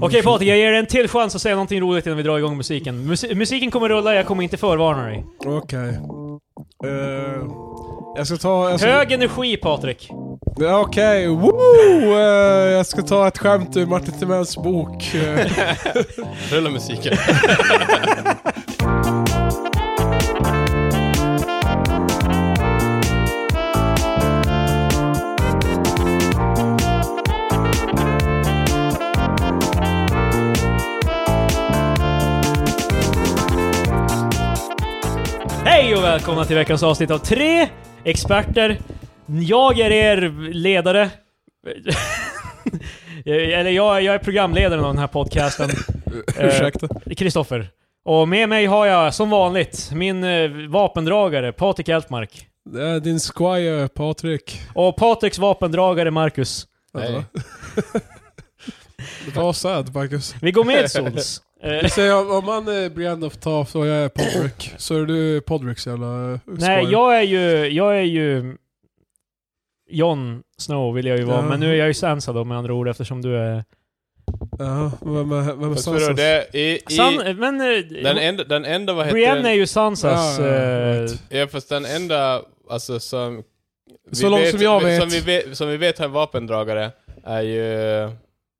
Okej Patrik, jag ger dig en till chans att säga någonting roligt innan vi drar igång musiken. Musi- musiken kommer rulla, jag kommer inte förvarna dig. Okej. Eh, jag ska ta... Jag ska, Hög energi Patrik. Ja, Okej, woo! Eh, jag ska ta ett skämt ur Martin Timells bok. Eh, Rulla musiken. Hej och välkomna till veckans avsnitt av tre experter. Jag är er ledare. Eller jag, jag är programledaren av den här podcasten. Eh, ursäkta. Kristoffer. Och med mig har jag som vanligt min eh, vapendragare Patrik Eltmark. Det är Eh, din squire Patrik. Och Patriks vapendragare Marcus. Nej. Vad sad Marcus. Vi går med Sols. Eh, Du säger om- om man är Brian of Tough och jag är Podrick, så är du Podricks jävla eh, squire. Nej, jag är ju... Jag är ju... Jon Snow vill jag ju vara, Ja. men nu är jag ju Sansa då med andra ord eftersom du är... Jaha, vem är, vem är Fast vadå, Sansas? det är i, i, San... Men... eh, den, enda, den enda, vad heter Brienne är den? ju Sansas... Ja, ja, ja, eh, right. Ja, fast den enda, alltså som... Så långt som jag vet. Som vi vet, som vi vet har en vapendragare, är ju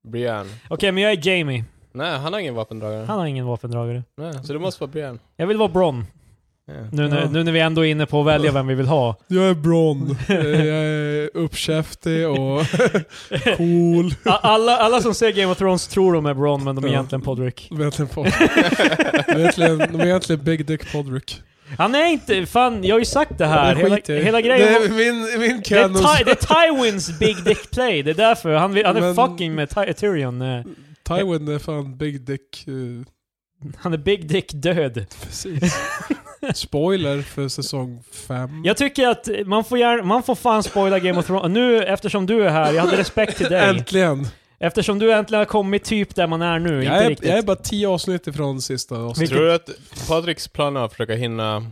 Brian. Okej, men jag är Jamie. Nej, han har ingen vapendragare. Han har ingen vapendragare. Nej, så det måste vara Brian. Jag vill vara Bronn. Ja. Nu, när- Ja. nu när vi ändå är inne på att välja vem vi vill ha. Jag är Bron. Eh, jag är uppkäftig och cool. A- Alla, alla som ser Game of Thrones tror de är Bronn, men de är Ja. egentligen Podrick. De är egentligen Podrick. De är egentligen, de är egentligen Big Dick Podrick. Han är inte... Fan, jag har ju sagt det här. Det Hela, skiter jag i. hela Det grejen... är min, min Det är, canon. Ty, det är Tywins Big Dick Play, det är därför. Han, vill, han är Men- fucking med Ty, Tyrion. eh. Tywin är fan Big Dick. eh, Han är Big Dick död. precis. Spoiler för säsong 5. Jag tycker att man får, gärna, man får fan spoila Game of Thrones. Nu eftersom du är här, jag hade respekt till dig. Äntligen! Eftersom du äntligen har kommit typ där man är nu, Jag inte är, riktigt. jag är bara 10 avsnitt ifrån sista avsnittet. Vilket- Tror du att Patriks plan är att försöka hinna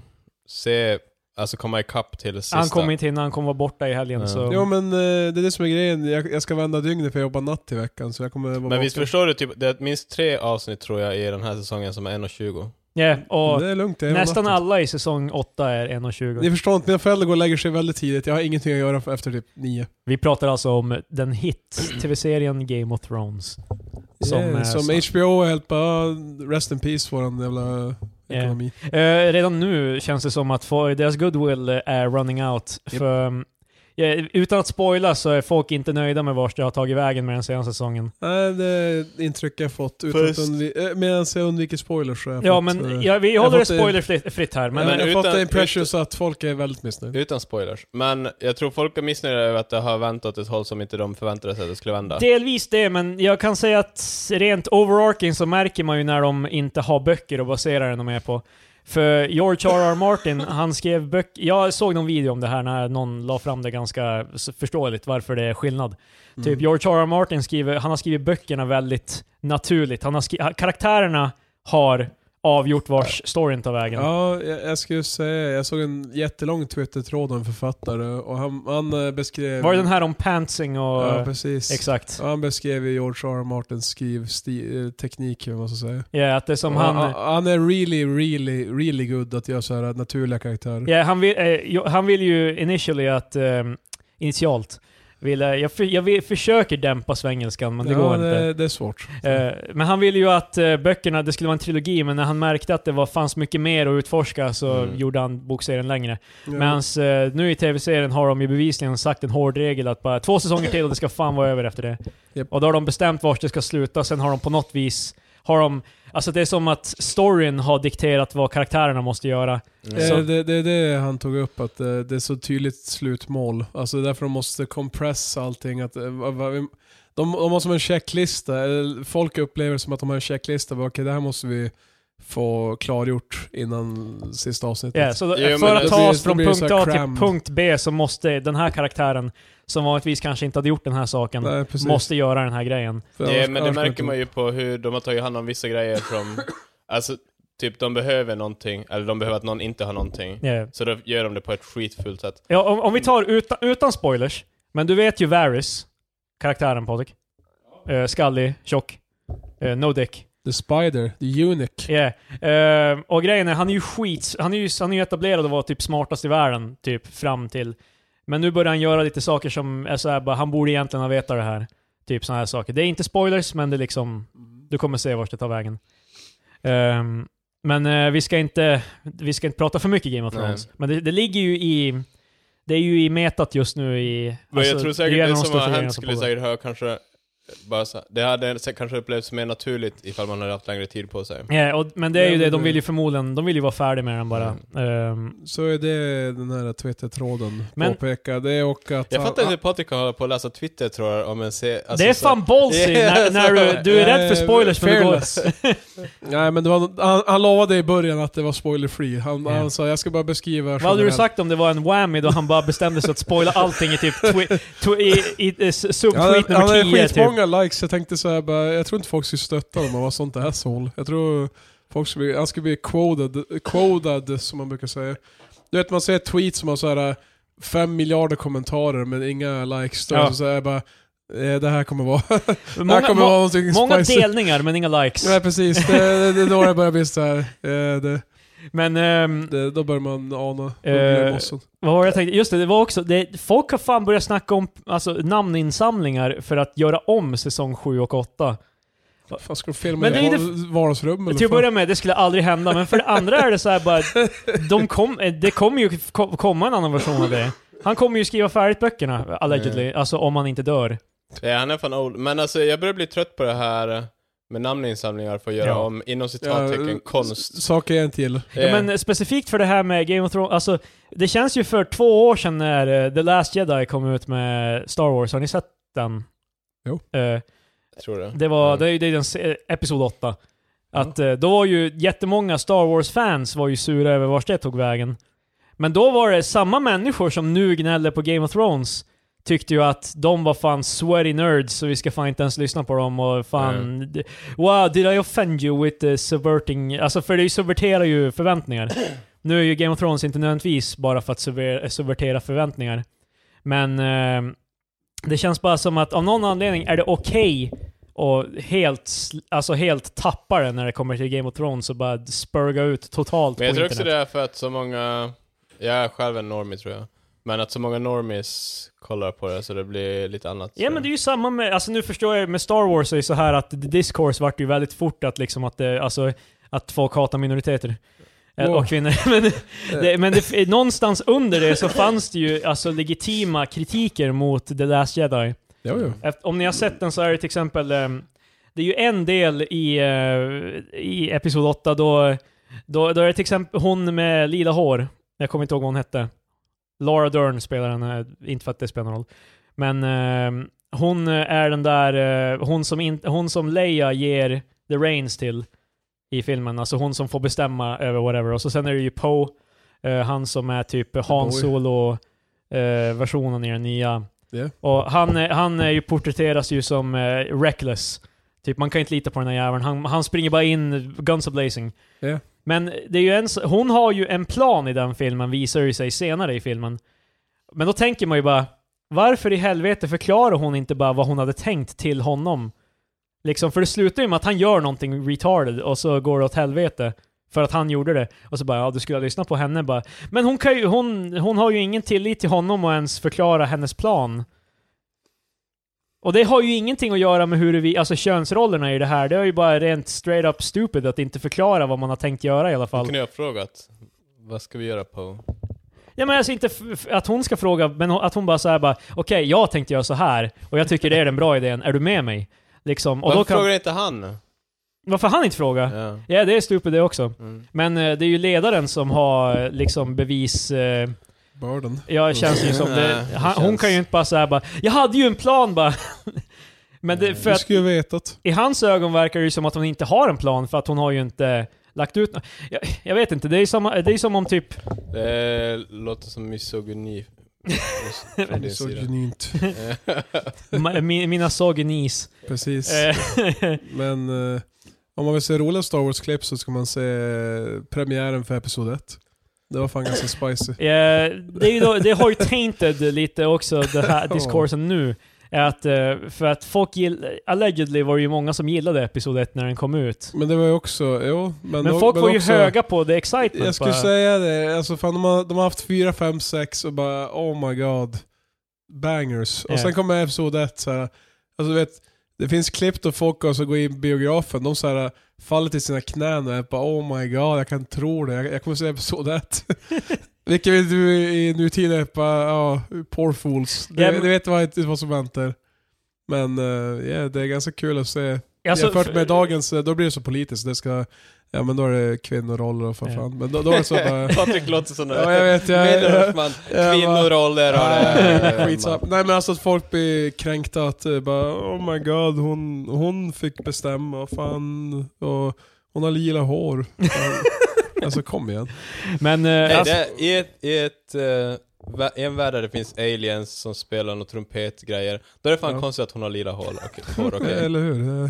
se, alltså komma ikapp till sista? han kommer inte hinna, han kommer vara borta i helgen Ja. så... Jo men eh, det är det som är grejen. Jag, jag ska vända dygnet för jag jobbar natt i veckan så jag kommer vara Men vaken. visst förstår du, typ, det är minst tre avsnitt tror jag i den här säsongen som är 1.20. Ja, och Det är lugnt, jag jobbar nästan natten. alla i säsong 8 är 1.20. Ni förstår inte, mina föräldrar går och lägger sig väldigt tidigt. Jag har ingenting att göra efter typ 9. Vi pratar alltså om den hit TV-serien Game of Thrones. Som Som, är som så- HBO och helt bara, rest in peace våran jävla Yeah. ekonomi. Eh, redan nu känns det som att for, deras goodwill eh, är running out. Japp. För, mm, ja, utan att spoila så är folk inte nöjda med vart jag har tagit vägen med den senaste säsongen. Nej, det är intryck jag fått. Utan att Först- undvi- eh, medan jag undviker spoilers så har jag Ja, fått, men eh, ja, vi jag håller det fått, eh, spoilerfritt fritt här. Men, jag har Men fått utan- impressions att folk är väldigt missnöjda. Utan spoilers. Men jag tror folk är missnöjda över att det har vänt åt ett håll som inte de förväntade sig att det skulle vända. Delvis det, men jag kan säga att rent overarching så märker man ju när de inte har böcker att basera den de är på. För George R.R. Martin, han skrev böcker... Jag såg någon video om det här när någon la fram det ganska s- förståeligt varför det är skillnad. Mm. Typ George R.R. Martin skriver, han har skrivit böckerna väldigt naturligt. Han har skri- karaktärerna har avgjort vars storyn tar vägen. Ja, jag, jag skulle säga, jag såg en jättelång Twitter-tråd om en författare och han, han eh, beskrev... Var det den här om pantsing och... Ja, precis. exakt. Ja, han beskrev ju George R. R. Martins skrivteknik, eller vad man ska säga. Ja, att det är som Ja, han... han, han är really, really, really good att göra så här naturliga karaktärer. Ja, han, vill, eh, jo- han vill ju initially att... Eh, initialt. Vill, eh, jag, för, jag vill, försöker dämpa svengelskan, men det Ja, går inte. det, det är svårt. Eh, men han ville ju att eh, böckerna, det skulle vara en trilogi, men när han märkte att det var, fanns mycket mer att utforska så Mm. gjorde han bokserien längre. Ja. Medan eh, nu i tv-serien har de ju bevisligen sagt en hård regel att bara två säsonger till och det ska fan vara över efter det. Japp. Och då har de bestämt vart det ska sluta, sen har de på något vis, har de, alltså det är som att storyn har dikterat vad karaktärerna måste göra. Mm. Eh, Så- Det, det är det han tog upp, att eh, det är så tydligt slutmål. Alltså därför de måste compressa allting. Att, eh, vad- vad vi- de, de har som en checklista, eller folk upplever som att de har en checklista. Bara, Okej, det här måste vi få klargjort innan sista avsnittet. Ja, så då, Jo, men för att det ta blir- oss det från blir så punkt här A till cram. punkt B så måste den här karaktären, som vanligtvis kanske inte hade gjort den här saken, Nej, precis. måste göra den här grejen. För Ja, annars- men det annars kommer märker man ju på hur de har tagit hand om vissa grejer från... alltså, typ de behöver någonting, eller de behöver att någon inte har någonting. Ja. Så då gör de det på ett skitfult sätt. Ja, om, om vi tar utan, utan spoilers, men du vet ju Varys, karaktären Patrik. Eh, skallig, tjock. Eh, no dick. The Spider, The Eunuch. Yeah. Eh, och grejen är, han är ju skit... Han är ju, han är ju etablerad att vara typ smartast i världen, typ, fram till... Men nu börjar han göra lite saker som är så här, bara, han borde egentligen ha vetat det här. Typ sådana här saker. Det är inte spoilers, men det är liksom... Du kommer se vart det tar vägen. Ehm, men eh, vi, ska inte, vi ska inte prata för mycket Game of Nej. Thrones. Men det, det ligger ju i... Det är ju i metat just nu i... Men jag tror säkert ju en det, av de som största har grejerna hänt som skulle pågår. säkert ha kanske bara så, det hade sä- kanske upplevts mer naturligt ifall man hade haft längre tid på sig. Ja, och, men det är ju Nej, det, men de det- vill ju förmodligen, de vill ju vara färdiga med den bara. Ehm, Så är det den här Twitter-tråden Men- påpekar. Det och att... Jag han- fattar inte Patrik kan hålla på att läsa Twitter tror jag om en se, alltså, det är så- fan ballsy när, när du, du är Ja, rädd för eh, spoilers men du går... fearless. Nej men det var, han, han lovade i början att det var spoiler free. Han, Ja. han sa jag ska bara beskriva Vad hade du generellt." sagt om det var en whammy då han bara bestämde sig att spoila allting i typ twi- twi- i, i, i s- subtweet han nummer 10 hade typ? skitmånga likes, jag tänkte så här, bara, jag tror inte folk skulle stötta honom, han var sånt asshole. Jag tror folk skulle bli, han skulle bli quoted, quoted som man brukar säga. Du vet man ser ett tweet som har så här fem miljarder kommentarer men inga likes. Då, Ja. så så här, bara, eh, det här kommer vara, det Många, här kommer må- vara någonting många spicy. delningar men inga likes. Nej precis, det, det, det är då det börjar bli så här. eh, Det, Men ehm, det, då börjar man ana Eh, ugglemossen. vad var det jag tänkte? Just det, det var också... Det, folk har fan börjat snacka om alltså, namninsamlingar för att göra om säsong 7 och 8. Fan ska de filma men det är i ju var- vardagsrum eller? Till att fan? börja med, det skulle aldrig hända, men för det andra är det så här bara... De kom, eh, det kommer ju ko- komma en annan version av det. Han kommer ju skriva färdigt böckerna, allegedly. Alltså om han inte dör. Ja, han är fan old. Men alltså jag börjar bli trött på det här med namninsamlingar för att göra Ja. om, inom Ja, citattecken, eh, konst. s- Saker jag inte gillar. Ja, men eh, specifikt för det här med Game of Thrones, alltså det känns ju för två år sedan när eh, The Last Jedi kom ut med Star Wars, har ni sett den? Jo. Eh, jag tror det. det var, Mm. det är ju det är den, se- eh, episod 8. Att eh, då var ju jättemånga Star Wars-fans var ju sura över vart det tog vägen. Men då var det samma människor som nu gnällde på Game of Thrones tyckte ju att de var fan sweaty nerds så vi ska fan inte ens lyssna på dem och fan... d- Wow, did I offend you with eh, subverting... Alltså för det subverterar ju förväntningar. nu är ju Game of Thrones inte nödvändigtvis bara för att subver- subvertera förväntningar. Men eh, det känns bara som att av någon anledning är det okej och helt, sl- alltså helt tappa det när det kommer till Game of Thrones och bara spurga ut totalt Men jag på tror internet. också det är för att så många, jag är själv en normie tror jag, men att så många normies kollar på det så det blir lite annat. Ja men det är ju samma med, alltså nu förstår jag med Star Wars är ju så här att discourse vart ju väldigt fort att liksom att det, alltså att folk hatar minoriteter. Eh, Wow. Och kvinnor. Men, det, men det, någonstans under det så fanns det ju alltså legitima kritiker mot The Last Jedi. Jo, jo. Eft- Om ni har sett den så är det till exempel, ehm, det är ju en del i, eh, i Episod 8 då, då, då är det till exempel hon med lila hår, jag kommer inte ihåg vad hon hette. Laura Dern spelar henne, inte för att det spelar någon roll. Men ehm, hon är den där, eh, hon, som in, hon som Leia ger the reins till i filmen, alltså hon som får bestämma över whatever. Och så sen är det ju Poe, eh, han som är typ Han Poe. Solo-versionen i den nya. Ja. Och han, är- han är ju porträtteras ju som eh, reckless. Typ man kan inte lita på den här jäveln. Han, han springer bara in, guns a blazing. Ja. Men det är ju en, s- hon har ju en plan i den filmen, visar det sig senare i filmen. Men då tänker man ju bara, varför i helvete förklarar hon inte bara vad hon hade tänkt till honom? Liksom, för det slutar ju med att han gör någonting retarded och så går det åt helvete. För att han gjorde det. Och så bara, ja du skulle ha lyssnat på henne bara. Men hon, kan ju, hon, hon har ju ingen tillit till honom och ens förklara hennes plan. Och det har ju ingenting att göra med hur vi, alltså könsrollerna i det här. Det är ju bara rent straight up stupid att inte förklara vad man har tänkt göra i alla fall. kunde jag ha frågat, vad ska vi göra på? Ja men alltså inte f- f- att hon ska fråga, men hon- att hon bara såhär bara Okej, jag tänkte göra så här och jag tycker det är den bra idén, är du med mig? Liksom, och Varför då kan, frågar inte han? varför han inte fråga? Ja, Ja. det är stupid det också. Mm. Men eh, det är ju ledaren som har eh, liksom bevis... Eh, Börden. jag känns det ju som det, Mm. Nej, det han, Hon känns- kan ju inte bara såhär bara Jag hade ju en plan bara! men det, för Du att skulle ju vetat. i hans ögon verkar det ju som att hon inte har en plan för att hon har ju inte lagt ut nå- jag, jag vet inte, det är ju som, det är som om typ... Det låter som misogyni från din Så sida. genuint. ma- mi- mina sogenis. Precis. Eh, Men eh, om man vill se roliga Star Wars-klipp så ska man se eh, premiären för Episod 1. Det var fan ganska spicy. Eh, det, är ju då, det har ju tainted lite också, den här discoursen nu. är att, eh, för att folk gill, allegedly var det ju många som gillade Episod 1 när den kom ut. Men det var ju också, jo. Men, Men då- folk men var ju också- höga på the excitement Jag skulle bara. säga det, alltså fan de har, de har haft fyra, fem, sex och bara oh my god. Bangers. Ja. Och sen kommer episod 1 såhär. Alltså du vet, det finns klipp då folk alltså går in i biografen, de såhär faller till sina knän och är bara oh my god, jag kan inte tro det. Jag, jag kommer se episod 1. Vilket vi nu i nutid är bara ja, poor fools. Du, Ja, men- du vet vad, vad som väntar. Men eh, ja, det är ganska kul att se Alltså, Jämfört för- med dagens, eh, då blir det så politiskt. Det ska, ja men då är det kvinnoroller och fan Ja. fan. Men då, då är det så bara... Patrik låter som Ja, jag vet, jag- medelårsman. jag- Kvinnoroller och det. Nej, skitsamma. Nej men alltså att folk blir kränkta att eh, bara oh my god hon, hon fick bestämma och fan och hon har lila hår. Fan. alltså kom igen. Men, eh, Nej, alltså, det, I ett, i ett, eh, vä- i en värld där det finns aliens som spelar några trumpetgrejer, då är det fan Ja. konstigt att hon har lila hår. Okej, hår, Eh, okej. Eller hur? Eh,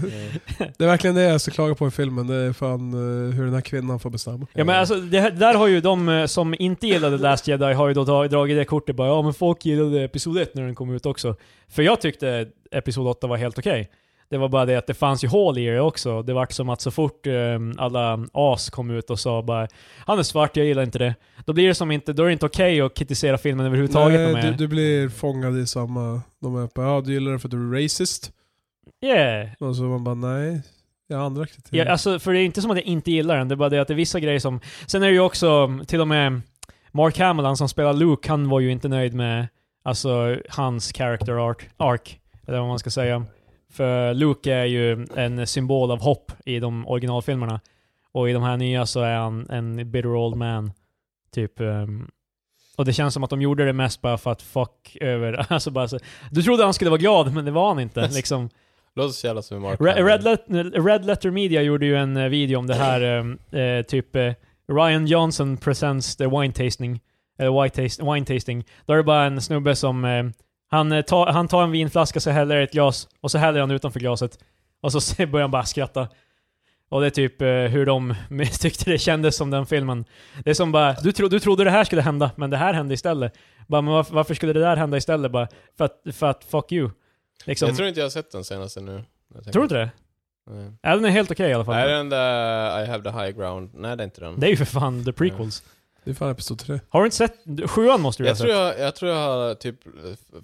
Det är verkligen det jag ska klaga på i filmen. Det är fan eh, hur den här kvinnan får bestämma. Ja men alltså, det, här- där har ju de eh, som inte gillade Last Jedi har ju då dra- dragit det kortet bara ja men folk gillade Episod 1 när den kom ut också. För jag tyckte Episod 8 var helt okej. Det var bara det att det fanns ju hål i det också. Det vart som att så fort eh, alla as kom ut och sa bara han är svart, jag gillar inte det. Då blir det som inte, då är det inte okej att kritisera filmen överhuvudtaget Nej, mer. du, du blir fångad i samma... De är bara, ja du gillar det för att du är racist. Yeah. Och så man bara nej, jag har andra kriterier. Ja, alltså, för det är inte som att jag inte gillar den, det är bara det att det är vissa grejer som... Sen är det ju också, till och med Mark Hamill, han som spelar Luke, han var ju inte nöjd med alltså, hans character arc, arc, eller vad man ska säga. För Luke är ju en symbol av hopp i de originalfilmerna. Och i de här nya så är han en bitter old man. Typ. ehm, och det känns som att de gjorde det mest bara för att fuck över... Alltså bara så, du trodde han skulle vara glad, men det var han inte. Liksom. Låter så jävla som en Mark. Re- Hamill. Red, Let- Red Letter Media gjorde ju en eh, video om det här, eh, eh, typ eh, Ryan Johnson presents the wine tasting, eller wine, taste, wine tasting. Då är det bara en snubbe som, eh, han, eh, tar- han tar en vinflaska, så häller i ett glas, och så häller han utanför glaset. Och så se- börjar han bara skratta. Och det är typ eh, hur de tyckte det kändes som den filmen. Det är som bara, du, tro, du trodde det här skulle hända, men det här hände istället. Bara, men varför, varför skulle det där hända istället? Bara, för att, för att fuck you. Liksom, Jag tror inte jag har sett den senaste nu. Jag tänker- tror du inte det? Nej. Ja, den är helt okej i alla fall. Är den där I have the high ground? Nej, det är inte den. Det är ju för fan the prequels. Det är fan episod 3. Har du inte sett? Sjuan måste du ha jag, tror sett. jag, jag tror jag har typ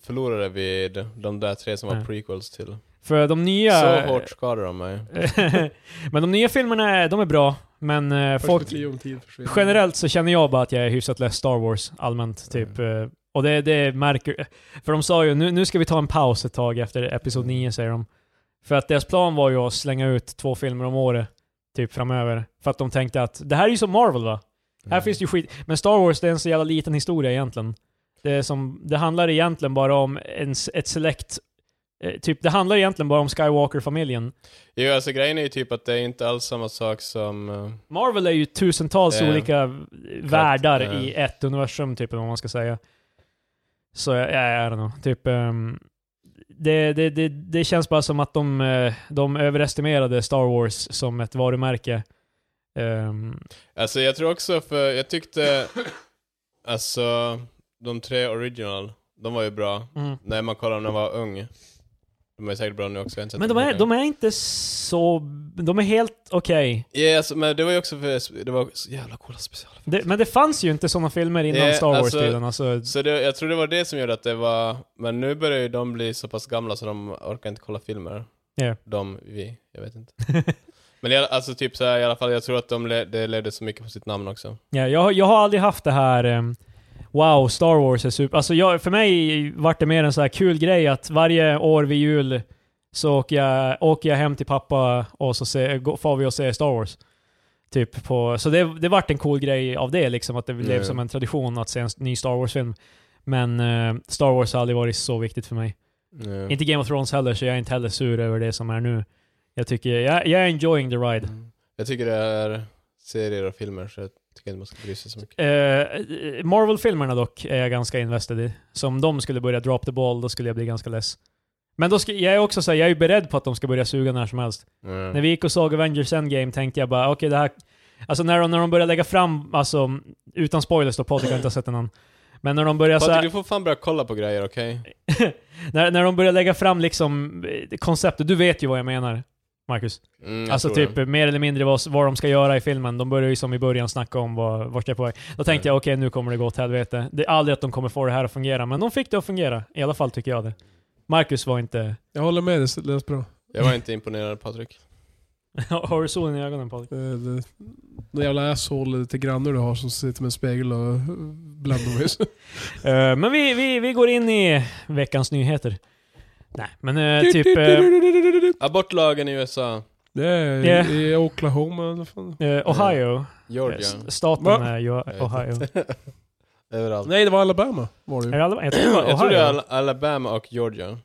förlorade vid de där tre som var Ja. prequels till. För de nya... Så hårt skadade de mig. men de nya filmerna, är- de är bra. Men eh, folk... om tid försvinner. Generellt så känner jag bara att jag är hyfsat less Star Wars allmänt, typ. eh, Och det, det märker... För de sa ju nu, nu ska vi ta en paus ett tag efter Episod Mm. 9, säger de. För att deras plan var ju att slänga ut två filmer om året, typ framöver. För att de tänkte att det här är ju som Marvel va? Mm. Här finns det ju skit. Men Star Wars det är en så jävla liten historia egentligen. Det, är som, det handlar egentligen bara om en, s- ett select... eh, Typ, det handlar egentligen bara om Skywalker-familjen. Jo, alltså grejen är ju typ att det är inte alls samma sak som... eh, Marvel är ju tusentals Eh, olika världar eh. i ett universum, typ, eller vad man ska säga. Så jag är nog. Typ, ehm, det, det, det, det känns bara som att de, eh, de överestimerade Star Wars som ett varumärke. Ehm, Alltså jag tror också för, jag tyckte, alltså de tre original, de var ju bra. mm. När man kollar när man var ung. De är säkert bra nu också, jag har inte sett Men de dem är, mycket. de är inte så... De är helt okej. Ja, alltså, men det var ju också för, det var så jävla coola special. Det, men det fanns ju inte sådana filmer innan Eh, Star Wars-tiden. alltså- Alltså, Så det, jag tror det var det som gjorde att det var, men nu börjar ju de bli så pass gamla så de orkar inte kolla filmer. Ja. De, vi, jag vet inte. men jag, alltså typ så här, i alla fall, jag tror att de le, det levde så mycket på sitt namn också. ja, jag, jag har aldrig haft det här ehm, Wow, Star Wars är super... Alltså jag, för mig vart det mer en så här kul grej att varje år vid jul så åker jag, åker jag hem till pappa och så se, gå- far vi och ser Star Wars. Typ på, så det, det vart en cool grej av det liksom, att det blev Mm. som en tradition att se en ny Star Wars-film. Men eh, Star Wars har aldrig varit så viktigt för mig. Ja. Inte Game of Thrones heller, så jag är inte heller sur över det som är nu. Jag tycker, jag, jag är enjoying the ride. Mm. Jag tycker det är serier och filmer så jag tycker inte man ska bry sig så mycket. Eh, Marvel-filmerna dock är jag ganska invested i. Så om de skulle börja drop the ball, då skulle jag bli ganska less. Men då ska, jag är också så här, jag är ju beredd på att de ska börja suga när som helst. Mm. När vi gick och såg Avengers Endgame tänkte jag bara, okej det här... Alltså när de, när de började lägga fram, alltså utan spoilers då, Patrik har inte sett den än. Men när de börjar så Patrik, här, du får fan börja kolla på grejer, okej? när, när de börjar lägga fram liksom eh, konceptet, du vet ju vad jag menar, Marcus. Mm, jag Alltså tror typ det. eh, mer eller mindre vad, vad de ska göra i filmen. De börjar ju som i början snacka om vad, vart jag är på väg. Då tänkte jag okej, nu kommer det gå åt helvete. Det är aldrig att de kommer få det här att fungera, men de fick det att fungera. I alla fall tycker jag det. Marcus var inte... Jag håller med, det lät bra. Jag var inte imponerad Patrik. Har du solen i ögonen Patrik? Eh, Det, det jävla asshole till grannar du har som sitter med en spegel och eh, blandomljus. Eh, men vi, vi, vi går in i veckans nyheter. Nej, men eh, typ... eh, Abortlagen i USA, Det är Yeah. i Oklahoma. vad fan. Eh, Ohio. Georgia, Eh, Eh, s- Staten Va? är ju vet Ohio. överallt. Nej, det var Alabama. Var det ju. Är det Alabama? Jag tror det var Jag tror det är Ohio. Al- Alabama och Georgia.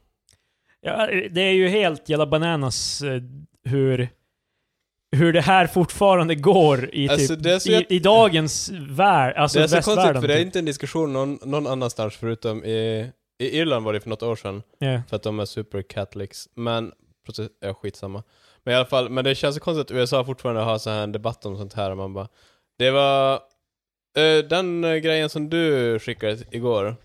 Ja, eh, det är ju helt jävla bananas eh, hur, hur det här fortfarande går i, Alltså, typ, det är så i, jät- i dagens värld, alltså det är så konstigt västvärlden. för det är typ. inte en diskussion någon, någon annanstans förutom i, i Irland var det för något år sedan. Ja. För att de är super Catholics. Men, precis, ja, skitsamma. Men i alla fall, men det känns så konstigt att USA fortfarande har så här en debatt om sånt här. Och man bara, det var eh, den eh, grejen som du skickade igår.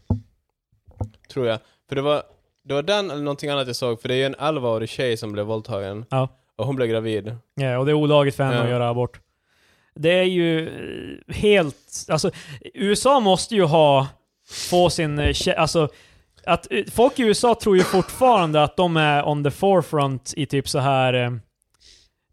Tror jag. För det var, det var den eller någonting annat jag såg. För det är ju en 11-årig tjej som blev våldtagen. Ja. Och hon blev gravid. Ja, och det är olagligt för henne Ja. att göra abort. Det är ju eh, helt... Alltså, USA måste ju ha... Få sin... eh, kä- Alltså, att, eh, folk i USA tror ju fortfarande att de är on the forefront i typ så här... eh,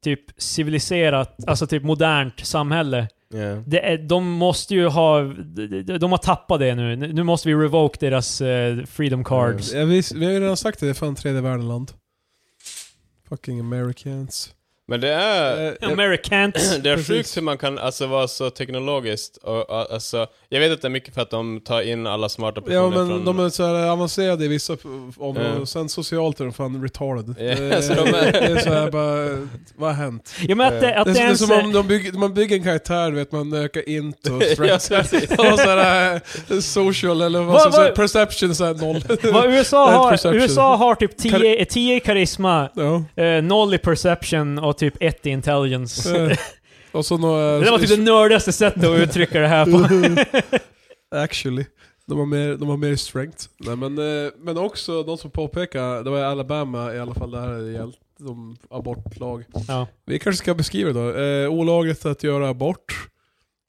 Typ civiliserat, alltså typ modernt samhälle. Yeah. Det är, de måste ju ha... de- de- De har tappat det nu. Nu måste vi revoke deras eh, freedom cards. Ja, vi, vi har ju redan sagt det, det är fan tredje världen-land. Fucking Americans. Men det är... Eh, jag- Americans. Det är Precis. sjukt hur man kan alltså, vara så teknologiskt. Och, och, alltså, jag vet att det är mycket för att de tar in alla smarta personer Ja men från... de är så här avancerade i vissa p- områden, Ja. och sen socialt är de fan retarded. Ja, Det- så de är- Det är så här bara, vad har hänt? Ja, men att, det- att Det är, det det är ens som om är... de bygger, man bygger en karaktär, du vet man ökar int och ja, strength. precis. och så här, eh, social eller vad Vad- som säger, vad- perception så här noll. Vad USA Health har, perception. USA har typ 10 Kar- tio, tio i karisma, ja. eh, noll i perception och typ ett i intelligence. eh, Och så några... Det var typ det nördigaste sättet att uttrycka det här på. Actually. De har, mer, de har mer strength. Nej, men, eh, men också, de som påpekar, det var i Alabama i alla fall, det här är helt, de abortlag. Ja. Vi kanske ska beskriva det då. Eh, olagligt att göra abort.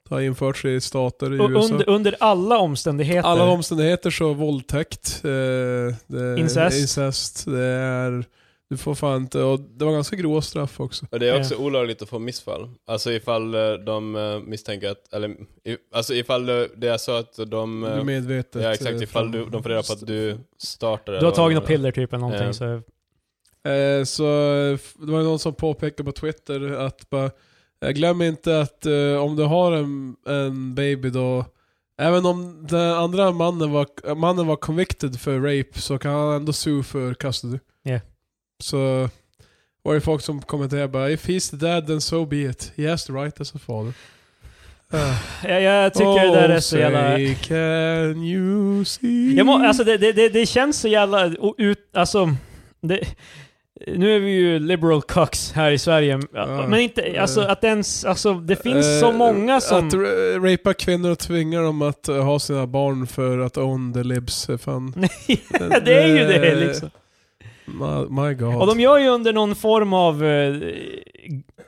Det har införts i stater i Och USA. under, under alla omständigheter. Alla omständigheter så våldtäkt, eh, det är Incest. incest, det är... Du får fan inte... Och det var ganska grova straff också. Och det är också olagligt att få missfall. Alltså ifall eh, de eh, misstänker att, eller i, alltså ifall eh, det är så att de... Du eh, är medvetet... ja exakt, eh, ifall fram- du, de får reda på att du startade. du har eller tagit vad några det piller typ eller någonting Ja. så... Eh, så eh, f- det var ju någon som påpekade på Twitter att bara, eh, glöm inte att eh, om du har en, en baby då, även om den andra mannen var, eh, mannen var convicted för rape så kan han ändå sue för custody. Ja. Så var det folk som kommenterade bara if he's the dad then so be it. He has the right as a father. Eh, Jag, jag tycker det där är så oh, jävla... say, can you see? Jag må, alltså det, det, det, det känns så jävla... o- Ut, alltså, det, nu är vi ju liberal cucks här i Sverige. Ja. Men inte... Alltså att ens... Alltså det finns så Eh, många som... Att ra- rapea kvinnor och tvinga dem att eh, ha sina barn för att own the libs, eh, fan. Ja, det är ju det Eh, liksom. My, my god. Och de gör ju under någon form av eh,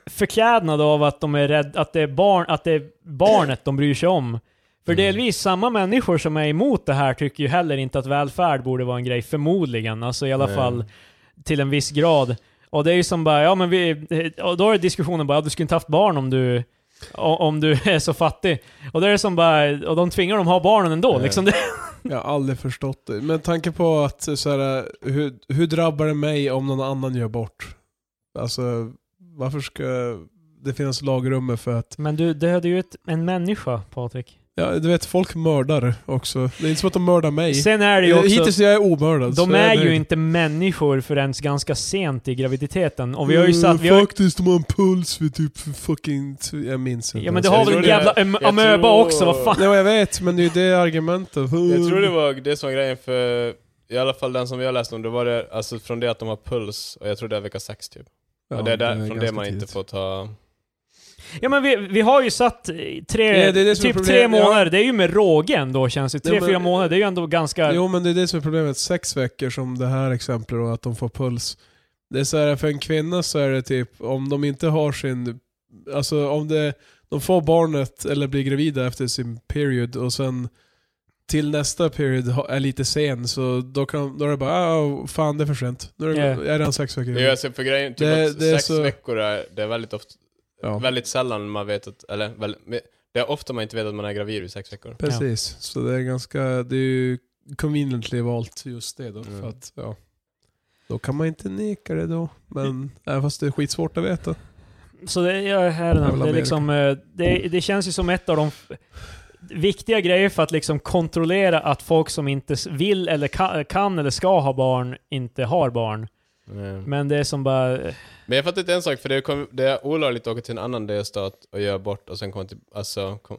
förklädnad av att de är rädd, att det är, barn, att det är barnet de bryr sig om. För Mm. delvis samma människor som är emot det här tycker ju heller inte att välfärd borde vara en grej, förmodligen. Alltså i alla Nej. fall till en viss grad. Och det är ju som bara, ja men vi, eh, och då är diskussionen bara, ja, du skulle inte haft barn om du o- om du är så fattig. Och det är det som bara, och de tvingar dem ha barnen ändå. Mm. Liksom det, Jag har aldrig förstått det. Men tanke på att eh, så här, eh, hur, hur drabbar det mig om någon annan gör bort? Alltså, varför ska det finnas lagrum för att... men du dödade ju ett, en människa, Patrik. Ja, du vet, folk mördar också. Det är inte som att de mördar mig. Sen är det ju Eh, också... Hittills är jag omördad. så De jag Alltså, är ju nöjd. inte människor förrän ganska sent i graviditeten. Och vi har ju satt... Vi Eh, har, Faktiskt, de har en puls vid typ fucking... Jag minns inte. ja men det ens. har Jag väl en tror det- jävla am- jag amöba tror- också, vad fan? Nej men jag vet, men det är ju det argumentet. var. Jag tror det var det som var grejen för, i alla fall den som jag läste om, det var det, alltså från det att de har puls, och jag tror det är vecka sex typ. och det är där, från det ganska man tidigt. inte får ta... Ja men vi, vi har ju satt eh, tre, Ja, det är det som är typ tre problemet, ja. månader, det är ju med råge ändå känns det. Tre, Ja, men- fyra månader, det är ju ändå ganska... Jo men det är det som är problemet. Sex veckor som det här exemplet och att de får puls. Det är så här, för en kvinna så är det typ om de inte har sin, alltså om det, de får barnet eller blir gravida efter sin period och sen till nästa period ha- är lite sen så då, kan, då är det bara ah, fan det är för sent. Nu är, det, Ja. jag är redan sex veckor. Det är alltså för grejen, typ Mm. Det- att det är sex så- veckor är, det är väldigt ofta, Ja. väldigt sällan man vet att, eller väl, det är ofta man inte vet att man är gravid i sex veckor. Precis, så det är ganska, det är ju conveniently valt just det då. Mm. För att, ja. Då kan man inte neka det då. Men Mm. även fast det är skitsvårt att veta. Så det, jag är här Jävla det, är Amerika. liksom, eh, det, det känns ju som ett av de f- viktiga grejer för att liksom kontrollera att folk som inte s- vill eller ka, kan eller ska ha barn inte har barn. Mm. Men det är som bara... eh, Men jag fattar inte en sak, för det, kom, det är olagligt att åka till en annan delstat och göra abort och sen komma till, alltså, kom,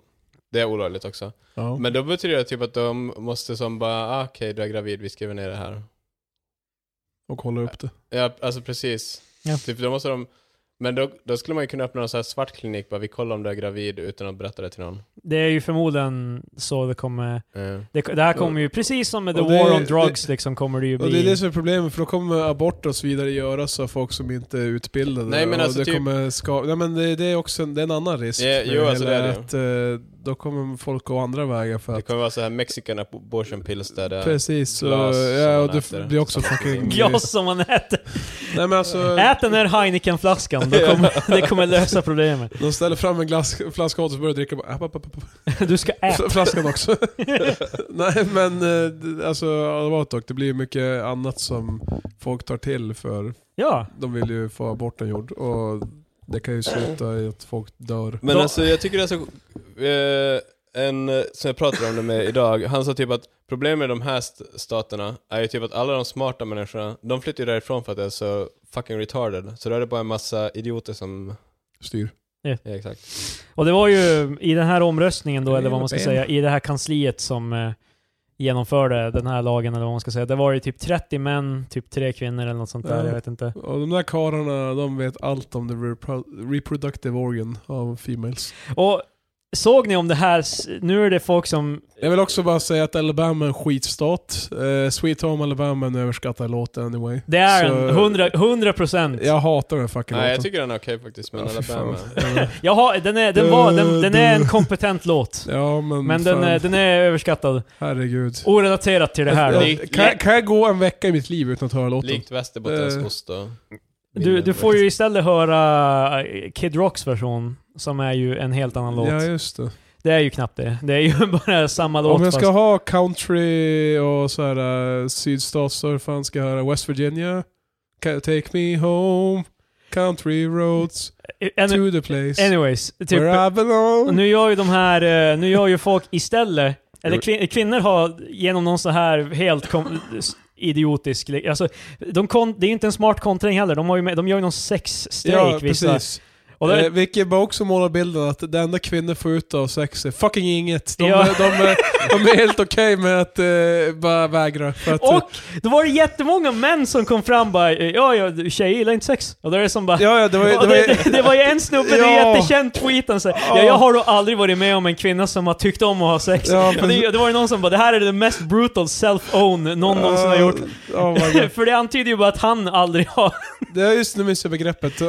det är olagligt också. Ja. Men då betyder det typ att de måste som bara, ah, okej du är gravid, vi skriver ner det här. Och hålla upp det. Ja, alltså precis. Ja. Typ, då måste de, men då, då skulle man ju kunna öppna någon sån här svart klinik, bara vi kollar om du är gravid utan att berätta det till någon. Det är ju förmodligen så det kommer... Mm. Det, det här kommer ju precis som med The Och det- War on Drugs liksom kommer det ju Och det är bli... det som är problemet, för då kommer abort och så vidare göras av folk som inte är utbildade. Nej, men och alltså det typ- kommer ska... Nej men det, det är också en, det är en annan risk. Ja, med jo, det alltså hela, det är det. att, eh, Då kommer folk gå andra vägar för Det att... kommer vara så här mexican abortion pills där det är Precis, så, glas ja, som och man äter. det blir också fucking... Glas som man äter. Nej men alltså, Ät den här Heineken-flaskan, då kommer, det kommer lösa problemet. de ställer fram en glass, flaska åt och så börjar dricka bara... app, app, app, app. Du ska äta. Fl- Flaskan också. Nej men eh, d- alltså, Alvatok, det blir ju mycket annat som folk tar till för Ja. de vill ju få aborten gjord och det kan ju sluta i att folk dör. Men Då- alltså jag tycker det är så... Eh, en eh, som jag pratade om det med idag, han sa typ att problemet med de här st- staterna är ju typ att alla de smarta människorna, de flyttar ju därifrån för att det är så fucking retarded. Så då är det bara en massa idioter som... Styr. Ja, exakt. Och det var ju i den här omröstningen då, Det är eller vad man ska ben. säga, i det här kansliet som eh, genomförde den här lagen, eller vad man ska säga. Det var ju typ 30 män, typ 3 kvinnor eller något sånt där, Ja. jag vet inte. Och de där karlarna, de vet allt om the repro- reproductive organ av females. Och såg ni om det här, s- nu är det folk som... Jag vill också bara säga att Alabama är en skitstat. Eh, Sweet Home Alabama är en överskattad låt anyway. Det är Så- en 100, 100 procent. Jag hatar den fucking Nej, jag låten. tycker den är okej faktiskt, men Ja, fy fan. Alabama... Jag har, den, är, den, var, den, den är en kompetent låt. ja men, Men fan, den är, den är överskattad. herregud. Orelaterat till det här då. Jag- jag- kan, jag- kan jag gå en vecka i mitt liv utan att höra låten? Likt Västerbottens Eh. ost och... Du, du får ju istället höra eh, Kid Rocks version, som är ju en helt annan låt. Ja, just det. Det är ju knappt det. Det är ju bara samma låt Om jag fast- ska ha country och så här eh, sydstat så fan ska jag höra West Virginia. Ca- Take me home, country roads, Any, to the place anyways, typ, where I belong. nu gör ju de här, eh, nu gör ju folk istället, eller kvin, kvinnor har genom någon så här helt kom, s- idiotisk, li- alltså, de kon, det är ju inte en smart kontring heller, de, har ju med, de gör ju någon sexstrejk ja, vissa. precis. Och det, eh, vilket bara också målar bilden att det enda kvinnor får ut av sex är fucking inget. De, Ja. är- de, är, de är helt okej med att eh, bara vägra. För att, och då var det jättemånga män som kom fram bara ja, ja, du, tjejer gillar inte sex. Och då är det som bara ja, ja, det var, ju- Och det var, det, ju- det, det var ju en snubbe, det är Ja. jättekänd tweet han säger. Ja, jag har då aldrig varit med om en kvinna som har tyckt om att ha sex. Ja, och det, det var ju någon som bara, det här är det mest brutal self-own någon någonsin har gjort. Oh my God. För det antyder ju bara att han aldrig har... Det är just nu minns jag begreppet. Eh,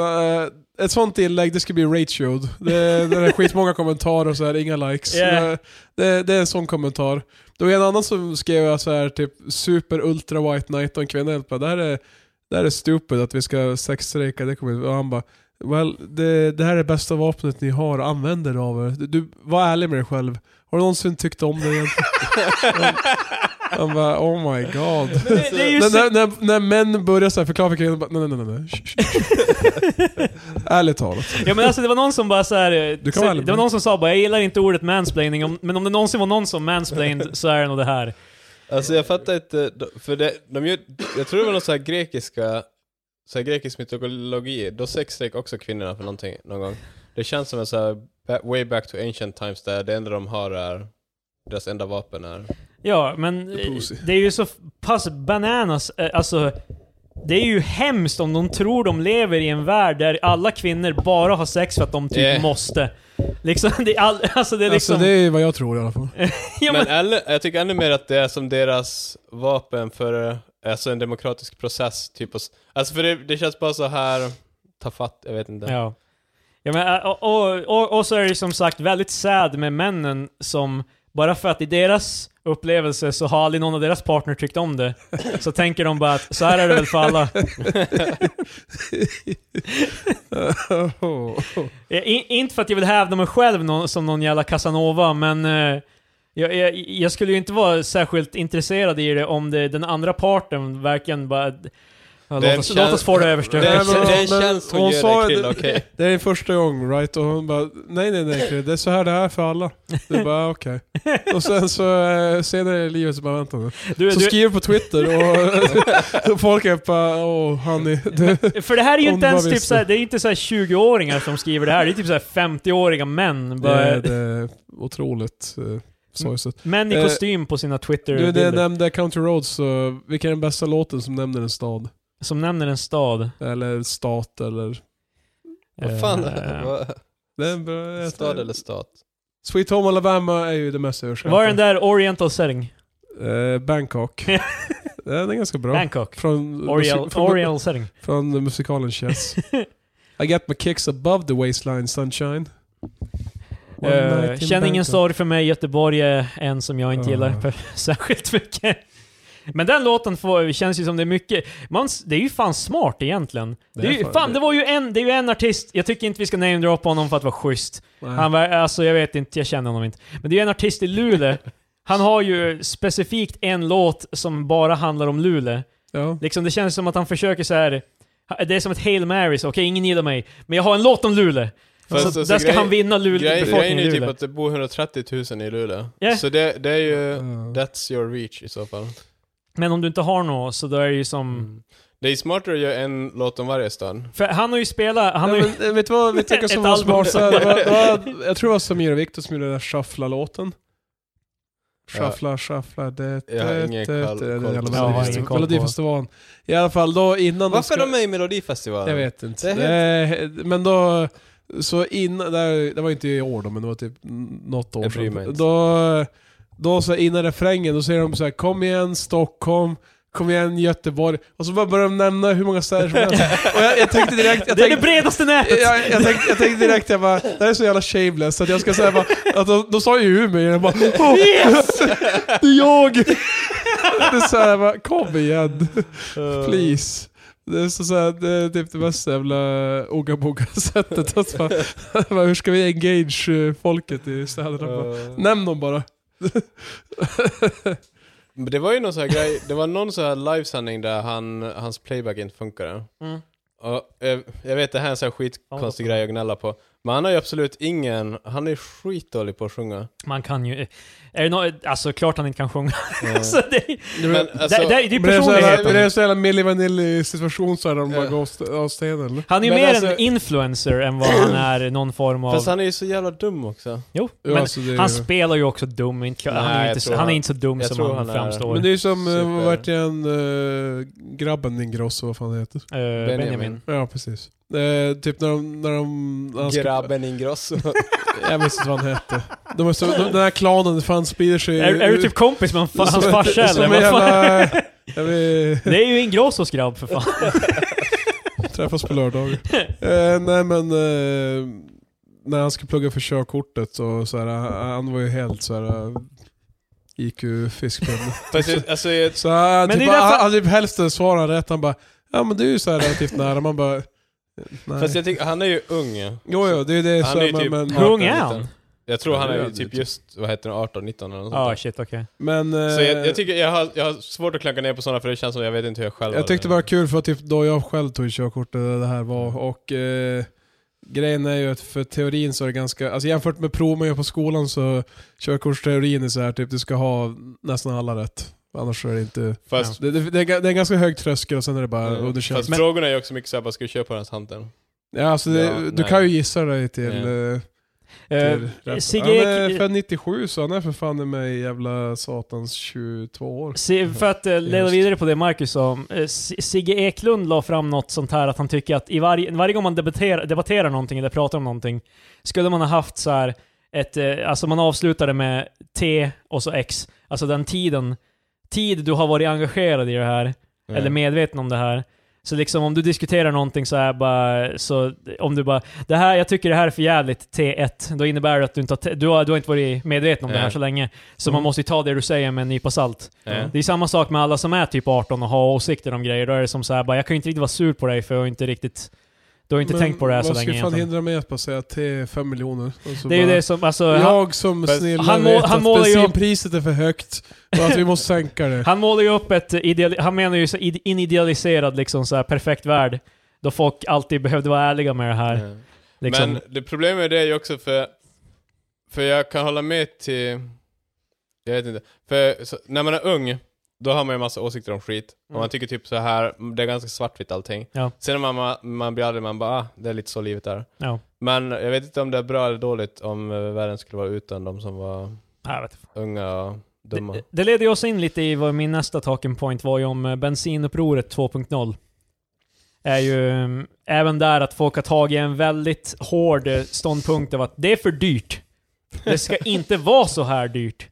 ett sånt inlägg, det ska bli ratioed. Det, det är skitmånga kommentarer och så här, inga likes. Yeah. Eh, Det, det är en sån kommentar. Det var en annan som skrev så här typ super ultra white knight och en kvinna helt bara, det här är, det här är stupid att vi ska sexstrejka. Det kommer, och han bara, well, det, det här är bästa vapnet ni har, använd er av det. Du, du, var ärlig med dig själv. Har du någonsin tyckt om det igen? Han bara, oh my god. Det, det är ju När, så, när, när, när män börjar så här förklara för kvinnor, bara, nej nej nej nej. Shh, shh, shh. Ärligt talat. ja, men alltså, det var någon som bara så här, eh, kan så, vara Det ärlig. var någon som sa bara, jag gillar inte ordet mansplaining, om- men om det någonsin var någon som mansplained så är det nog det här. Alltså jag fattar inte, de- för det, de gör, jag tror det var någon så här grekiska, så här grekisk mytologi, då sexstrejk också kvinnorna för någonting någon gång. Det känns som en så här ba- way back to ancient times där det enda de har är, deras enda vapen är. Ja, men eh, Pussy. det är ju så f- pass bananas, eh, alltså Det är ju hemskt om de tror de lever i en värld där alla kvinnor bara har sex för att de typ Yeah. måste. Liksom, det är all, alltså det är liksom... Eh. Alltså det är vad jag tror i alla fall. ja, men, Men eller, jag tycker ännu mer att det är som deras vapen för eh, alltså en demokratisk process. Typ, och s- alltså för det, det känns bara så här ta fatt, jag vet inte. ja. Ja, men, äh, och, och, och, och så är det som sagt väldigt sad med männen som, bara för att i deras upplevelse så har aldrig någon av deras partner tyckt om det, så tänker de bara att så här är det väl för alla. Eh, In, inte för att jag vill hävda mig själv nå- som någon jävla Casanova, men eh, jag, jag, jag skulle ju inte vara särskilt intresserad i det om det, den andra parten verkligen bara... eh, Ja, Låt oss, kän- låt oss få det överstört. Det är, men- det är en men- tjänst hon hon ger sa dig ju krill, det- okej. Det är första gången right? Och hon bara nej nej nej Chris, det är så här det är för alla. Det är bara okej. Och sen så eh, senare i livet så bara vänta nu. Du, Så du, skriver på Twitter och, och folk är bara åh honey. Du, för det här är ju Om inte du ens bara typ visste. såhär, det är ju inte såhär 20-åringar som skriver det här, det är typ såhär 50-åriga män. det, Bara, är, det är otroligt eh, sorgset. män i eh, kostym på sina Du det Twitter-bilder. nämnde Country Roads, så vilken är den bästa låten som nämner en stad? Som nämner en stad. Eller stat eller... Eh, Vad fan? Det är en bra- stad eller stat? Sweet Home Alabama är ju det mest överskattade. Var den där Oriental setting? Eh, Bangkok. den är ganska bra. Bangkok? Från, Oriel, musik- från, Oriel setting. från musikalen Chess. I get my kicks above the waistline sunshine. One Eh, night in Känn ingen Bangkok. sorg för mig, Göteborg är en som jag inte Ah. gillar per- särskilt mycket. Men den låten får, känns ju som det är mycket, man, s- det är ju fan smart egentligen. Det, är är ju, fan- fan, det var ju en, det är ju en artist, jag tycker inte vi ska namedroppa honom för att vara schysst. Nej. Han var, alltså jag vet inte, jag känner honom inte. Men det är ju en artist i Luleå, han har ju specifikt en låt som bara handlar om Luleå. Eh, Ja. Liksom det känns som att han försöker så här. det är som ett Hail Marys, okej ingen gillar mig, men jag har en låt om Luleå. Så, Fast alltså, där ska grej- han vinna Luleå, Grej, grejen befolkningen är i ju Luleå. typ att det bor 130 000 i Luleå. Ja. Så det, det är ju... Ja. That's your reach i så fall. Men om du inte har något så då är det ju som... Mm. Det är smartare att göra en låt om varje stad. För han har ju spelat... Han har Nej, ju... men, eh, vet du vad, vet du vilka Ett som var album. smarta? Det var, det var, jag tror det var Samir och Viktor som gjorde den där shuffla-låten. Shuffla, shuffla, det... Jag har ingen koll- det- det- koll på jävla det. Jag har Melodifest- ingen koll på- Melodifestivalen. I alla fall då innan Varför är skulle- de med i Melodifestivalen? Jag vet inte. Det Eh, men då, så innan, det här- det var inte i år då, men det var typ något år Jag bryr mig sedan. inte. Då, då så här innan refrängen, då säger de så här kom igen Stockholm, kom igen Göteborg. Och så bara börjar de nämna hur många städer som helst. Och jag, jag tänkte direkt, jag det är det tänkte, bredaste nätet! jag, jag, tänkte, jag tänkte direkt, jag bara, det här är så jävla shameless, att jag ska säga bara, att de, de sa ju Umeå, jag bara, "Åh, Yes! det är jag! Det är så här, jag bara, kom igen. Eh, Please. Det är, så så här, det är typ det mest jävla ogaboga-sättet. Att bara, bara, hur ska vi engage eh, folket i städerna? Bara, Eh, Nämn dem bara. men det var ju någon sån här grej, det var någon sån här livesändning där han, hans playback inte funkade. Mm. Och, eh, jag vet, det här är en sån här skitkonstig grej jag gnäller på. Men han har ju absolut ingen, han är skitdålig på att sjunga. Man kan ju... Är det nå- alltså klart han inte kan sjunga. alltså, det, Men alltså, det, det, det är ju Men det är så jävla, personligheten. det är så jävla Milli Vanilli-situation så här, de bara Ja. går av st- av stenen. eller? Han är ju Men mer alltså- en influencer än vad han är någon form av... fast han är ju så jävla dum också. Jo, Jo, men alltså, det är han ju- spelar ju också dum. Inte, han, Nej, är ju jag inte, så- tror han är han- inte så dum jag som tror han, han är- framstår. Men det är ju som, eh, Super. vad vart igen, eh, grabben Ingrosso, vad fan han heter. Eh, Benjamin. Benjamin. Ja, precis. Eh, typ när de... När de när han ska- Grabben Ingrosso. Jag minns inte vad han hette. De är så, de, den här klanen fan sprider sig... Är, är du typ kompis med hans fa- hans farsa eller? Som en Vad fan? jävla... Jag vill Det är ju Ingrossos grabb för fan. träffas på lördagar. Eh, nej men... Eh, när han skulle plugga för körkortet så, så här, han han var ju helt så här eh, IQ-fiskpinne. Fast det- alltså, jag, Så han Men typ, det är därför- han, han typ hälften svarade rätt. Han bara Ja men det är ju så här relativt nära. Man bara... eh, Nej. fast jag tycker, han är ju ung. Jo jo, det är det. Han Så, är ju men, typ men, Hur ung är 18, han? 19. Jag tror han är ju Ja, typ lite. just, vad heter det, 18, 19 eller något sånt Ah där. shit, okej. men eh, Så jag, jag tycker, jag har, jag har svårt att klanka ner på sådana för det känns som jag vet inte hur jag själv Jag hade- tyckte Alltså, det var kul för typ då jag själv tog körkortet det här var och eh, grejen är ju att för teorin så är det ganska, alltså jämfört med prov man gör på skolan så körkortsteorin är så här typ du ska ha nästan alla rätt. Annars är det inte, Fast, det, det, det, är ga- det är en ganska hög tröskel och sen är det bara eh, underkänt. fast Men- frågorna är ju också mycket såhär, vad ska vi köpa på den här hanteln? Ja, alltså det, Ja, du nej. kan ju gissa dig till Ja. eh, Eh, Det är rätt. Sigge han är Ek- född 97 så han är för fan i mig jävla satans 22 år. Se, för att eh, leda Just. vidare på det Marcus sa, eh, S- Sigge Eklund la fram något sånt här att han tycker att i varje, varje gång man debatterar, debatterar någonting eller pratar om någonting skulle man ha haft så här ett, eh, alltså man avslutade med T och så X, alltså den tiden, tid du har varit engagerad i det här, eller medveten om det här. Så liksom om du diskuterar någonting så här bara, så om du bara det här, jag tycker det här är för jävligt T1, då innebär det att du inte har, t- du har, du har inte varit medveten om det här Nej. så länge. Så Mm. man måste ju ta det du säger med en nypa salt. Ja. Eh, Det är samma sak med alla som är typ 18 och har åsikter om grejer. Då är det som så här bara, jag kan ju inte riktigt vara sur på dig för jag har inte riktigt, du har inte Men tänkt på det här så länge Vad skulle fan egentligen. hindra mig att bara säga till 5 miljoner? Och så Det är ju bara, det som, alltså, han, jag som Fast- snille han må- vet han att målar ju upp- bensinpriset är för högt och att vi måste sänka det. han målar ju upp ett, ideal, han menar ju så id-inidealiserad liksom så här perfekt värld. Då folk alltid behövde vara ärliga med det här. Ja. Liksom. Men det problemet med det är ju också för, för jag kan hålla med till, jag vet inte, för så, när man är ung, då har man ju massa åsikter om skit. Mm. Och man tycker typ så här, det är ganska svartvitt allting. Ja. Sen när man, man blir äldre, man bara, ah, det är lite så livet är. Ja. Men jag vet inte om det är bra eller dåligt om eh, världen skulle vara utan de som var Jag vet inte. unga och dumma. Det, det leder ju oss in lite i vad min nästa talking point var ju om eh, bensinupproret 2.0. Är ju eh, även där att folk har tagit en väldigt hård eh, ståndpunkt av att det är för dyrt. Det ska inte vara så här dyrt.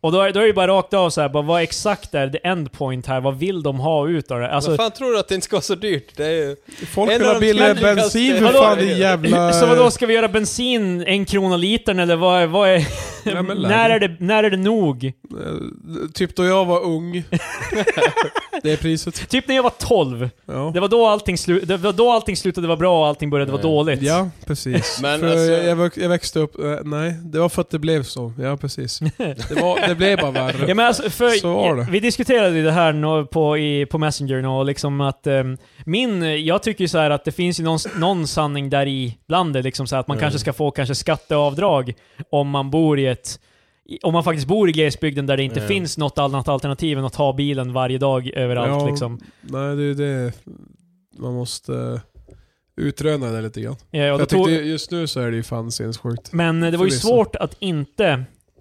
Och då är, då är det ju bara rakt av så här, bara vad exakt är the end point här? Vad vill de ha ut av det? Alltså, Vad fan tror du att det inte ska vara så dyrt? Det är ju... Folk En vill av ha de billigare trendigaste- bensin för Hallå? fan det är jävla... så vadå, ska vi göra bensin en krona litern eller vad, är- vad är... Ja, men lägre. när, är det, när är det nog? Eh, Typ då jag var ung. det är priset. Typ när jag var 12. Ja. Det var då allting, slu det var då allting slutade vara bra och allting började vara Ja. dåligt. Eh, Ja, precis. Men för alltså- jag, vux- jag växte upp, eh, nej, det var för att det blev så. Ja, precis. Det, var, det blev bara värre. Ja, men alltså, för, Så var det. Vi diskuterade ju det här nå- på, i, på Messenger och liksom att ehm, min, jag tycker ju så här att det finns ju någon, någon sanning där i bland det, liksom så här att man Mm. kanske ska få kanske skatteavdrag om man bor i ett i- om man faktiskt bor i glesbygden där det inte Mm. finns något annat alternativ än att ta bilen varje dag överallt Ja. liksom. Nej, det är ju det man måste eh, utröna det lite grann. Ja, Eh, För och då jag tog- tyckte, just nu så är det ju fan sinnessjukt. Men eh, det var ju Förvisso. svårt att inte...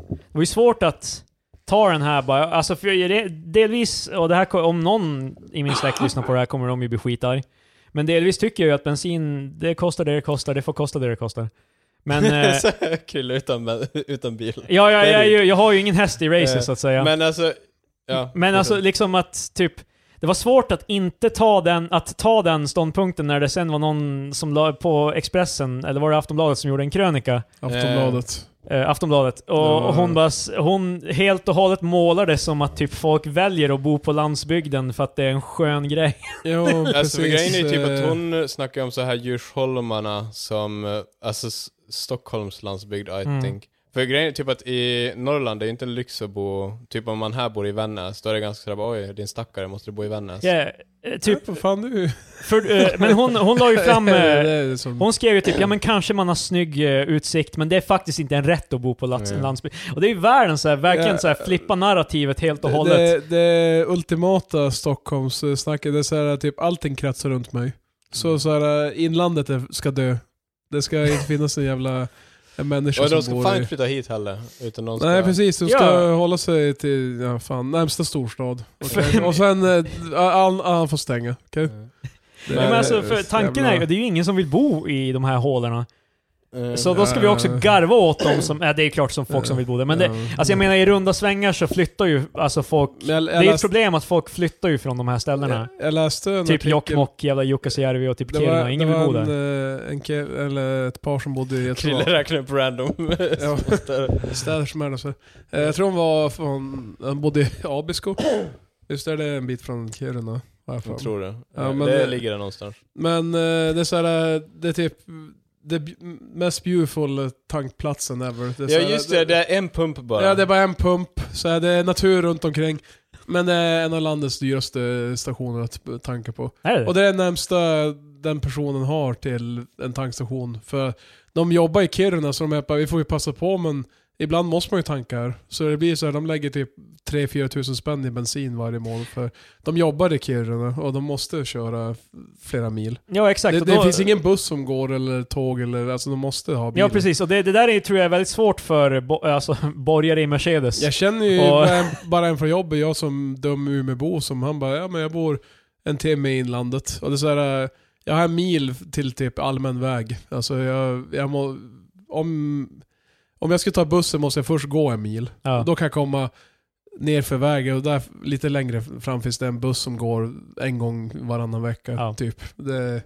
Det var ju svårt att ta den här bara. Alltså för jag- det- delvis, och det här, ko- om någon i min släkt lyssnar på det här kommer de ju bli skitarg. Men delvis tycker jag ju att bensin, det kostar det det kostar, det får kosta det det kostar. Men... Eh, Så Krille utan, utan bil. ja, ja, Det är jag, är det. ju- jag har ju ingen häst i racet Eh, så att säga. Men, Men alltså... Ja, alltså liksom att typ... Det var svårt att inte ta den, att ta den ståndpunkten när det sen var någon som la på Expressen, eller var det Aftonbladet som gjorde en krönika Aftonbladet. Eh, Aftonbladet. Och, Ja. och hon, bara, s- hon helt och hållet målar det som att typ folk väljer att bo på landsbygden för att det är en skön grej. Ja, precis. Alltså för grejen är ju typ eh, att hon snackar ju om så här djursholmarna som, eh, alltså S- Stockholms landsbygd I Mm. think. För grejen är typ att i Norrland, det är ju inte en lyx att bo, typ om man här bor i Vännäs, då är det ganska såhär bara, oj din stackare, måste du bo i Vännäs? Ja, eh, typ, Vad fan du? för, eh, men hon, hon la ju fram... Det eh, är som- Hon skrev ju typ, ja men kanske man har snygg eh, utsikt, men det är faktiskt inte en rätt att bo på lats- Mm. landsbygden. Och det är ju världen så här, verkligen Ja. så här, flippa narrativet helt och Det- hållet. Det, det ultimata Stockholmssnacket, det är såhär typ allting kretsar runt mig. Mm. Så såhär inlandet är, ska dö. Det ska inte finnas en jävla en människa Och de som ska bor fan i... inte flytta hit heller, utan någon ska... Nej precis, de ska Ja. hålla sig till ja, fan, närmsta storstad. Okej. För- Och sen, eh, all, all, han får stänga. okej? Mm. Det Ja, men är- alltså, för tanken är ju, jävla- det är ju ingen som vill bo i de här hålorna. Mm. Så då ska vi också Ja. garva åt dem som, ja, det är ju klart som folk som vill bo där, men det, Ja. Alltså jag menar i runda svängar så flyttar ju alltså folk... Men jag, Det är ju ett problem att folk flyttar ju från de här ställena. Jag, jag läste en Typ artikel- Jokkmokk, jävla Jukkasjärvi och typ Det var, Kiruna. Ingen det vill var bo en, där. eh, en ke- eller ett par som bodde i, jag tror Krille räknar upp random Ja. städer. städer som är där. Så. Eh, Jag tror hon var från, han bodde i Abisko. Just där, det är en bit från Kiruna. har jag för Jag mig. tror det. Eh, Ja, men det det- ligger där någonstans. Men eh, det är såhär, det är typ det b- mest beautiful tankplatsen ever. Det är Ja såhär- just det, det är en pump bara. Ja, det är bara en pump. Så här, det är natur runt omkring. Men det är en av landets dyraste stationer att tanka på. Är det Och det? det är närmsta den personen har till en tankstation. För de jobbar i Kiruna så de är bara, vi får ju passa på men ibland måste man ju tanka här. Så det blir så här, de lägger typ 3-4 tusen spänn i bensin varje månad. För de jobbar i Kiruna och de måste köra flera mil. Ja, exakt. Det, och det då- finns ingen buss som går eller tåg eller, alltså de måste ha bilen. Ja, precis. Och det, det där är, tror jag är väldigt svårt för bo, alltså, borgare i Mercedes. Jag känner ju Och- bara en- bara en från jobbet, jag som dum Umeåbo, som han bara ja men jag bor en timme i inlandet. Och det är så här, eh, jag har en mil till typ allmän väg. Alltså jag, jag må, om, om jag ska ta bussen måste jag först gå en mil. Ja. Och Då kan jag komma ner för vägen och där lite längre fram finns det en buss som går en gång varannan vecka. Ja. Typ. Det,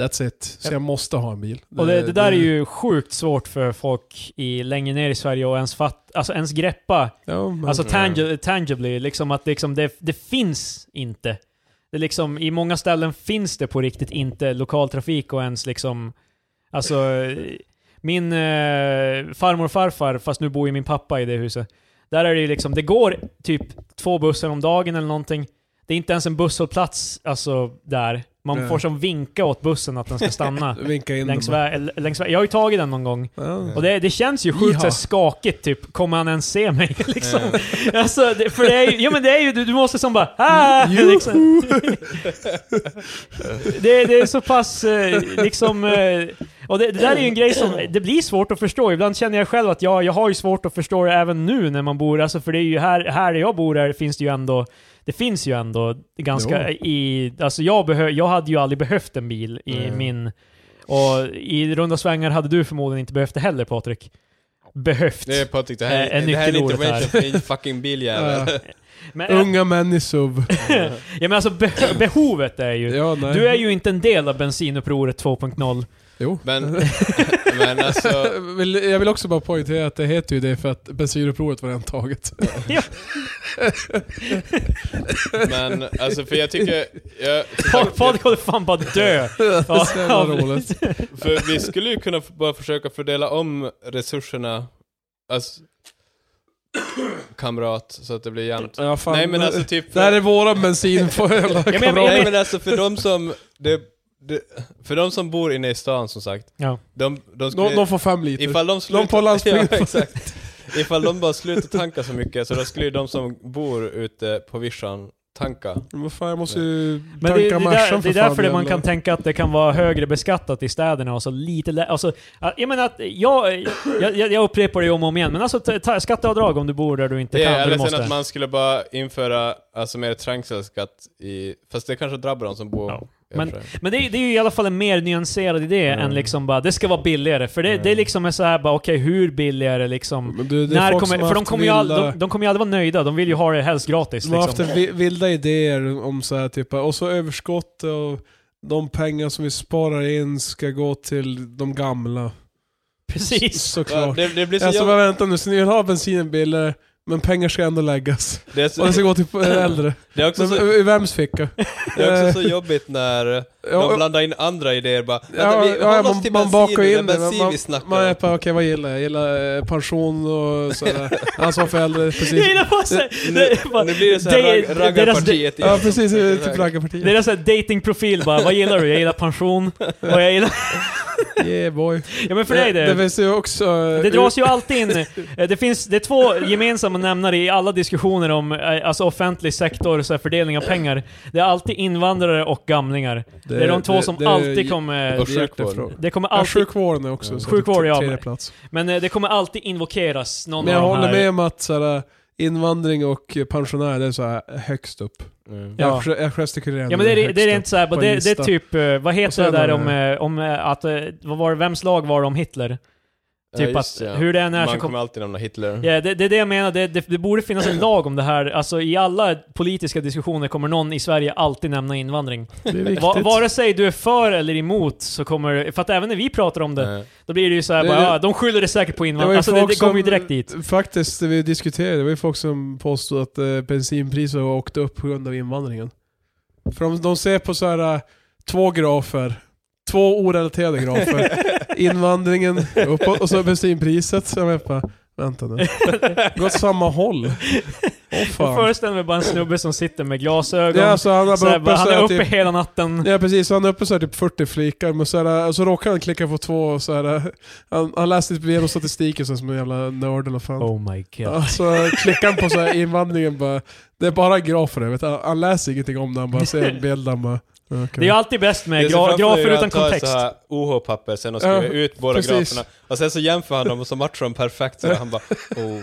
that's it. Så Ja. jag måste ha en bil. Och det, det där är ju sjukt svårt för folk i, längre ner i Sverige att ens, fatt, alltså ens greppa. Ja, men, Alltså Mm. tangi- tangibly, liksom att liksom det, det finns inte. Det liksom, I många ställen finns det på riktigt inte lokaltrafik och ens liksom... Alltså, eh, min eh, farmor och farfar, fast nu bor ju min pappa i det huset. Där är det ju liksom, det går typ två bussar om dagen eller någonting. Det är inte ens en busshållplats alltså, där. Man Nej. får som vinka åt bussen att den ska stanna. vinka in längs dem. vä- l- längs vä- Jag har ju tagit den någon gång. Ja. Och det, det känns ju sjukt Jaha. så här skakigt, typ. Kommer han ens se mig? liksom. Eh, Alltså, det, för det är ju, ja, men det är ju du, du måste som bara ah! liksom. det, det är så pass eh, liksom... eh, Och det, det där är ju en grej som det blir svårt att förstå. Ibland känner jag själv att jag, jag har ju svårt att förstå det även nu när man bor, alltså för det är ju här, här där jag bor här finns det ju ändå det finns ju ändå ganska i... Alltså jag, behö, jag hade ju aldrig behövt en bil i Nej. min... Och i runda svängar hade du förmodligen inte behövt det heller Patrik. Behövt. Det är Patrik, det här, Eh, en det här är en nyckelordet här. intervention för din fucking biljävel. Ja. Men, Unga män i SUV. Ja men alltså be- behovet är ju... Ja, nej. Du är ju inte en del av bensinupproret 2.0. Jo. men, men alltså... Vill- Jag vill också bara poängtera att det heter ju det för att bensinupproret var redan taget. Men alltså för jag tycker... Jag, Pa- Patrik håller fan på att dö! Ja, Så jävla roligt. för vi skulle ju kunna f- bara försöka fördela om resurserna, alltså, kamrat, så att det blir jämnt. Ja, fan. Nej men alltså typ... Det För, här är våra bensinföljare. Ja, men- nej men alltså för de som... Det, det, för de som bor inne i stan som sagt, Ja. de, de skulle... De, de får fem liter. ifall de slutar... de på landsbygden. Ja, exakt. Ifall de bara slutar tanka så mycket så då skulle ju de som bor ute på vischan tanka. Vad fan, jag måste ju Men det, det, är tanka där, Mercan det för är fan. därför det man jävlar. kan tänka att det kan vara högre beskattat i städerna och så lite lä- alltså, ja, Jag menar att, jag, jag, jag jag upprepar det ju om och om igen, men alltså ta, ta, skatteavdrag om du bor där du inte Det kan, är där du ledsen måste. att man skulle bara införa alltså, mer trängselskatt i... Fast det kanske drabbar de som bor... Ja, i och men- för sig. Men det, är- det är ju i alla fall en mer nyanserad idé Mm. än liksom bara, det ska vara billigare. För det, Mm. det är liksom är så här bara, okej hur billig är det liksom? Men du, det är När folk kommer, som har för de haft kommer, ju all, vilda- de, de kommer ju aldrig vara nöjda, de vill ju ha det helst gratis. De har haft Liksom. en vi- vilda idéer om så här typ, och så överskott och de pengar som vi sparar in ska gå till de gamla. S- Precis. Ja, Såklart. det, det blir så Alltså jävla... bara vänta nu, så ni vill ha bensinen billigare, men pengar ska ändå läggas. Det är, Och det ska så, gå till eh, äldre. det är också Men, eh, så, I vems ficka? det är också så jobbigt när de Ja, blandar in andra idéer bara. ja, Vänta, vi ja, håller oss man, till man bensin, bakar det är in det. Man, bensin man, vi snackar man är om. på, okej vad gillar jag? Jag gillar eh, pension och sådär. Ansvar för äldre, Jag precis. gillar bara så här- Nu, det- bara- nu blir det så här det- rag- deras- raggarpartiet Ja igen. precis, eh, typ raggarpartiet. Deras datingprofil bara, vad gillar du? Jag gillar pension, och jag gillar... Yeah boy. Ja men för det är det finns ju också... eh, Det dras ju alltid in, eh, det finns, det är två gemensamma nämnare i alla diskussioner om eh, alltså offentlig sektor, så här, fördelning av pengar. Det är alltid invandrare och gamlingar. Det, är de två som det- alltid kommer... Och det är sjukvård. hjärtefråga. Det kommer Ja, alltid, sjukvården är också så Sjukvård, t- ja, tredje men- plats. men eh, det kommer alltid invokeras någon Men jag av de håller här. med om att såhär, invandring och pensionärer det är så här högst upp. Mm. Ja. Jag, jag gestikulerar Ja men det är, det är inte såhär, på det, det är listan. typ, eh, vad Och sen heter det där är om, det- eh, om eh, att, eh, vad var det, vems lag var det om Hitler? Typ Ja, just att, det, ja. hur det än är så Man kom, kommer alltid nämna Hitler. Ja, det, det är det jag menar. Det, det, det borde finnas en lag om det här. Alltså i alla politiska diskussioner kommer någon i Sverige alltid nämna invandring. Det är Va, viktigt. vare sig du är för eller emot så kommer För att även när vi pratar om det, Mm. då blir det ju såhär Det- bara, det- ja, de skyller det säkert på Det var invandring. ju Alltså det, folk det kommer ju som- direkt dit. Faktiskt, det vi diskuterade, det var ju folk som påstod att eh, bensinpriset har åkt upp på grund av invandringen. För de, de ser på så här eh, två grafer, två orelaterade grafer. Invandringen uppåt och så bensinpriset. Så jag bara, vänta nu. Gått samma håll. Åh Jag fan. föreställer mig bara en snubbe som sitter med glasögon. Ja, alltså, han har så här, bara bara, uppe, han så är här, uppe typ, hela natten. Ja precis, han är uppe så här, typ 40 flikar, men så, här, eh, så råkar han klicka på två så här, eh, han, han läste typ igenom statistiken så här, som en jävla nörd eller fan. Oh my god. Ja, Så klickar han på så här, invandringen bara, det är bara grafer vet du. han, han läser ingenting om det, han bara ser en bild, han bara... ja, okej. Det är ju alltid bäst med Jag ser framför gra- grafer mig hur han utan tar kontext. så här OH-papper sen och skriver Ja, ut båda precis. graferna. Och sen så jämför han dem och så matchar de perfekt. Så han bara oh.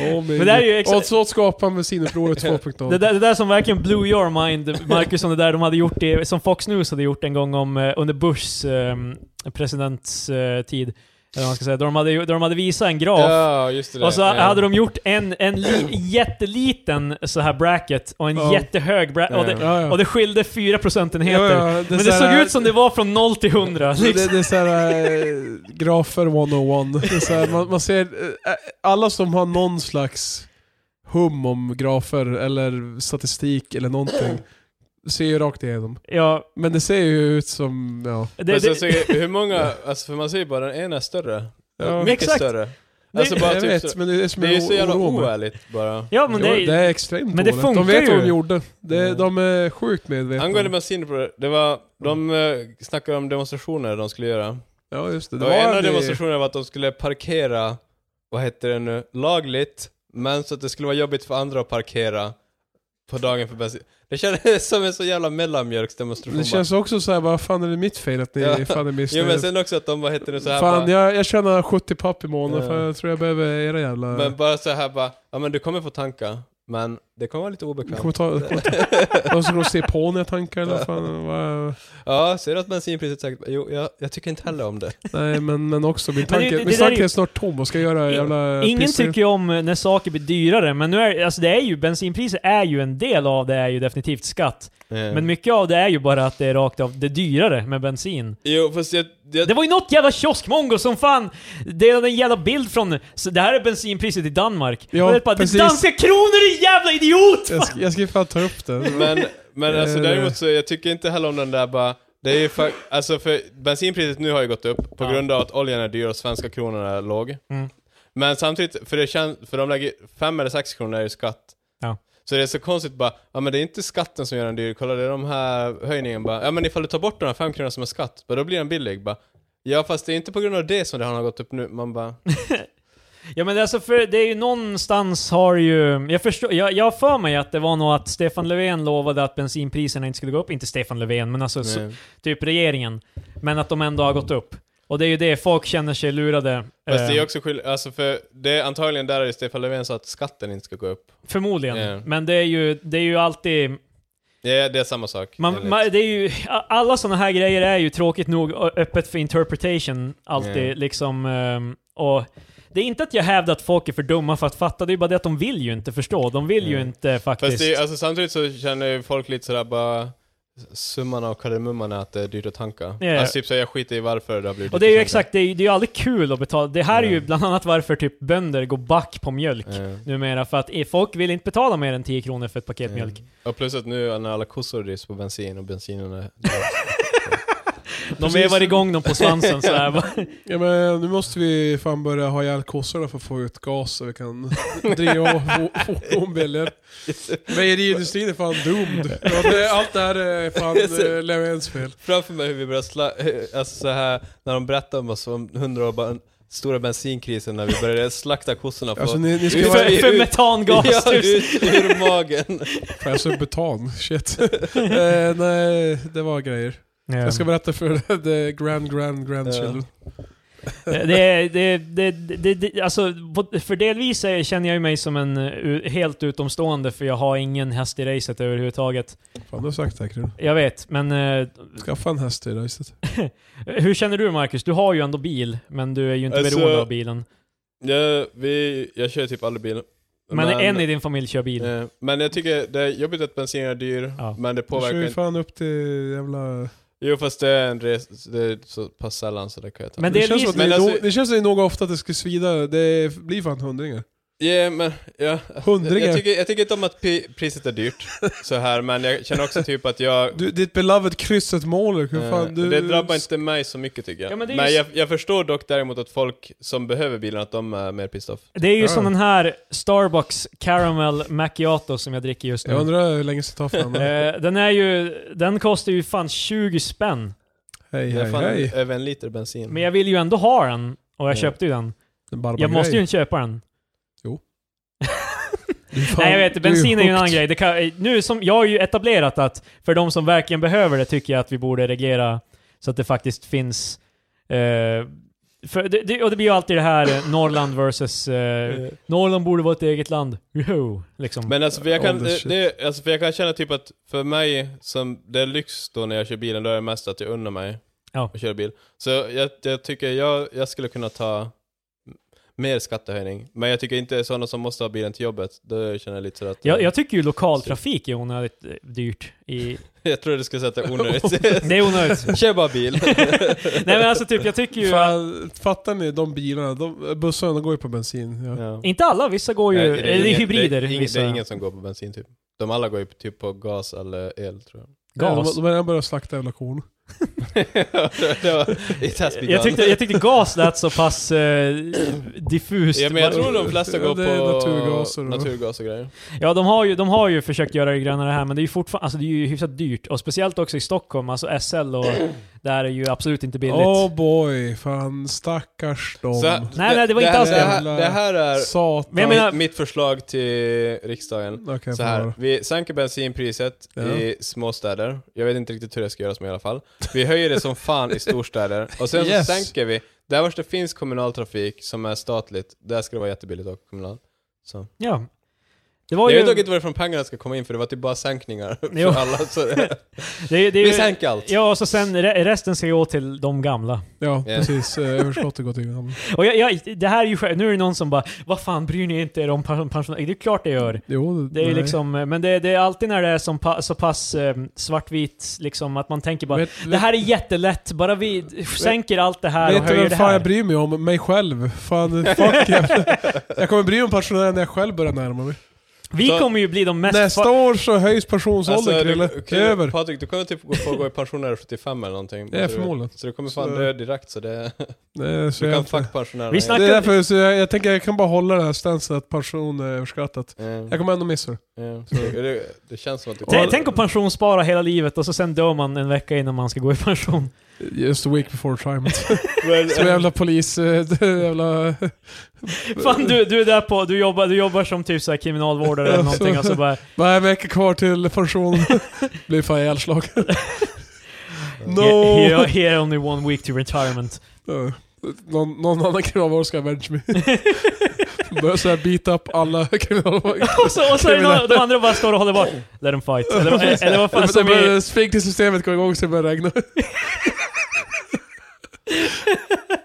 Åh, min- Men det här är ju exa- Oh, Och så skapar Medicinupproret 2.0. Det där, det där som verkligen blew your mind, Marcus, om det där de hade gjort det, som Fox News hade gjort en gång om, eh, under Bushs eh, presidentstid. Eller vad man ska säga. Där de hade, ju- där de hade visat en graf. Ja, just det. Och så ja. hade de gjort en, en li, jätteliten så här bracket och en Ja. jättehög bracket. Och, det- Ja, ja. och det skilde fyra procentenheter. Ja, ja, Men så det här- såg ut som det var från 0 till 100. Det, Liksom. Alltså, det är såhär, äh, grafer 101. Det är så här, man, man ser, eh, alla som har någon slags hum om grafer eller statistik eller någonting ser ju rakt igenom. Ja, Men det ser ju ut som, ja. det, Men det, sen så, hur många, alltså för man ser ju bara den ena är större. Ja. Mycket Exakt. större. Alltså bara jag typ vet, så, men det är som det är ju o- så jävla oroar mig. oärligt bara. ja, men Jo, det, det är extremt men det dåligt. funkar De vet vad ju. de gjorde. Det, Mm. de är sjukt medvetna. Angående mediciner på det, det var, de mm. snackade om demonstrationer de skulle göra. Ja just det, det och en av i- demonstrationerna var att de skulle parkera, vad heter det nu, lagligt, men så att det skulle vara jobbigt för andra att parkera på dagen för bensin. Det kändes som en så jävla mellanmjölksdemonstration. Det känns också såhär, vad fan är det mitt fel att ni Ja. fan är bara. Jo men missnöjda? sen också att de, vad heter det, så här Fan, bara, jag, jag tjänar 70 papp i månaden Ja. för jag tror jag behöver era jävla... men bara så här bara, ja men du kommer få tanka, men det kommer vara lite obekvämt. Kommer ta, kommer ta, och så kommer de se på när jag tankar eller fan. vad- Ja, ser du att bensinpriset säkert, jo jag, jag tycker inte heller om det. Nej men, men också, min det- tanke, det min där är tanke ju- är snart tom och ska göra I- jävla Ingen pissig- tycker ju om eh, när saker blir dyrare, men nu är, alltså det är ju, bensinpriset är ju en del av det, är ju definitivt skatt. Mm. Men Eh, mycket av det är ju bara att det är rakt av, det är dyrare med bensin. Jo fast jag, jag, Det var ju något jävla kioskmongo som fan delade en jävla bild från, så det här är bensinpriset i Danmark. Ja, Och det är bara, precis. det är danska kronor din jävla idiot! Jag, ska, jag ska fan ta upp det. Men, men alltså Eh. Eller- däremot så, jag tycker inte heller om den där bara, det är ju fa- alltså för bensinpriset nu har ju gått upp på Ja. grund av att oljan är dyr och svenska kronan är låg. Mm. Men samtidigt, för det känns, för de lägger, fem eller sex kronor är ju skatt. Ja. Så det är så konstigt bara, ja men det är inte skatten som gör den dyr, kolla det är de här höjningen bara, ja men ifall du tar bort de här fem kronorna som är skatt, bara, då blir den billig bara. Ja fast det är inte på grund av det som det har gått upp nu, man bara, Ja men alltså för det är ju någonstans har ju... Jag förstår, jag, jag har för mig att det var nog att Stefan Löfven lovade att bensinpriserna inte skulle gå upp. Inte Stefan Löfven, men alltså så, nej. typ regeringen. Men att de ändå har gått upp. Och det är ju det, folk känner sig lurade. Fast det är eh, också skillnad, alltså för det är antagligen där är det Stefan Löfven sa att skatten inte ska gå upp. Förmodligen. Ja. Men det är ju, det är ju alltid... Ja, det är samma sak. Man, enligt- man, det är ju, alla sådana här grejer är ju tråkigt nog ö- öppet för interpretation alltid Ja. liksom. ehm, Och det är inte att jag hävdar att folk är för dumma för att fatta, det är bara det att de vill ju inte förstå. De vill ju Ja. inte faktiskt. Fast det, är- alltså, samtidigt så känner ju folk lite sådär bara summan av kardemumman är att det är dyrt att tanka. Ja, ja. Alltså typ så jag skiter i varför det har blivit Och dyrt det är ju att tanka. exakt, det är ju, det är ju aldrig kul att betala. Det här är ju Mm. bland annat varför typ bönder går back på mjölk numera. För att eh, folk vill inte betala mer än 10 kronor för ett paket Ja. mjölk. Ja. Och plus att nu när alla kossor drivs på bensin och bensinen är... De Precis. vevar igång dem på svansen så här. va. Ja, men, nu måste vi fan börja ha ihjäl kossorna för att få ut gas så vi kan driva fo- fordon billigare. Mejeriindustrin är fan doomed. Ja, det, allt det här är fan eh, Löfvens fel. Framför mig hur vi börjar sla... Alltså så här när de berättar om oss om hundra år bara, stora bensinkrisen när vi började slakta kossorna på... Alltså ni, ni ska Vi vara... för, för ut- metangas. ja, tusen. ut ur magen! Fan, jag sa butan, shit. eh, nej, det var grejer. Jag ska berätta för the grand grand grandchildren. Eh, det, är- det, det, det, det, alltså, på- för delvis är- känner jag ju mig som en eh, u- helt utomstående för jag har ingen häst i racet överhuvudtaget. Fan, du har sagt det här Kron. Jag vet, men eh, Skaffa en häst till racet. hur känner du Marcus? Du har ju ändå bil, men du är ju inte Alltså, beroende av bilen. Ja, vi... Jag kör typ aldrig bil. Men, en i din familj kör bil. Eh, Men jag tycker det är jobbigt att bensin är dyr, Ja. men det Du kör påverkar ju inte. fan upp till jävla... Jo fast det är en res, det är så pass sällan så det kan jag ta. Men Det känns, som att delvis, det, Men är alltså- nog- det känns som att det är nog ofta att det ska svida. Det blir fan hundringar. Ja, men... Ja. Hundringar. Jag tycker, jag tycker inte om att pi- priset är dyrt så här, men jag känner också typ att jag... Du, ditt beloved krysset mål, hur eh, fan du... Det drabbar inte mig så mycket tycker jag. Ja, men men det är ju- jag, jag förstår dock däremot att folk som behöver bilen, att de är mer pissed off. Det är ju Ja. som den här Starbucks Caramel Macchiato som jag dricker just nu. Jag undrar hur länge det ska ta för den. Eh, den är ju, den kostar ju fan 20 spänn. Hej, Jag har hej, fan hej. över en liter bensin. Men jag vill ju ändå ha den. Och jag Ja. köpte ju den. En barbar Jag måste ju grej. inte köpa den. Du, fan, Nej jag vet, du bensin är ju en hooked. annan grej. Det kan, eh, nu som, jag har ju etablerat att för de som verkligen behöver det tycker jag att vi borde reagera så att det faktiskt finns... Eh, för det, det, och det blir ju alltid det här eh, Norrland versus... Eh, Eh, Norrland borde vara ett eget land. Joho! Liksom. Men alltså för, jag kan, Oh, this det, shit. det, alltså för jag kan känna typ att för mig, som det är lyx då när jag kör bilen, då är det mest att jag unnar mig Ja. att köra bil. Så jag, jag tycker jag, jag skulle kunna ta mer skattehöjning. Men jag tycker inte sådana som måste ha bilen till jobbet, då känner jag lite sådär att... jag, jag tycker ju lokaltrafik är onödigt eh, dyrt. I, jag tror du skulle säga att det är onödigt. det är onödigt. Kör bara bil. Nej men alltså typ, jag tycker ju... att- Fan, fattar ni de bilarna? De, bussarna de går ju på bensin. Ja. Ja. Inte alla, vissa går ju... Nej, eller det är ingen- hybrider. Det är, ingen, vissa. det är ingen som går på bensin typ. De alla går ju typ på gas eller el tror jag. gas. De, de har redan börjat slakta jävla korn. det var, it has begun. Jag tyckte, jag tyckte gas lät så pass eh, diffust. Ja, men jag tror de flesta Ja, går det är på naturgas och- naturgas och grejer. Ja, de har, ju, de har ju försökt göra det grönare här, men det är ju fortfarande alltså, det är ju hyfsat dyrt. Och speciellt också i Stockholm, alltså SL och där är ju absolut inte billigt. Oh boy, fan stackars dem. Så här- Nej, nej, det var inte alls det. det. här, det här är Satan. Men jag menar- mitt, mitt förslag till riksdagen. Okej, Så får här, höra. vi sänker bensinpriset Ja. i småstäder. Jag vet inte riktigt hur det ska göras med i alla fall. Vi höjer det som fan i storstäder. Och sen Yes. så sänker vi. Där vars det finns kommunal trafik som är statligt, där ska det vara jättebilligt och kommunal. Så. Ja. Det var Jag ju... vet dock inte varifrån pengarna ska komma in för det var typ bara sänkningar Jo. för alla. Så det, det, det är vi ju- sänker allt. Ja, och så sen re- resten ska gå till de gamla. Ja, Ja. precis. Eh, Överskottet går till gamla. Och jag, jag, det här är ju själv- Nu är det någon som bara Vad fan, bryr ni inte er om pension- pensionärer? Det är klart det gör. Jo, Det är ju nej. liksom, eh, men det, det är alltid när det är som pa, så pass eh, svartvitt, liksom, att man tänker bara Vet- Det här är jättelätt, bara vi sänker allt det här och Vet du höjer vem det fan jag här. bryr mig om? Mig själv. Fan, fuck jävla. Jag kommer bry mig om pensionärerna när jag själv börjar närma mig. Vi Så- kommer ju bli de mest... Nästa år så höjs pensionsåldern, Alltså, Krille. du, Krille, Över. Patrik, du kommer typ gå- få gå i pension när du är 75 eller någonting. Ja, Så du- förmodligen. Så du kommer fan Så- dö direkt så det... Nej, så Du jag kan inte. fuck pensionärerna. Vi snack- Det är därför så jag, jag tänker jag kan bara hålla den här stansen att pension är överskattat. Ja, Jag kommer ändå missa det. ja. det, det känns som att du T- Tänk att pensionsspara hela livet och så sen dör man en vecka innan man ska gå i pension. Just a week before retirement. Som Men, jävla polis... eh, det är jävla... Fan du, du är där på, du jobbar, du jobbar som typ så här kriminalvårdare eller någonting och så bara... Bara en vecka kvar till pensionen. Blir fan ihjälslagen. no! "Here- Here, here only one week to retirement. Ja. Någon, någon annan kriminalvård ska avenge mig. Börjar såhär beat up alla kriminalvårdare. och, så, och så är det någon, de andra bara står och håller bort. Let them fight. Eller, vad- eller vad fan Sen som är... börjar sfinktersystemet gå igång så det börjar regna.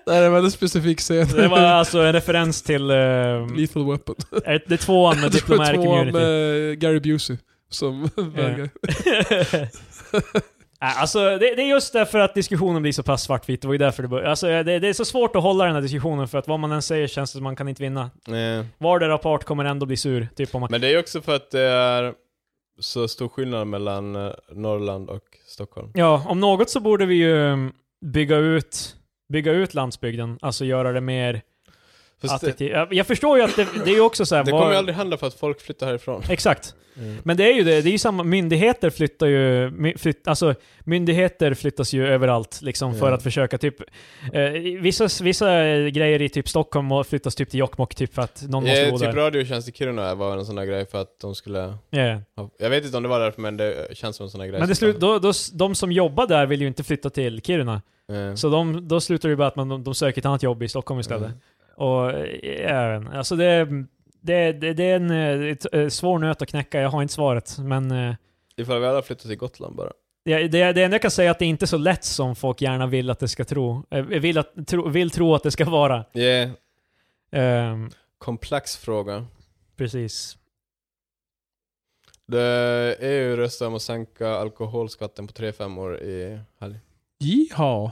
det här är en väldigt specifik scen. Det var alltså en referens till... eh, Lethal Weapon. är det tvåan med Det var Diplomatic tvåan Immunity. med Gary Busey. Som vägrar. Nej, alltså, det, det är just därför att diskussionen blir så pass svartvit. Det var ju därför det började. Alltså, det, det är så svårt att hålla den här diskussionen för att vad man än säger känns det som att man kan inte vinna. Nej. Vardera part kommer ändå bli sur. Typ om man... men det är ju också för att det är så stor skillnad mellan eh, Norrland och Stockholm. Ja, om något så borde vi ju mm, bygga ut, bygga ut landsbygden. Alltså göra det mer Fast det, attraktivt. Jag, jag förstår ju att det, det är ju också så här, det var- Mm. kommer ju aldrig hända för att folk flyttar härifrån. Exakt. Men det är ju det, det är ju samma, myndigheter flyttar ju, my- flytt, alltså myndigheter flyttas ju överallt liksom för Ja. att försöka typ, eh, vissa, vissa grejer i typ Stockholm och flyttas typ till Jokkmokk typ för att någon måste Eh, bo typ där. Radiotjänst i Kiruna var en sån där grej för att de skulle... Ja, ja. ha- Jag vet inte om det typ var därför men det känns som en sån där grej. Men det som- slut, då, då, s- de som jobbar där vill ju inte flytta till Kiruna. Eh. Så de, då slutar det ju bara att man, de, de söker ett annat jobb i Stockholm istället. Mm. Och även, alltså det, det, det, det är en eh, ett, eh, svår nöt att knäcka, jag har inte svaret. Men eh, Ifall vi alla flyttar till Gotland bara. det, det, det enda jag kan säga är att det är inte så lätt som folk gärna vill att det ska tro. eh, Vill, att, tro, vill tro att det ska vara. Yeah. Ehm, Komplex fråga. precis. Det EU röstar om att sänka alkoholskatten på 3-5 år i helg. Jiha.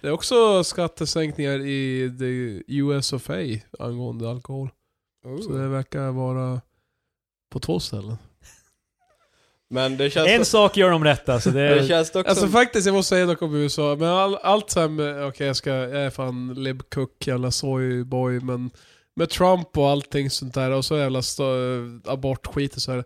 Det är också skattesänkningar i the US of A angående alkohol. Så det verkar vara på två ställen. Men det känns, En sak gör de rätt alltså. Det det är, känns dock Alltså som... faktiskt, jag måste säga dock om USA, men all, allt så här med, okej jag ska, jag är fan libcook, jävla soyboy, men med Trump och allting sånt där och så jävla sta- abortskit och så här.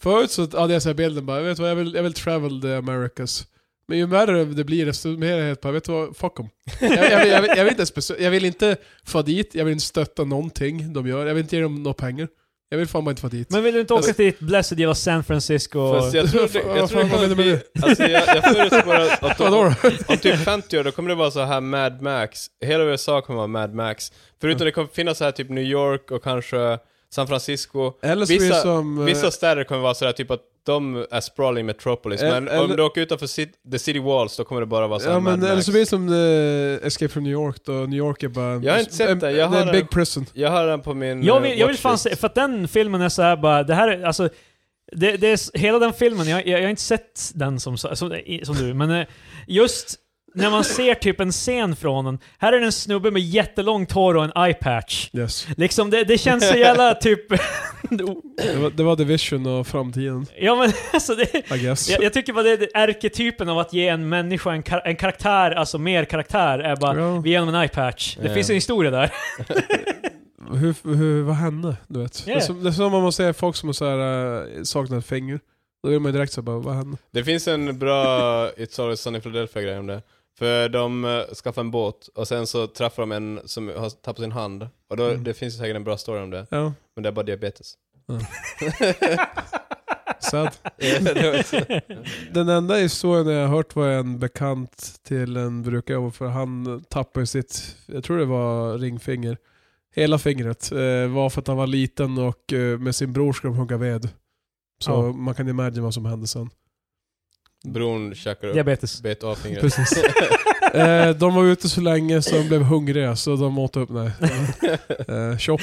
Förut så hade jag så här bilden bara, vet du vad, jag vill, jag vill travel the Americas. Men ju värre det blir desto mer är jag helt bara, vet du vad, fuck 'em. jag, jag, vill, jag, vill, jag, vill inte ens besö- jag vill inte få dit, jag vill inte stötta någonting de gör, jag vill inte ge dem några pengar. Jag vill fan bara inte få dit. men vill du inte åka till ett blessed jävla San Francisco? Fast jag tror det, jag tror det Vad fan kommer menar bli... du? Alltså jag, jag förutspår att, att Vadå om, då? om typ 50 år, då kommer det vara så här Mad Max. Hela USA kommer vara Mad Max. Förutom det kommer finnas så här typ New York och kanske San Francisco. Eller så blir det Vissa- som... eh, Vissa städer kommer vara sådär typ att de är sprawling metropolis, Eller- men om eller- du åker utanför cit- the city walls då kommer det bara vara såhär Ja men Mad eller Max. så blir det som eh, Escape from New York då, New York är bara en, Jag har inte sett en, det, jag är har en en- big prison. Jag har den på min Jag eh, vill, jag vill fan watchlist. se, för att den filmen är så här bara, det här är, alltså, det, det är, s- hela den filmen, jag, jag, jag har inte sett den som, så- som, i- som du, men eh, just när man ser typ en scen från den, här är det en snubbe med jättelångt hår och en eye-patch. Yes. Liksom, det, det känns så jävla typ... Det var, det var Division och framtiden, ja men alltså det... I guess. Jag, jag tycker bara det är det- arketypen av att ge en människa en, kar- en karaktär, alltså mer karaktär, är bara Ja. vi ger honom en eye-patch. Det Ja. finns en historia där. Hur, hur, vad hände? Du vet. Ja. Det, är som, det är som om man ser folk som så här, eh, saknar ett finger. Då är man ju direkt så här bara, vad hände? Det finns en bra It's Always Sunny in Philadelphia grej om det. För de uh, skaffar en båt och sen så träffar de en som har tappat sin hand. Och då, Mm. det finns säkert en bra story om det, Ja, men det är bara diabetes. sad. Det var inte- Den enda historien jag har hört var en bekant till en brukare, för han tappade sitt, jag tror det var ringfinger, hela fingret. Eh, var för att han var liten och eh, med sin bror skulle de hugga ved. Så Ja. man kan imagine vad som hände sen. Bron käkar upp, Diabetes. bet av fingret. Precis. eh, de var ute så länge så de blev hungriga så de åt upp, nej. Eh, shop.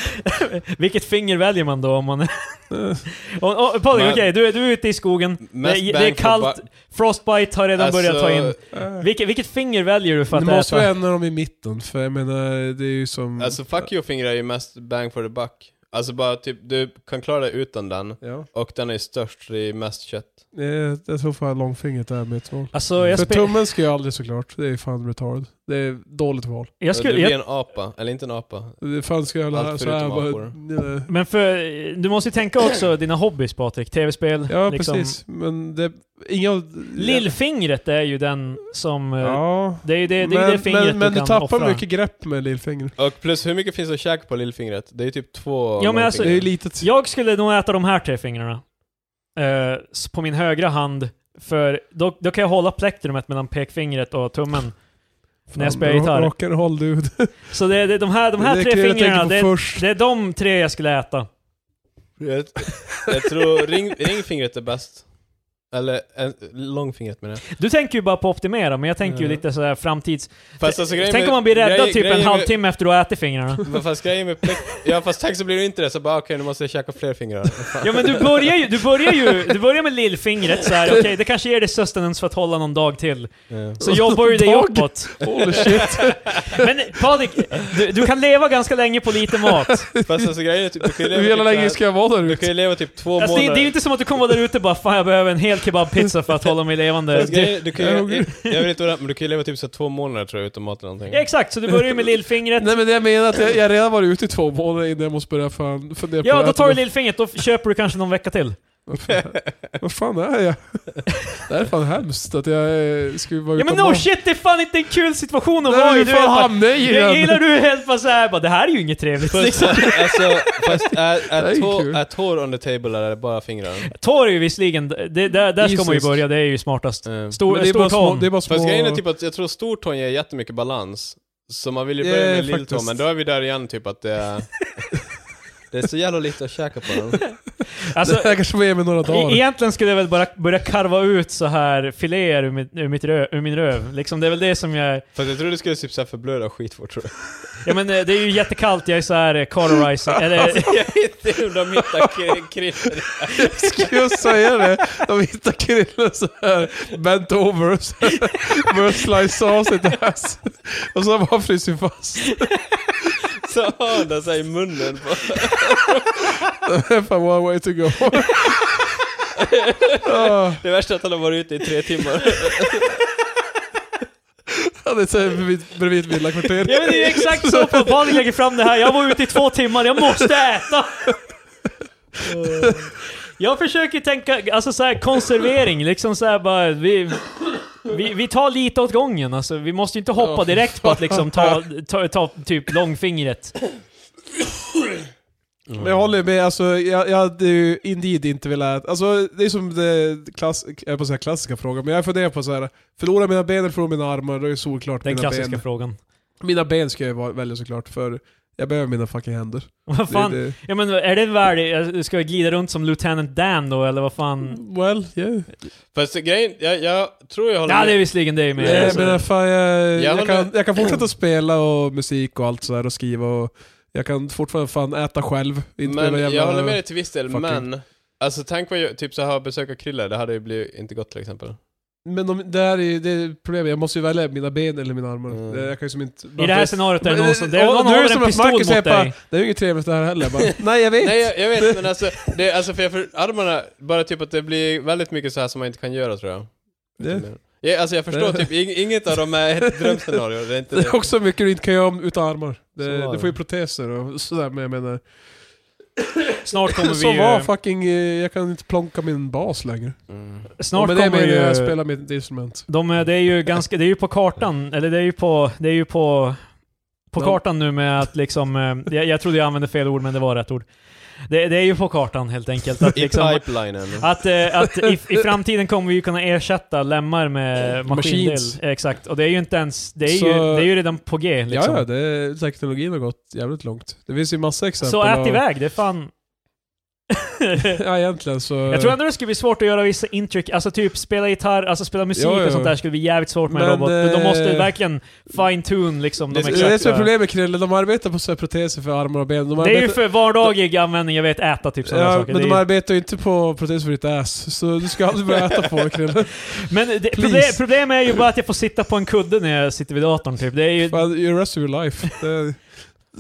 Vilket finger väljer man då om man... Eh, Och, och, Patrik, Men- okej, du, är- du är ute i skogen. Mest det, bang det är for kallt, buck. Frostbite har redan börjat ta in. Alltså, eh. Vilket, vilket finger väljer du för att Det måste äta? vara en av dem i mitten, för jag menar det är ju som... Alltså fuck you-fingrar är ju mest bang for the buck. Alltså bara typ, du kan klara dig utan den. Ja. Och den är ju störst, det är mest kött. Eh, jag tror fan långfingret är mitt val. Alltså, jag, För spe, tummen ska jag aldrig såklart, det är fan retard. Det är dåligt val. jag du skulle... blir Jag, en apa, eller inte en apa. Det fan ska jag lära Allt så här förutom bara, apor. eh, men för, du måste ju tänka också dina hobbys Patrik. Tv-spel, liksom- Ja precis, men det... Inga... Lillfingret är ju den som... eh, Ja. Det är ju det, det, är ju men, det fingret men, men du du, kan tappar offra. mycket grepp med lillfingret. Och plus, hur mycket finns det att käka på lillfingret? Det är ju typ två Ja, men alltså- Det är ju litet. Jag skulle nog äta de här tre fingrarna. Eh, s- på min högra hand. För då, då kan jag hålla plektrumet mellan pekfingret och tummen. när jag spelar gitarr. Rock'n'roll dude. Så det, det, de här, de här Det är tre det jag tänker fingrarna, på det, först. det är de tre jag skulle äta. Jag, jag tror ring, ringfingret är bäst. Eller en, långfingret menar jag. Du tänker ju bara på att optimera, men jag tänker ju Ja. lite sådär framtids... Fast alltså, grejen Tänk med- om man blir räddad grejen- typ en grejen med- halvtimme efter att ha ätit fingrarna. Men Fast grejen med plek- Ja fast tänk så blir det inte det, så bara okej nu måste jag käka fler fingrar. Ja men du börjar ju, du börjar ju, du börjar med lillfingret så här. okej det kanske ger dig sustenance för att hålla någon dag till. Ja. Så jobbar ju det Dag? uppåt. Holy shit. Men Patrik, du, du kan leva ganska länge på lite mat. Fast alltså grejen är typ, du kan ju leva Hur jävla typ så här- länge ska jag vara där Du ute? kan ju leva typ två Alltså, det, det är månader. ju inte som att du kommer vara där ute och bara 'Fan jag behöver en hel kebabpizza för att hålla mig levande' Fast du, grejen- du kan Jag är ju, hungrig. jag vet inte vad det är, men du kan ju leva typ så här två månader tror jag utan mat eller någonting. Exakt, så du börjar ju med lillfingret. Nej men det jag menar är att jag, jag har redan varit ute i två månader innan jag måste börja fan fundera på Ja, att då äta tar du något. lillfingret, då f- köper du kanske någon vecka till. Vad fan- Vad fan är jag? Det här är fan hemskt att jag eh, skulle vara Ja men utan no mat. shit, det är fan inte en kul situation att vara Nej, i! hur Du är fan bara- hamnade jag i Jag gillar den? du är helt bara såhär bara 'Det här är ju inget trevligt' Fast, liksom. alltså, fast är, Det är, är ju tå, kul. är tår on the table eller är det bara fingrar? Tår är ju visserligen, det, där, där ska man ju Jesus. börja, det är ju smartast. Mm. Stor, Men det är stor bara små... tån. Det är bara små... Fast grejen är typ att jag tror stortån ger jättemycket balans. Så man vill ju börja Ja, med lilltån, faktiskt. men då är vi där igen typ att det är... Det är så jävla lite att käka på den. Alltså, det här kanske var med några e- dagar. egentligen skulle jag väl bara börja karva ut så här filéer ur, mitt, ur, mitt rö, ur min röv. Liksom, det är väl det som jag... Fast jag tror det skulle typ såhär förblöda skitfort tror jag. Ja men eh, det är ju jättekallt, jag är såhär cauterizing, eller... jag vet inte hur de hittar krillor. Jag skulle just säga det. De hittar Krille så här bent over. så här, Börjar slicea av sitt ass. Och så bara fryser fast. så har den sig i munnen på... Fan, one way to go. Ah, Det värsta är att han har varit ute i tre timmar. det är så här bredvid, bredvid villakvarteret. Ja men det är exakt så Patrik lägger fram det här. Jag var ute i två timmar, jag måste äta! Jag försöker tänka, alltså så här konservering, liksom så här bara, vi, vi, vi tar lite åt gången alltså. Vi måste ju inte hoppa direkt på att liksom ta, ta, ta typ långfingret. Men jag håller med, alltså, jag, jag hade ju indeed inte velat... Alltså, det är som det klass, jag höll på att säga klassiska frågan, men jag funderar på så här. Förlora mina ben eller förlora mina armar? Det är ju solklart Den mina klassiska ben. frågan. Mina ben ska jag va- välja såklart, för jag behöver mina fucking händer. Vad fan? Det, det, Ja men är det värde, ska jag glida runt som Lieutenant Dan då eller vad fan? Mm. well, yeah. Fast grejen, jag, jag tror jag håller Ja det är med. visserligen det med. Nej, alltså. men fan, jag, Jag jag, kan, håller- jag kan fortsätta spela och musik och allt sådär och skriva och... Jag kan fortfarande fan äta själv. Inte behöva Men jävla... jag håller med dig till viss del, fucking- men... Alltså tänk vad jag, typ så här besöka Krille, det hade ju blivit inte gott till exempel. Men de, det här är ju det är problemet, jag måste ju välja mina ben eller mina armar. Mm. Det- Jag kan ju som inte... I det här scenariot är det Men, någon som, det och är någon nu är det håller som en att pistol Marcus säger mot bara, dig. Det är ju inget trevligt det här heller. Jag Bara, Nej jag vet! Nej jag, jag vet men alltså, det, alltså för jag för, armarna, bara typ att det blir väldigt mycket så här som man inte kan göra tror jag. Det- Ja, alltså jag förstår Det- typ, ing- inget av dem är ett drömscenario, det är inte Det är det. också mycket du inte kan göra om utan armar. Så Det, var du det. får ju proteser och sådär men jag menar... Snart kommer vi Så var ju... fucking... eh, Jag kan inte plonka min bas längre. Mm. Snart men det eh, kommer menar jag, jag ju... spelar mitt instrument. De, är- det är ju ganska, det är ju på kartan, eller det är ju på, det är ju på, på Ja. kartan nu med att liksom, eh, jag, jag trodde jag använde fel ord men det var rätt ord. Det, det är ju på kartan helt enkelt. Att, I liksom, pipelinen. att, eh, att i, i framtiden kommer vi ju kunna ersätta lemmar med maskindel. Machines. Exakt, och det är ju inte ens, det är, Så- ju, det är ju redan på G liksom. Ja, ja, det, är- teknologin har gått jävligt långt. Det finns ju massa exempel. Så ät av- iväg, det är fan... Ja, egentligen så... Jag tror ändå det skulle bli svårt att göra vissa intryck, alltså typ spela gitarr, alltså spela musik Jo, jo. och sånt där skulle bli jävligt svårt med en Men, robot. De eh, måste verkligen fine-tune liksom de Det det- är det som är exakta... problemet med Krille, de arbetar på så här proteser för armar och ben. De Det är ju arbetar- för vardaglig användning, jag vet äta typ sådana Ja, saker. men det de är... ju- arbetar ju inte på proteser för ditt ass, så du ska aldrig börja äta på Krille. Men det, Please. problem, problemet är ju bara att jag får sitta på en kudde när jag sitter vid datorn typ. Det är ju, Fan, you rest of your life. Det är-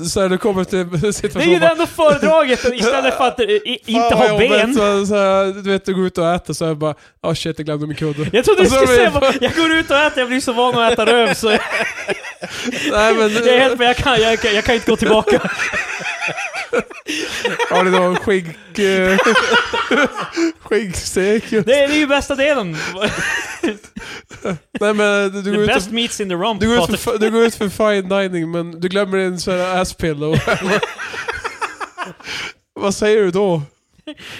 Så här, du kommer till det är ju situationen... det enda föredraget istället för att eh, i, inte ha ben. Så, så här, du vet, du går ut och äter så här bara ah shit, jag glömde min kudde. Jag trodde Och du så skulle har vi- säga bara, jag går ut och äter, jag blir så van att äta röv så jag, Nej men... jag är helt, men jag kan, jag, kan- jag kan inte gå tillbaka. Ja, det var en skink... eh, Skinkstek ju. Det är, det är ju bästa delen. Nej men du, du går The ut och best meats in the rump. Du går, ut Patrik. för, du går ut för fine dining men du glömmer en sån här asspillow. vad säger du då?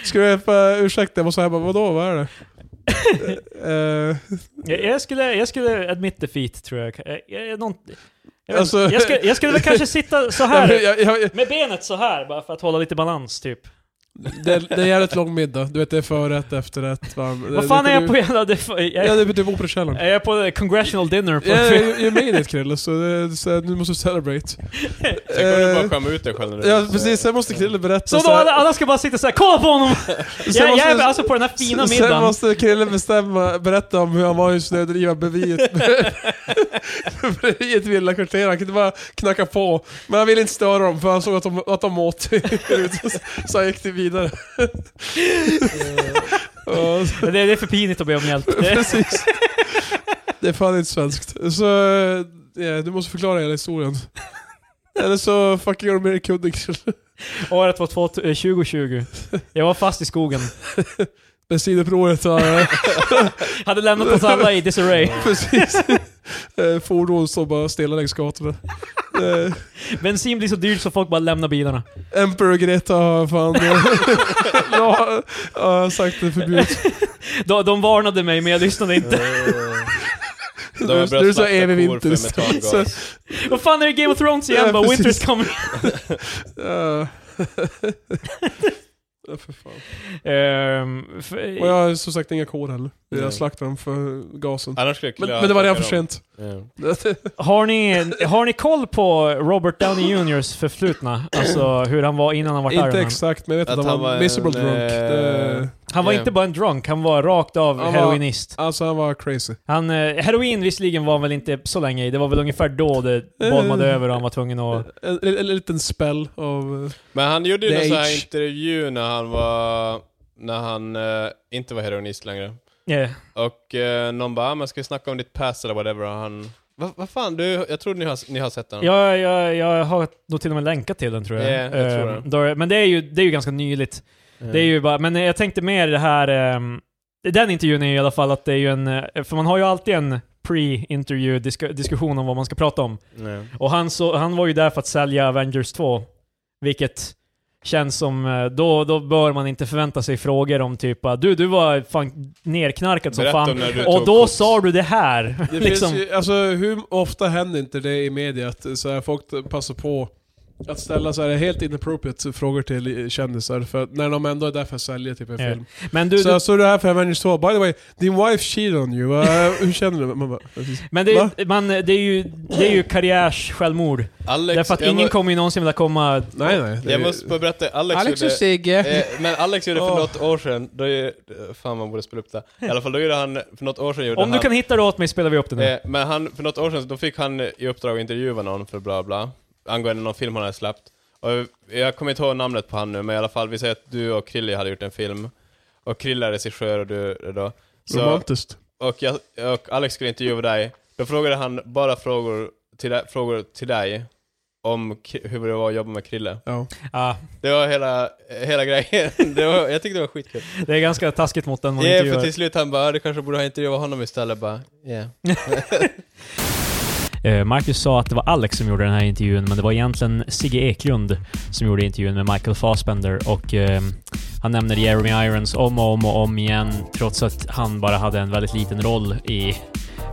Ska du hjälpa, ursäkta jag måste hem, vadå, vad är det? Eh, Jag, jag, skulle, jag skulle admit defeat tror jag. jag, jag, jag, någon, jag, vet Alltså- inte. jag, skulle, jag skulle väl kanske sitta så nej, men här jag, jag, med benet så här bara för att hålla lite balans typ. det, är- det är en jävligt lång middag, du vet det är förrätt, efterrätt, varm. Vad fan Det- är det- jag på Eh, jävla... det- Ja Jag det är typ operakällaren. jag är på the congressional dinner på... Ja, you- you made it Krille, så, det- så nu måste du celebrate. Sen kommer du bara Eh, skämma ut dig själv när du Ja precis, sen måste Krille berätta Så då så här- alla, alla ska bara sitta såhär, kolla på honom! sen Jag, jag måste- är alltså på den här fina Sen- Sen middagen. måste killen bestämma, berätta om hur han var i Snödriva bredvid bredvid ett villakvarter. Han kunde bara knacka på. Men han ville inte störa dem för han såg att de, att de åt. så han gick till vidare. Ja, så- Det, det är för pinigt att be om hjälp. Det, Precis. Det är fan inte svenskt. Så ja, du måste förklara hela historien. Eller så fucking gör de med dig kudden året var 2020. Jag var fast i skogen. Bensinupproret har... Hade lämnat oss alla i disarray. Precis. Eh, Fordon står bara stilla längs gatorna. Eh, Bensin blir så dyrt så folk bara lämnar bilarna. Emperor Greta har fan... ja, har sagt det förbjuds. De, de varnade mig men jag lyssnade inte. De Nu- nu är det så evig vinter. Så- Vad fan är det Game of Thrones Ja, igen? Bara, precis. Winter's coming. Eh, Ja, för fan. Ehm, för, Och jag har som sagt inga kår heller. Nej. Jag slaktade dem för gasen. Annars skulle jag Men, klä- men det var redan för dem. sent. Ja. har, ni, har ni koll på Robert Downey Jrs förflutna? Alltså hur han var innan han var Iron Inte Man? exakt, men jag vet att, Att han han var var miserable en, drunk. eh, Det, Han var Yeah. inte bara en drunk, han var rakt av Han var- heroinist. alltså han var crazy. Han, eh, heroin visserligen var han väl inte så länge i, det var väl ungefär då det bolmade Eh. över och han var tvungen att... En, en, en liten spell av... eh, Men han gjorde ju The någon sån här Age. intervju när han var... När han eh, inte var heroinist längre. Yeah. Och eh, någon bara, ah, men ska vi snacka om ditt past eller whatever? Och han... Vad va fan, du, jag tror ni har, ni har sett den. Jag, jag, jag har nog till och med länkat till den tror jag. Ja, jag tror Ehm, det. då är- men det är, ju, det är ju ganska nyligt. Det är ju bara, men jag tänkte mer det här... ehm, den intervjun är ju i alla fall att det är ju en... eh, För man har ju alltid en pre-intervju disk- diskussion om vad man ska prata om. Nej. Och han, så, han var ju där för att sälja Avengers 2. Vilket känns som... eh, Då, då bör man inte förvänta sig frågor om typ ah, Du, du var fan nerknarkad som Berätta om fan. när du Och tog då koks. sa du det här. Det liksom. finns ju, alltså hur ofta händer inte det i media att så här, folk passar på att ställa så här helt inappropriate frågor till eh, kändisar, för att när de ändå är där för att sälja typ en Ja. film. Men du, så du jag såg det här för Avengers 2, by the way, din wife cheated on you, Eh, hur känner du? Man bara, Men det Va? är, man, det är ju, det är ju karriärs-självmord. Alex, Därför att jag ingen må- kommer ju någonsin vilja komma... nej nej. det är- Jag måste bara berätta, Alex, gjorde... Sigge. Eh, men Alex gjorde för Åh. något år sedan, då, ju- fan man borde spela upp det. I alla fall då gjorde han, för något år sedan gjorde Om han... du kan hitta det åt mig spelar vi upp det nu. Eh, men han, för något år sedan, då fick han i uppdrag att intervjua någon för bla bla, angående någon film han hade släppt. Och jag kommer inte ihåg namnet på han nu, men i alla fall, vi säger att du och Krille hade gjort en film. Och Krille är regissör och du är då. Så, Romantiskt. och, jag, och Alex skulle intervjua dig. Då frågade han bara frågor till, dig- frågor till dig om k- hur det var att jobba med Krille. Ja. Ja, Det var hela, hela grejen. Det var, jag tyckte det var skitkul. det är ganska taskigt mot den man Ja, för intervjuar. till slut han bara, "Ja, du kanske borde ha intervjuat honom istället. Bara, yeah. Eh, Marcus sa att det var Alex som gjorde den här intervjun, men det var egentligen Sigge Eklund som gjorde intervjun med Michael Fassbender och eh, han nämner Jeremy Irons om och om och om igen, trots att han bara hade en väldigt liten roll i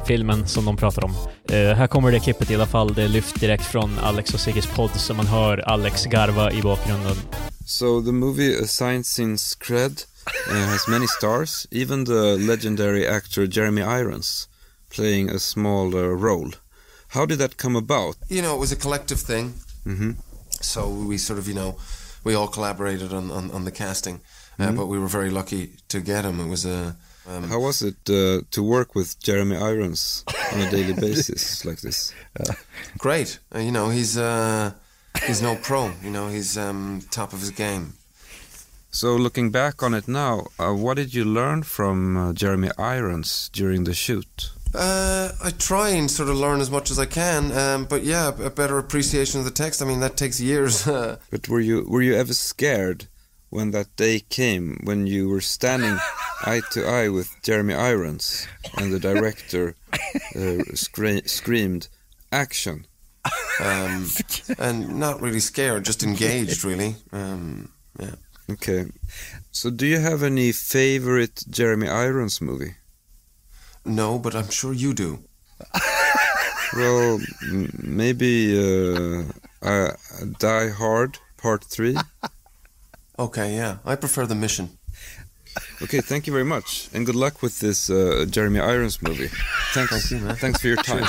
filmen som de pratar om. Eh, här kommer det klippet i alla fall. Det är lyft direkt från Alex och Sigges podd, så man hör Alex garva i bakgrunden. So the movie A Science Since Cred uh, has many stars, even the legendary actor Jeremy Irons playing a small uh, role. How did that come about? you know, it was a collective thing. So we sort of, you know, we all collaborated on, on, on the casting, uh, but we were very lucky to get him. It was a. Um, How was it uh, to work with Jeremy Irons on a daily basis like this? great. Uh, you know, he's uh, he's no pro. You know, he's um, top of his game. So looking back on it now, uh, what did you learn from uh, Jeremy Irons during the shoot? Uh, I try and sort of learn as much as I can, um, but yeah, a better appreciation of the text. I mean, that takes years. Uh, But were you were you ever scared when that day came when you were standing eye to eye with Jeremy Irons and the director uh, scre- screamed action? um, and not really scared, just engaged, really. Um, yeah. Okay. So do you have any favorite Jeremy Irons movie? No, but I'm sure you do. Well, m- maybe uh, uh, Die Hard Part 3. Okay, yeah. I prefer the mission. Okay, thank you very much and good luck with this uh, Jeremy Irons movie. Thanks. Thank you, man. Thanks for your time.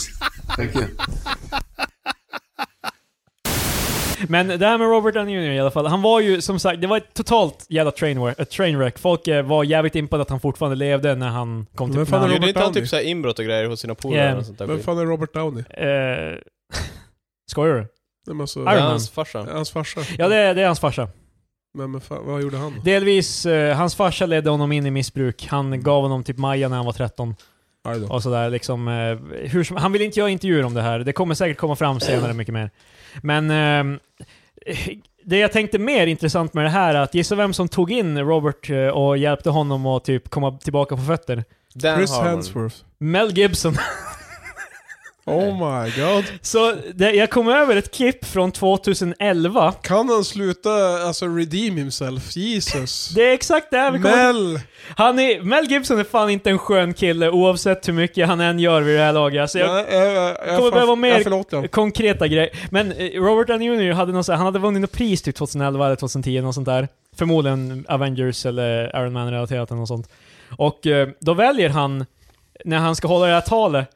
Thank you. Men det här med Robert Downey Jr i alla fall. Han var ju som sagt, det var ett totalt jävla trainwreck. Ett trainwreck. Folk eh, var jävligt impade att han fortfarande levde när han kom till... Men fan när är han- Robert Gjorde inte han Downey. typ såhär inbrott och grejer hos sina polare Yeah. eller något sånt där Vem skit? fan är Robert Downey? Eh, Skojar du? Nej, men alltså, Det är Iron Man. hans farsa. Hans farsa? Ja, det, är- det är hans farsa. Men, men fan, vad gjorde han? Delvis, eh, hans farsa ledde honom in i missbruk. Han gav honom typ Maja när han var 13 Aj då. och sådär liksom. Eh, hur som, han vill inte göra intervjuer om det här. Det kommer säkert komma fram senare mycket mer. Men ehm, det jag tänkte mer intressant med det här är att gissa vem som tog in Robert eh, och hjälpte honom att typ komma tillbaka på fötter? Dan Chris Harmon. Hemsworth. Mel Gibson. Oh my god. Så det, jag kom över ett klipp från 2011. Kan han sluta alltså redeem himself? Jesus. Det är exakt det här vi kommer... Mel! Han är, Mel Gibson är fan inte en skön kille oavsett hur mycket han än gör vid det här laget. Alltså jag, Nej, jag, jag, jag, kommer behöva mer- Jag förlåter honom. konkreta grejer. Men eh, Robert Downey Jr. hade något så här, han hade vunnit något pris typ 2011 eller 2010, något sånt där. Förmodligen Avengers eller Iron Man-relaterat eller något sånt. Och eh, då väljer han, när han ska hålla det här talet,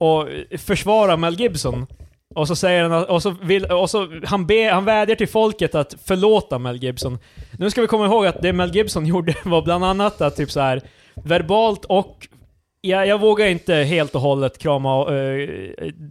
och eh, försvara Mel Gibson. Och så säger han, att- och så vill, och så han, be, han vädjar till folket att förlåta Mel Gibson. Nu ska vi komma ihåg att det Mel Gibson gjorde var bland annat att typ så här verbalt och jag, jag vågar inte helt och hållet krama eh,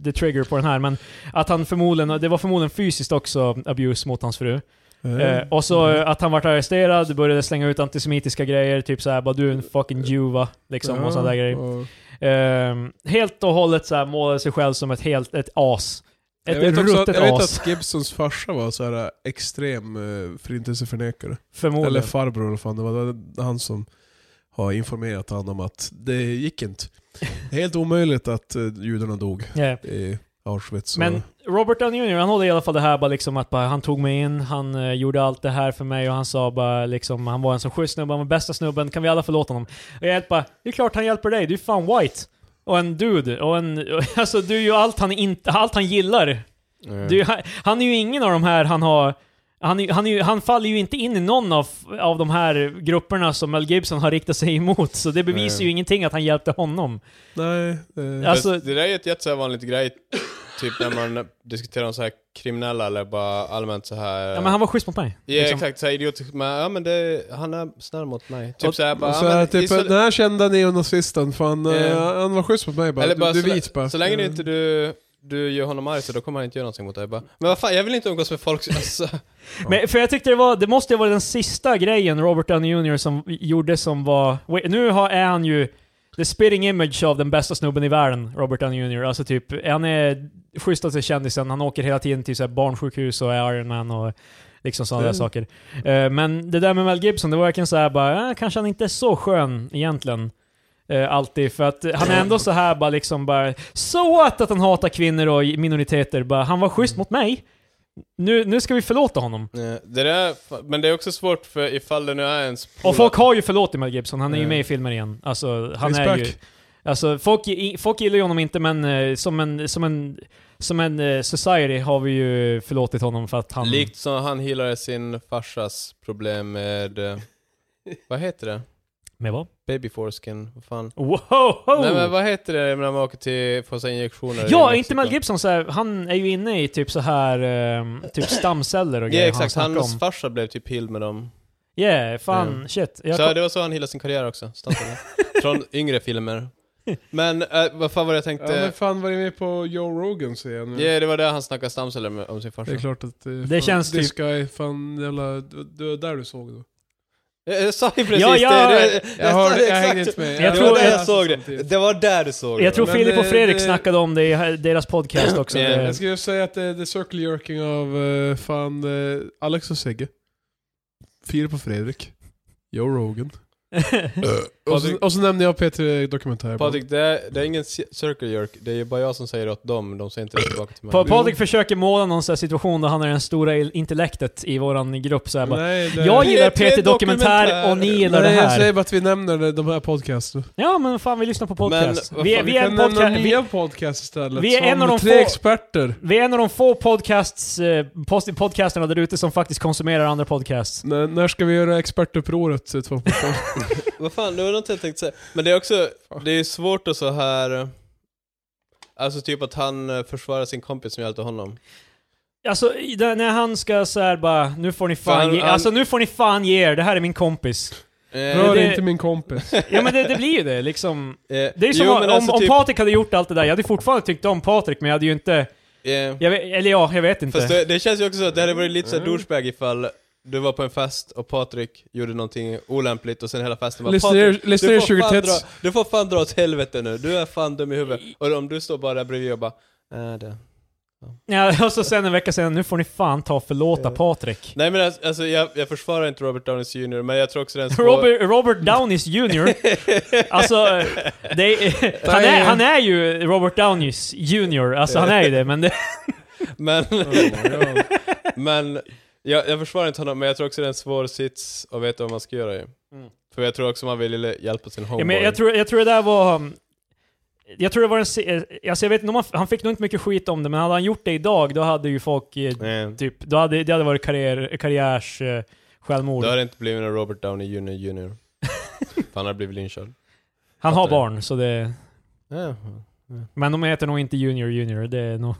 the trigger på den här, men att han förmodligen, det var förmodligen fysiskt också abuse mot hans fru. Mm. Eh, och så eh, att han vart arresterad, började slänga ut antisemitiska grejer, typ såhär bara du är en fucking juva, liksom, och sådana där grejer. Och- Ehm, helt och hållet så här målade sig själv som ett helt ett as. Jag Ett vet, också att, ruttet jag vet as, att Gibsons farsa var så här extrem eh, förintelseförnekare. Eller förmodligen. farbror eller fan, det var han som har informerat han om att det gick inte. Helt omöjligt att eh, judarna dog Yeah. i Auschwitz. och- Men Robert Downey Jr. han håller i alla fall det här bara liksom att bara, han tog mig in, han eh, gjorde allt det här för mig och han sa bara liksom, han var en så schysst snubbe, han var bästa snubben, kan vi alla förlåta honom? Och jag hjälper, det är klart han hjälper dig, du är fan white. Och en dude, och en, alltså du är ju allt han inte, allt han gillar. Du, är- han är ju ingen av de här han har, han, är, han, är, ju- han faller ju inte in i någon av, av de här grupperna som Mel Gibson har riktat sig emot, så det bevisar Nej. ju ingenting att han hjälpte honom. Nej, eh, Alltså- Fast det där är ett jättevanligt grej, typ när man diskuterar om så här kriminella eller bara allmänt så här... Ja, men han var schysst mot mig. Ja liksom. exakt, såhär idiotiskt. Men, ja men det, han är snäll mot mig. Och- Typ såhär bara, och så ja, här, men, typ, i så, den här kända neonazisten, fan, eh, Eh. han var schysst mot mig bara. eller bara, du, så, du är vit bara. Eh, så länge du inte du, du gör honom arg så då kommer han inte göra någonting mot dig. Bara, men vad fan, jag vill inte umgås med folk. Alltså, Men, för jag tyckte det var, det måste ju vara den sista grejen Robert Downey Jr som gjorde som var... Wait, nu har, är han ju the spitting image av den bästa snubben i världen, Robert Downey Jr. Alltså typ, han är schysstaste kändisen, han åker hela tiden till så här barnsjukhus och är Iron Man och liksom sådana där Mm. saker. Eh, men det där med Mel Gibson, det var verkligen såhär bara, eh, kanske han inte är så skön egentligen. Eh, alltid, för att eh, han är ändå så här bara liksom bara, so what att han hatar kvinnor och minoriteter, bara han var schysst mot mig. Nu, nu ska vi förlåta honom. eh, det där, men det är också svårt för ifall det nu är ens Och folk har ju förlåtit Mel Gibson, han är ju Mm. med i filmer igen. Alltså, han He's är back. ju... Alltså, folk, i- folk gillar ju honom inte, men eh, som en, som en, som en eh, society har vi ju förlåtit honom för att han... Likt som han healade sin farsas problem med, eh, vad heter det? Med vad? Baby foreskin, vad fan? Wow! Nej men vad heter det när man åker till, får sig injektioner? Oh! ja, i inte Mexiko? Mel Gibson så här, han är ju inne i typ så här eh, typ stamceller och Ja grejer exakt, han snackar hans om. farsa blev typ healed med dem. Yeah, fan, Mm. shit. Jag Så kom, det var så han hillade sin karriär också, Stampede. Från yngre filmer. Men eh, vad fan var det jag Ja, men tänkte? fan var det med på Joe Rogans igen? Ja, det var där han snackade stamceller med, om sin farsa. Det är klart att... eh, Det fan, känns this typ- guy, fan jävla... Det det var där du såg det. Jag, jag sa ju precis Ja, ja, det! det, jag Jag, hörde, sa jag exakt- hängde inte med. Jag det tror- var där jag- jag, såg det. samtidigt. Det var där du såg jag tror Men Filip och det- Fredrik det- snackade om det i deras podcast också. Yeah. Eh, Jag skulle säga att det är the circle jerking av eh, fan eh, Alex och Sigge. Filip på Fredrik. Joe Rogan. Och så, Patrik- och så nämnde jag Peter Dokumentär. Patrik, det är, det är ingen ci- circle jerk. Det är ju bara jag som säger det åt dem. De säger inte det tillbaka till mig. Pa- Patrik försöker måla någon sån här situation där han är det stora il- intellektet i våran grupp. Så här, bara, Nej, det- Jag Nej, gillar det är PT Dokumentär dokumentär. och ni gillar Nej, det jag här. säger bara att vi nämner det- de här podcasterna. Ja men fan vi lyssnar på podcast. Men, vad vi, är, fan, vi, Vi är kan en nämna podca- vi, nya podcast istället. vi är som en av de tre få- experter. vi är en av de få podcasts, eh, post- podcasterna där ute som faktiskt konsumerar andra podcasts. N när ska vi göra expertupproret? eh, 2.0? Vad fan, det var något jag tänkte säga. Men det är också, det är svårt att så här... eh, Alltså typ att han eh, försvarar sin kompis som hjälpte honom. Alltså i- där- när han ska såhär bara, nu får ni fan, Fan, ge, han- alltså nu får ni fan ge er, det här är min kompis. Eh, Rör det- inte min kompis. Ja men det, det blir ju det liksom. eh, Det är ju som jo, om, men alltså om typ- Patrik hade gjort allt det där, jag hade fortfarande tyckt om Patrik men jag hade ju inte, eh, jag vet, eller ja, jag vet inte. Mm. Fast det, det känns ju också så att det hade varit lite såhär douchebag ifall du var på en fest och Patrik gjorde någonting olämpligt och sen hela festen bara Lyssna "Patrik, er- lyssna du er får fan 20 tets." dra- Du får fan dra åt helvete nu, du är fan dum i huvudet. Och om du står bara där bredvid och bara äh, det. Ja, och så sen en vecka senare, nu får ni fan ta och förlåta Patrik. Nej men alltså, alltså, jag, jag försvarar inte Robert Downey Jr, men jag tror också den svår... Robert, Robert Downey Jr. Alltså, det, är- han, är, han är ju Robert Downey Jr. Alltså han är ju det, men det, Oh Men, men jag, jag försvarar inte honom, men jag tror också det är en svår sits att veta vad man ska göra ju. För jag tror också man vill hjälpa sin homeboy. Mm. ja, men jag, tror, jag tror det där var... um, Jag tror det var en... se- eh, Alltså jag vet inte om han, han fick nog inte mycket skit om det, men hade han gjort det idag, då hade ju folk... eh, Nej, Typ, då hade, det hade varit karriär, karriärs... eh, Självmord. då har det inte blivit någon Robert Downey Jr. Jr. För han har blivit lynchad. Han har fattar jag. barn, så det... Ja. Men de heter nog inte Junior Junior, det är nog...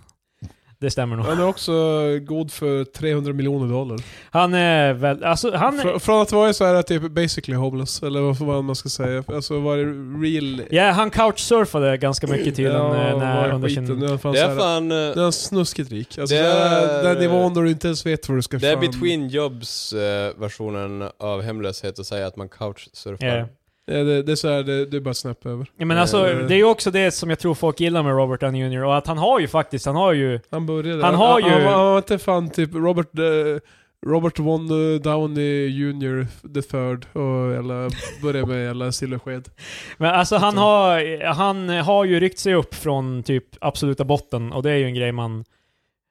Det stämmer nog. Han är också god för 300 miljoner dollar. Han är väl... Alltså han... Frå- från att vara så här typ basically homeless, eller vad vad man ska säga. Alltså var det real... Ja, han couchsurfade ganska mycket tydligen eh, när, var under skiten. sin... Nu är han fan Det så är här- fan... eh, nu är han snuskigt rik. Alltså, Det det är- är, den nivån då du inte ens vet vad du ska Det är fram- between jobs eh, versionen av hemlöshet att säga att man couchsurfar. Ja. Det, det, det är så här, det, det är bara snäpp över. Ja, men alltså, Eh. det är ju också det som jag tror folk gillar med Robert Downey Jr. Och att han har ju faktiskt, han har ju... Han började... Han har Han, ju- var- han var inte fan typ Robert... eh, Robert Von eh, Downey Jr. the third och alla började med alla silversked. Men alltså han har, han har ju ryckt sig upp från typ absoluta botten och det är ju en grej man...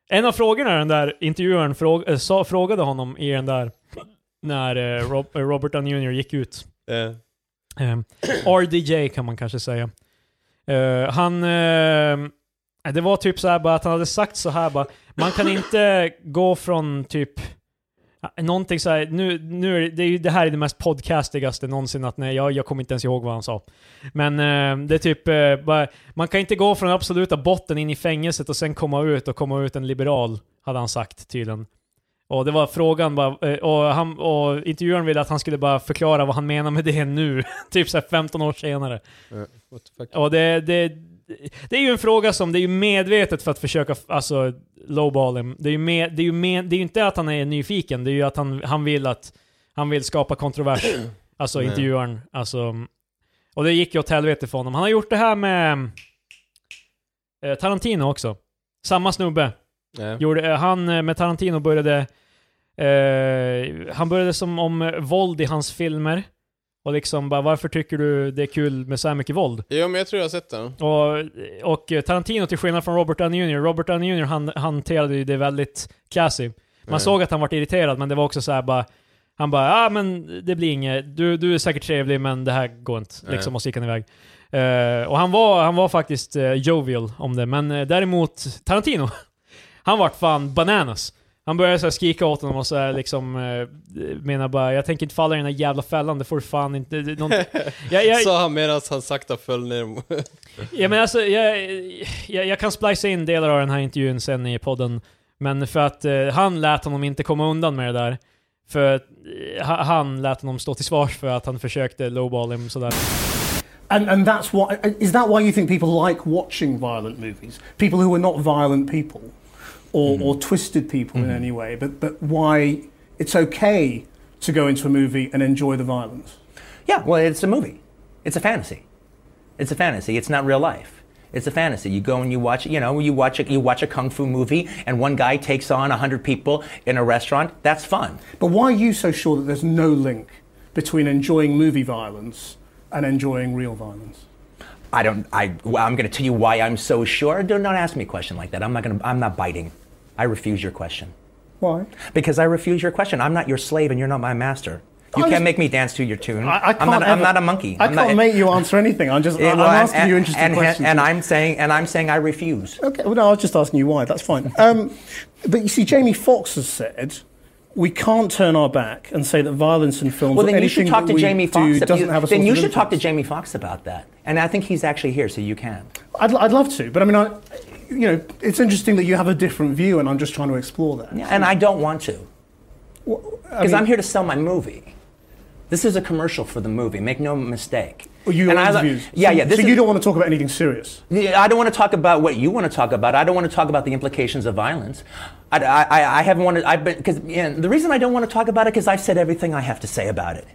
En av frågorna den där intervjuaren fråg, eh, sa, frågade honom i den där... När eh, Rob, eh, Robert Downey Jr. gick ut. Eh, Eh, RDJ kan man kanske säga. Eh, han... eh, det var typ så här bara att han hade sagt så här bara, man kan inte gå från typ Någonting såhär, nu, nu är det, det, är ju, det här är det mest podcastigaste någonsin att nej, jag, jag kommer inte ens ihåg vad han sa. Men eh, det är typ, eh, bara, man kan inte gå från den absoluta botten in i fängelset och sen komma ut och komma ut en liberal, hade han sagt tydligen. Och det var frågan bara, eh, och, han, och intervjuaren ville att han skulle bara förklara vad han menar med det nu, typ såhär 15 år senare. what the fuck? Ja, det, det, det är ju en fråga som, det är ju medvetet för att försöka alltså, lowball him. Det är ju, med, det är ju, med, det är ju inte att han är nyfiken, det är ju att han, han vill att, han vill skapa kontrovers. Alltså Nej. intervjuaren. Alltså, och det gick ju åt helvete för honom. Han har gjort det här med eh, Tarantino också. Samma snubbe. Nej. Gjorde, eh, han eh, med Tarantino började... Eh, han började som om eh, våld i hans filmer. Och liksom bara, varför tycker du det är kul med så här mycket våld? Jo men jag tror jag har sett den. Och, och Tarantino, till skillnad från Robert Downey Jr. Robert Downey Jr. Han, hanterade ju det väldigt classy. Man Eh, såg att han var irriterad, men det var också så här bara... Han bara ah, men det blir inget. Du, du är säkert trevlig, men det här går inte. Eh. Liksom, och så gick han iväg. Eh, och han var, han var faktiskt eh, jovial om det, men eh, däremot Tarantino, han vart fan bananas. Han började så här skrika åt honom och så här liksom, eh, menar bara jag tänker inte falla i den här jävla fällan, det får du fan inte... Det, det, någonting." jag, jag, Sa han medan han sakta föll ner. Ja, men alltså, jag, jag, jag kan splicea in delar av den här intervjun sen i podden. Men för att eh, han lät honom inte komma undan med det där. För att, eh, ha- han lät honom stå till svars för att han försökte lowball him sådär. And, and that's why, is that why you think people like watching violent movies? People who are not violent people or, Mm-hmm. or twisted people in any way, but, but why it's okay to go into a movie and enjoy the violence? Yeah, well, it's a movie. It's a fantasy. It's a fantasy. It's not real life. It's a fantasy. You go and you watch, you know, you watch a, you watch a kung fu movie, and one guy takes on a hundred people in a restaurant. That's fun. But why are you so sure that there's no link between enjoying movie violence and enjoying real violence? I don't. I. Well, I'm going to tell you why I'm so sure. Don't, don't ask me a question like that. I'm not going to. I'm not biting. I refuse your question Why? because I refuse your question. I'm not your slave, and you're not my master. I You can't just- make me dance to your tune. I, I am can't not. I'm ever- not a monkey. I I'm can't not, make you answer anything. I'm just Yeah, I'm well, and- asking and- you interesting and, questions. And I'm saying. And I'm saying I refuse. Okay, well, no, I was just asking you why. That's fine. Um, but you see, Jamie Foxx has said we can't turn our back and say that violence in films or Well, then you anything should talk that to we Jamie do Foxx. doesn't have a then source you of should talk to influence. Jamie Fox about that. And I think he's actually here, so you can. I'd, I'd love to, but I mean, I, you know, it's interesting that you have a different view, and I'm just trying to explore that. Yeah, And I don't want to, Well, I because mean, I'm here to sell my movie. This is a commercial for the movie. Make no mistake. well, You And I- interviews. yeah, so, yeah. This so is, you don't want to talk about anything serious. I don't want to talk about what you want to talk about. I don't want to talk about the implications of violence. I, I, I- I haven't wanted. I've been because the reason I don't want to talk about it because I've said everything I have to say about it.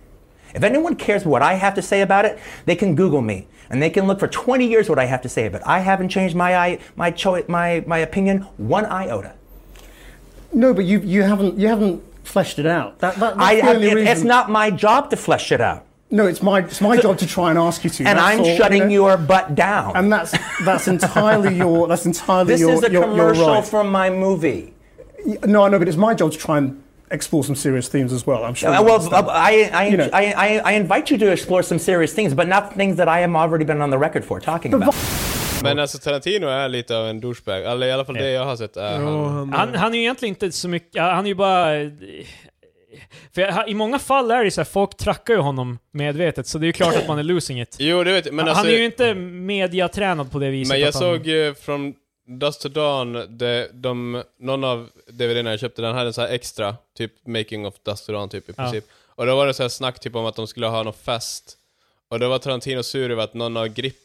If anyone cares what I have to say about it, they can Google me and they can look for 20 years what I have to say about it. I haven't changed my i- my cho- my my opinion one iota. No, but you you haven't you haven't fleshed it out. That, that that's I, the only it- reason. it's not my job to flesh it out, No, it's my it's my job to try and ask you to. and that's I'm all, you shutting know? your butt down. And that's that's entirely your that's entirely this your is a your, your commercial right. from my movie. No, I know, but it's my job to try and explore some serious themes as well. I'm sure. Uh, you well, understand. I, I, You know. I, I, I invite you to explore some serious things, but not things that I have already been on the record for talking about. Men alltså Tarantino är lite av en douchebag. Eller i alla fall det jag har sett är Ja, han. han, Han, han är ju egentligen inte så mycket, ja, han är ju bara... eh, För jag, i många fall är det så här, folk trackar ju honom medvetet, så det är ju klart att man är losing it. Jo, det vet jag. Men han alltså, är ju inte mediatränad på det viset. Men jag att han, såg eh, från Dust to Dawn, de, de, någon av DVDerna jag köpte, den hade en sån här extra, typ Making of Dust to Dawn typ i princip. Och då var det så här snack typ om att de skulle ha någon fest. Och då var Tarantino sur över att någon av grip,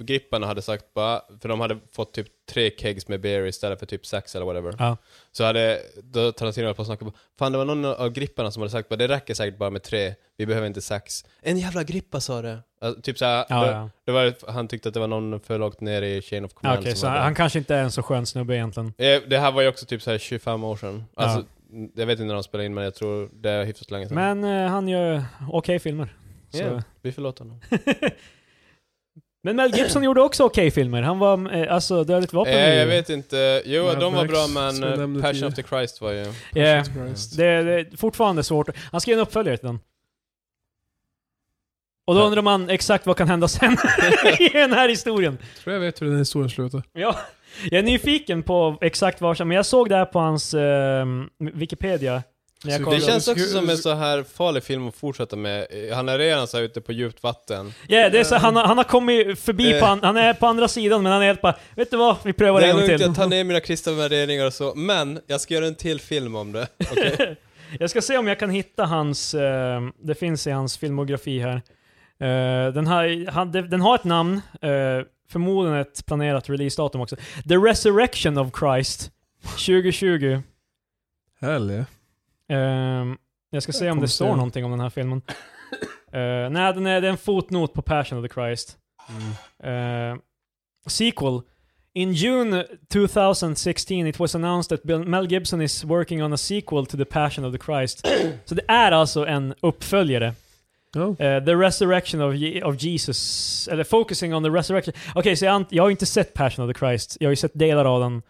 gripparna hade sagt bara, för de hade fått typ tre kegs med beer istället för typ sex eller whatever. Ja. Så hade då Tarantino höll på att snacka bara, fan det var någon av gripparna som hade sagt bara, det räcker säkert bara med tre, vi behöver inte sex. En jävla grippa sa det. Alltså, typ såhär, Ja, då- ja. det var, han tyckte att det var någon för lågt ner i Chain of Ja, Command Okej, så som hade... han kanske inte är en så skön snubbe egentligen. Eh, Det här var ju också typ så här 25 år sedan. Alltså, Jag vet inte när de spelade in men jag tror det är hyfsat länge sedan. Men eh, han gör okej filmer. Så. yeah, vi förlåter honom. Men Mel Gibson gjorde också okej filmer. Han var, eh, alltså, Dödligt Vapen. Eh, är ju- jag vet inte. Jo, Mad de var Max, bra som men jag eh, nämnde Passion tidigare. of the Christ var ju... Yeah. Jesus Christ. Det, det är fortfarande svårt. Han skrev en uppföljare till den. Och då undrar man exakt vad kan hända sen i den här historien. tror jag vet hur den historien slutar. Ja, jag är nyfiken på exakt var som, men jag såg det här på hans eh, Wikipedia. När jag Så kollade. Det Ja, känns det också skulle- som en så här farlig film att fortsätta med. Eh, Han är redan så här ute på djupt vatten. Ja, det är så, han, har- han har kommit förbi, Eh. på, an- han är på andra sidan, men han är helt bara, vet du vad, vi prövar det Det är en gång lugnt, till. jag tar ner mina kristna värderingar och så, men jag ska göra en till film om det. Okej. Jag ska se om jag kan hitta hans, eh, det finns i hans filmografi här. Eh, den, här han, det- den har ett namn, eh, förmodligen ett planerat releasedatum också. The Resurrection of Christ 2020. Helge. Ehm, jag ska se om det Konstigt. står någonting om den här filmen. Eh, nej, den är, det är en fotnot på Passion of the Christ. Eh, sequel. In June 2016 it was announced that Bill, Mel Gibson is working on a sequel to The Passion of the Christ. Så det är alltså en uppföljare. Ja. Eh, the Resurrection of, Je- of Jesus. Eller Focusing on the Resurrection. Okej, så jag, ant- jag har ju inte sett Passion of the Christ. Jag har ju sett delar av den.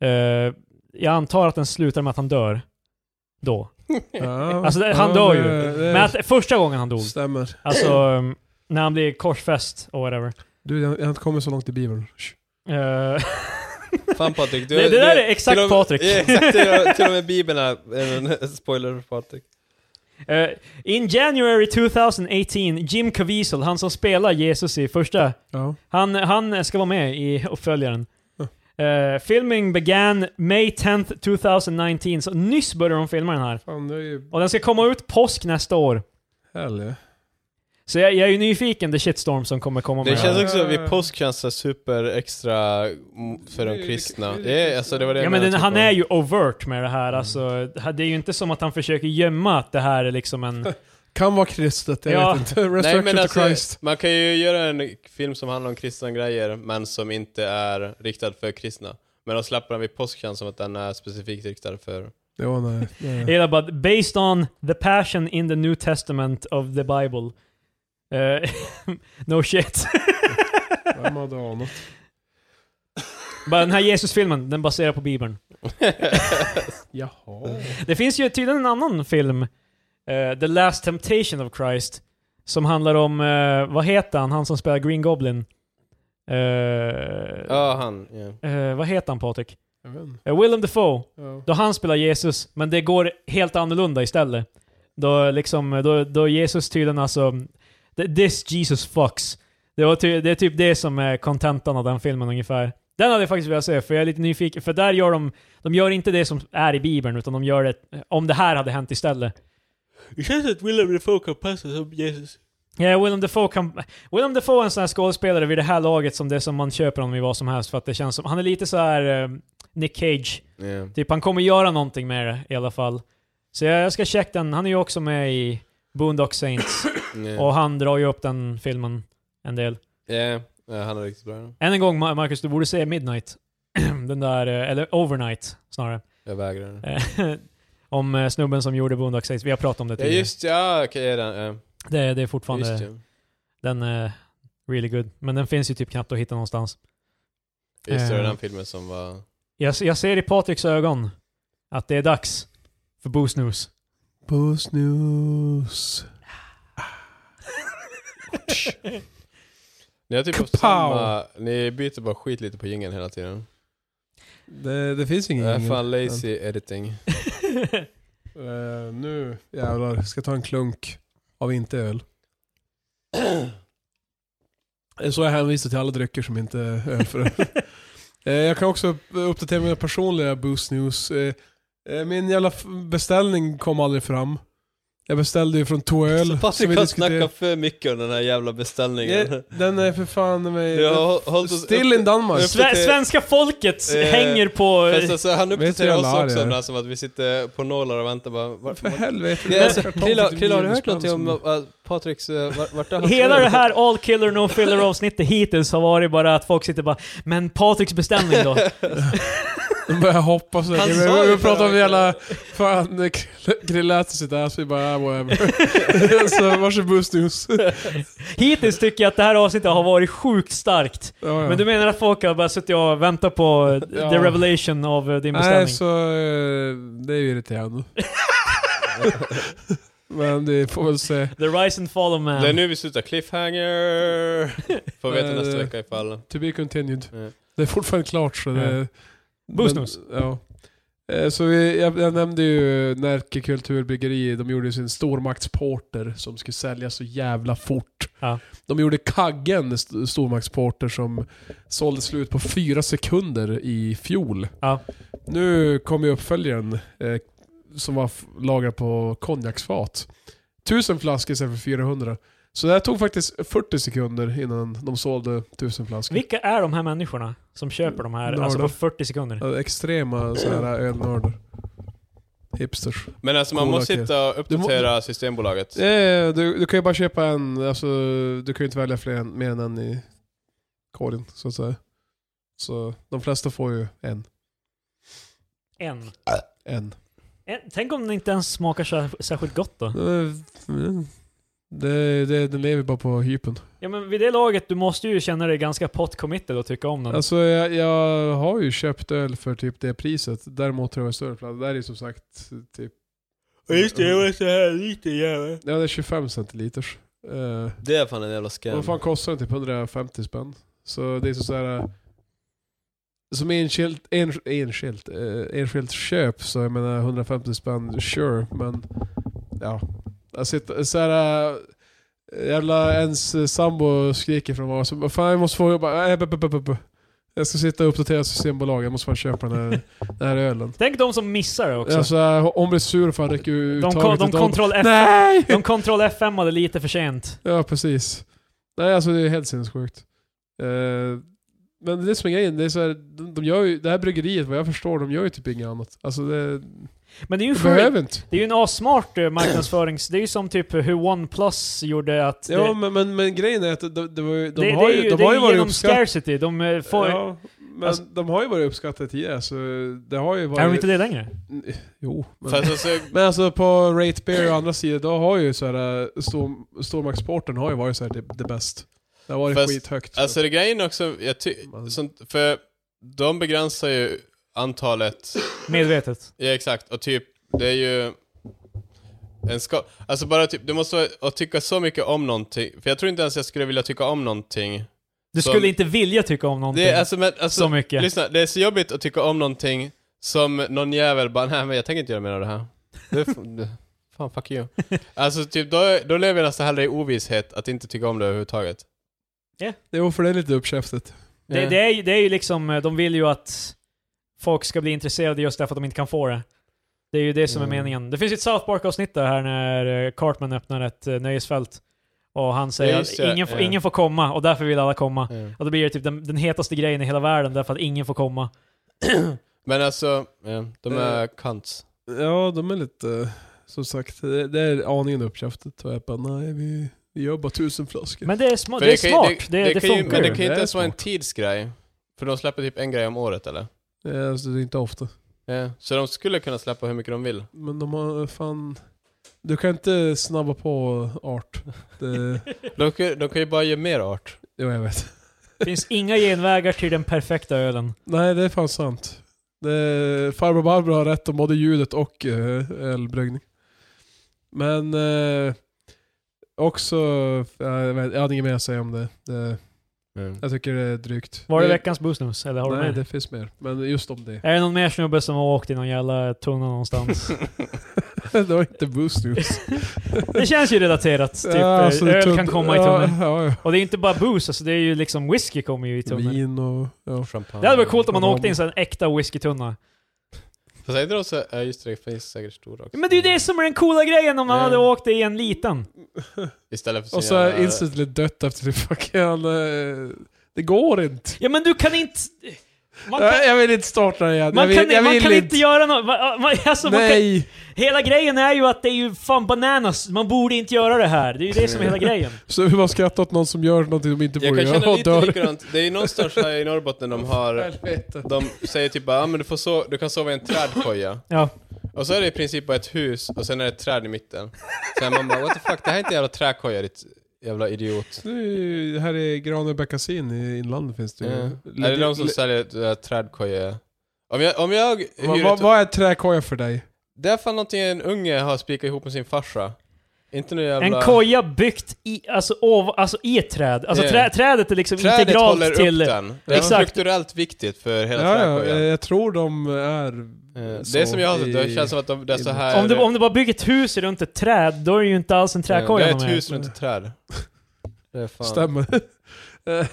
Eh, jag antar att den slutar med att han dör. Då. Ja. Alltså, det- Ja, han dör ju. det- det Men att, första gången han dog, Stämmer. alltså um, när han blev korsfäst och whatever. Du, jag jag har inte kommit så långt i Bibeln. Shh. Eh, Fan Patrik, du, Det- det du- där är exakt till och med- Patrik. Ja, exakt, till och- till och med Bibeln är en spoiler för Patrik. eh, in January 2018, Jim Caviezel, han som spelar Jesus i första, Ja. han, han ska vara med i uppföljaren. Ja. Eh, filming began May 10th 2019, så nyss började de filma den här. Fan, det är ju Och den ska komma ut påsk nästa år. Helge. Så jag, jag är ju nyfiken, the shitstorm som kommer komma Det med känns här. också, vid påsk känns det super extra m- för de kristna. Ja, alltså det var det Ja jag men den, menade, typ Mm. han om- är ju overt med det här alltså. Det är ju inte som att han försöker gömma att det här är liksom en... Kan vara kristet, jag Ja. vet inte. Resurrection Nej, men to alltså, Christ. man kan ju göra en film som handlar om kristna grejer, men som inte är riktad för kristna. Men de släpper den vid påsk känns som att den är specifikt riktad för... Jo, nej. Mm. nej. Hela bara, based on the passion in the New Testament of the Bible. Eh, no shit. Vem hade anat? bara den här Jesus-filmen, den baserar på Bibeln. Jaha. Det finns ju tydligen en annan film, eh, The Last Temptation of Christ, som handlar om, eh, vad heter han, han som spelar Green Goblin? Eh, Ja, han. ja. eh, vad heter han Patrik? Jag vet inte. Uh, Willem Dafoe. Ja. Då han spelar Jesus, men det går helt annorlunda istället. Då, liksom, då, då Jesus tydligen alltså... th- This Jesus fucks. Det, var ty, det är typ det som är kontentan av den filmen ungefär. Den hade jag faktiskt velat se, för jag är lite nyfiken. För där gör de... De gör inte det som är i Bibeln, utan de gör det om det här hade hänt istället. Det känns att Willem Dafoe kan passa som Jesus. Ja, Willem Dafoe kan... Willem Dafoe är en sån här skådespelare vid det här laget som det som man köper honom i vad som helst, för att det känns som... Han är lite så här eh, Nick Cage. Typ han kommer göra någonting med det i alla fall. Så jag, jag ska checka den. Han är ju också med i Boondock Saints. Yeah. Och han drar ju upp den filmen en del. Ja, ja, han är riktigt bra. den. Än en gång Ma- Marcus, du borde se Midnight. den där, eh, eller Overnight snarare. Jag vägrar den. Eh, om eh, snubben som gjorde Boondock Saints. Vi har pratat om det Ja tidigare. just ja, okej ja, den. det, det är Ja, fortfarande, just ja. den är really good. Men den finns ju typ knappt att hitta någonstans. Just det, det, Eh. var den filmen som var... Jag, jag ser i Patriks ögon att det är dags för Booze News. Puss news. Ni har typ haft Kapow! samma... Ni byter bara skit lite på jingeln hela tiden. Det, det finns ingen Jag är jingle. Äh, fan lazy editing. Eh, nu jävlar, ska jag ta en klunk av inte öl. Det är Så jag hänvisar till alla drycker som inte är öl för öl. Eh, Jag kan också uppdatera mina personliga Boost News. Eh, eh, Min jävla f- beställning kom aldrig fram. Jag beställde ju från Så Toöl. Alltså, Patrik har snackat diskuterade. för mycket om den här jävla beställningen. Eh, Den är för fan Du mig... har hå- hållit oss Still in Danmark. upp- Sve, svenska folket Eh, hänger på... Fast alltså, han Vet du hur uppdaterar oss jävla arg också jag om är? det här som att vi sitter på nålar och väntar bara. Var, För var, helvete. ja, alltså, Krilla, Kartong- Krilla, har du hört någonting om som- uh, Patriks, uh, vart, vart har han Hela det här all killer no filler avsnittet hittills har varit bara att folk sitter bara Men Patriks beställning då? De börjar hoppa så Han vi, sa ju vi, vi pratar om förra jävla... Fan, eh, Krille- Krille äter sitt ass, vi bara ah, whatever. så varsågod Boost News. Ja, Hittills tycker jag att det här avsnittet har varit sjukt starkt. ja. Men du menar att folk har bara suttit och väntat på eh, Ja. the revelation av eh, din beställning? Nej, så eh, det är ju irriterande. Men det får väl se. The rise and fall of man. Det är nu vi slutar cliffhanger. Får veta Eh, nästa vecka ifall. To be continued. Ja. Det är fortfarande klart så det... Ja. Boost News. Men, Ja. Eh, Så vi, jag, jag nämnde ju Närke Kulturbryggeri, de gjorde ju sin stormaktsporter som skulle säljas så jävla fort. Ja. De gjorde Kaggen, st- stormaktsporter, som sålde slut på fyra sekunder i fjol. Ja. Nu kom ju uppföljaren eh, som var f- lagrad på konjaksfat. Tusen flaskor istället för 400. Så det här tog faktiskt 40 sekunder innan de sålde tusen flaskor. Vilka är de här människorna som köper de här, Nördar. alltså på 40 sekunder? Ja, Extrema så här ölnördar. Hipsters. Men alltså man Coola måste kid. sitta och uppdatera Systembolaget. Ja, ja, ja, du, du kan ju bara köpa en, alltså, du kan ju inte välja fler, än- mer än en i korgen så att säga. Så de flesta får ju en. En. en. en. Tänk om den inte ens smakar sär- särskilt gott då? Det, det, den lever bara på hypen. Ja men vid det laget, du måste ju känna dig ganska pot committed och tycka om den. Alltså jag, jag har ju köpt öl för typ det priset. Däremot tror jag större plats. Det här är ju som sagt typ... så här lite jävlar. Ja, det är 25 centiliters. Eh, Det är fan en jävla Och scam. Vad fan kostar den? Typ 150 spänn. Så det är så så här. Som enskilt, en, enskilt, eh, enskilt köp så jag menar 150 spänn, sure. Men ja. Alltså, ett- så här, eh, jävla ens eh, sambo skriker från var. Så bara, fan jag måste få jobba. Äh, b, b, b, b, b. Jag ska sitta och uppdatera Systembolaget. Jag måste fan köpa den här, den här ölen. Tänk de som missar det också. Alltså, hon blir sur för han räcker ju de ut kon- taget de åt dem. kontroll F- Nej! De Control F5 hade lite för sent. Ja, precis. Nej, alltså det är helt sinnessjukt. Eh, men det är det som är grejen, det är så här, de, de gör ju, det här bryggeriet vad jag förstår, de gör ju typ inget annat. Alltså det, Men det är ju de en sjuk behöver inte. Det är ju en assmart eh, marknadsförings... Det är ju som typ hur OnePlus gjorde att... Ja, det, men, men, men grejen är att de, de, har ju, de det, har det är ju, de det har är ju varit genom uppskattade. scarcity. De eh, får... Ja, men alltså- de har ju varit uppskattade tidigare så det har ju varit... är de inte det längre? Jo. Men, Fast alltså, men alltså på Rate Beer och andra sidor, då har ju så här, eh, storm, stormaktsporten har ju varit så här det, det bäst. Det har varit Fast- skithögt. Alltså det grejen också, jag ty- Man- sånt, för de begränsar ju antalet, Medvetet. ja exakt, och typ, det är ju en ska- Alltså bara typ, det måste vara att tycka så mycket om någonting, för jag tror inte ens jag skulle vilja tycka om någonting. Du Som- skulle inte vilja tycka om någonting. Det är, alltså, men, alltså, Så mycket. Lyssna, det är så jobbigt att tycka om någonting som någon jävel bara, nej men jag tänker inte göra mer av det här. Det är f- det, fan, fuck you. Alltså typ, då, då lever jag nästan hellre i ovisshet att inte tycka om det överhuvudtaget. Jo, för det är lite uppkäftigt. det, Ja. det, är, ju- det är ju liksom... eh, De vill ju att folk ska bli intresserade just därför att de inte kan få det. Det är ju det som är Mm. meningen. Det finns ju ett South Park-avsnitt där här när eh, Cartman öppnar ett eh, nöjesfält. Och han säger Ja, just att det. ingen, får, Ja. ingen får komma och därför vill alla komma. Ja. Och då blir det typ den, den hetaste grejen i hela världen därför att ingen får komma. Men alltså, ja, de är Eh. cunts. Ja, de är lite... Som sagt, det, det är aningen uppkäftigt. Och jag bara, nej vi, vi gör bara tusen flaskor. Men det är, sma- För det är kan ju- smart, det, det, kan ju, funkar Men det ju. kan ju Det inte är ens vara en smart. tidsgrej. För de släpper typ en grej om året eller? Ja, alltså, det är inte ofta. Ja. Så de skulle kunna släppa hur mycket de vill. Men de har fan... Du kan inte snabba på art. Det, De, kan- de kan ju bara ge mer art. jo, jag vet. finns inga genvägar till den perfekta ölen. Nej, det är fan sant. Det, farbror Barbro har rätt om både ljudet och eh, ölbryggning. Men eh, också... Jag, jag, vet, jag hade inget mer att säga om det. det jag tycker det är drygt. Var det veckans busnus? Eller har du Nej, med? det finns mer. Men just om det. Är det någon mer snubbe som har åkt i någon jävla tunna någonstans? det var inte boost news. det känns ju relaterat. Typ, Ja, alltså, det är öl tungt. kan komma i Ja, tunneln. Ja, ja. Och det är inte bara booze, alltså det är ju liksom whisky kommer ju i tunneln. Vin och... Ja. Champagne. Det hade varit coolt om man åkte in så här en äkta whiskytunna. Fast är inte de så... Ja just det, det finns säkert stora också. Men det är ju det som är den coola grejen om man Ja. hade åkt i en liten. Istället för Och sin så är jävla- instantly dött efter det fucking... eh, Det går inte. Ja men du kan inte... Man kan, Nej, jag vill inte starta det igen. man jag vill, kan, jag man vill kan inte göra något... man- man- Alltså, man kan, Nej! hela grejen är ju att det är ju fan bananas. Man borde inte göra det här. Det är ju det som är hela grejen. Så hur man skrattar åt någon som gör någonting de inte Jag borde kan göra känna och lite dör. likadant. Det är ju någonstans här i Norrbotten de har... Helvete. De säger typ bara, ah, men du, får so- du kan sova i en trädkoja. Ja. Och så är det i princip bara ett hus och sen är det ett träd i mitten. Sen man bara, what the fuck, det här är inte en jävla trädkoja ditt jävla idiot. Nu, här i Granö-Bäckasin i inlandet finns det ju. Ja. Eh, Lite- Mm. Är det någon som li- säljer det där trädkoja? Om jag, om jag vad, hyr vad, ett... vad är träkoja för dig? Det är fan någonting en unge har spikat ihop med sin farsa. Inte nu jävla... En koja byggt i, alltså, ov, alltså i ett träd. Alltså Ja. trä, trädet är liksom Trädet integralt håller upp till... den. Det är Exakt. strukturellt viktigt för hela Ja, ja, eh, trädkojan. jag tror de är... Eh, det är så som jag har sett, det i- känns som att de, det är så i- här... Eh, Om du, om du bara bygger ett hus runt ett träd, då är det ju inte alls en trädkoja Det är de ett hus runt ett träd. Det är fan. Stämmer. Jag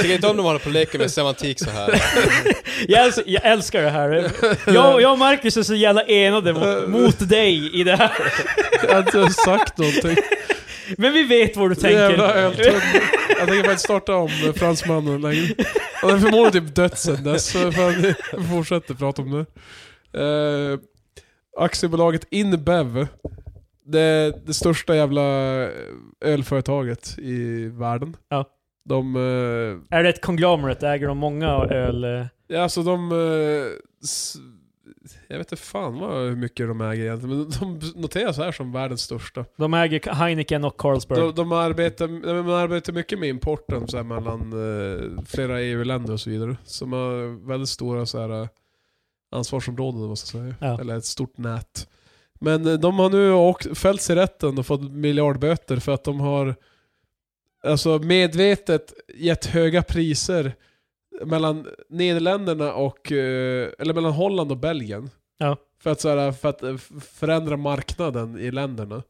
tycker inte om de håller på och leker med semantik så här. Jag älskar, jag älskar det här. Jag, jag och Marcus är så jävla enade mot, mot dig i det här. jag har inte sagt någonting. Men vi vet vad du Jävla tänker. öltunna. Jag tänker faktiskt starta om eh, fransmannen länge. Han är förmodligen typ dött sen dess, så fan, vi fortsätter prata om det. Eh, aktiebolaget InBev, det, det största jävla eh, ölföretaget i världen. Ja. De, eh, Är det ett konglomerat? Äger de många öl... eh, ja, alltså de, eh, s- jag vet inte fan vad, hur mycket de äger egentligen, men de noteras här som världens största. De äger Heineken och Carlsberg. De, de, arbetar, nej, men man arbetar mycket med importen så här, mellan eh, flera EU-länder och så vidare. Som har väldigt stora så här, eh, ansvarsområden, vad man ska säga. Ja. Eller ett stort nät. Men eh, de har nu åkt, fällts i rätten och fått miljardböter för att de har alltså, medvetet gett höga priser mellan Nederländerna och, eh, eller mellan Holland och Belgien. Ja. För, att, så här, för att eh, f- förändra marknaden i länderna.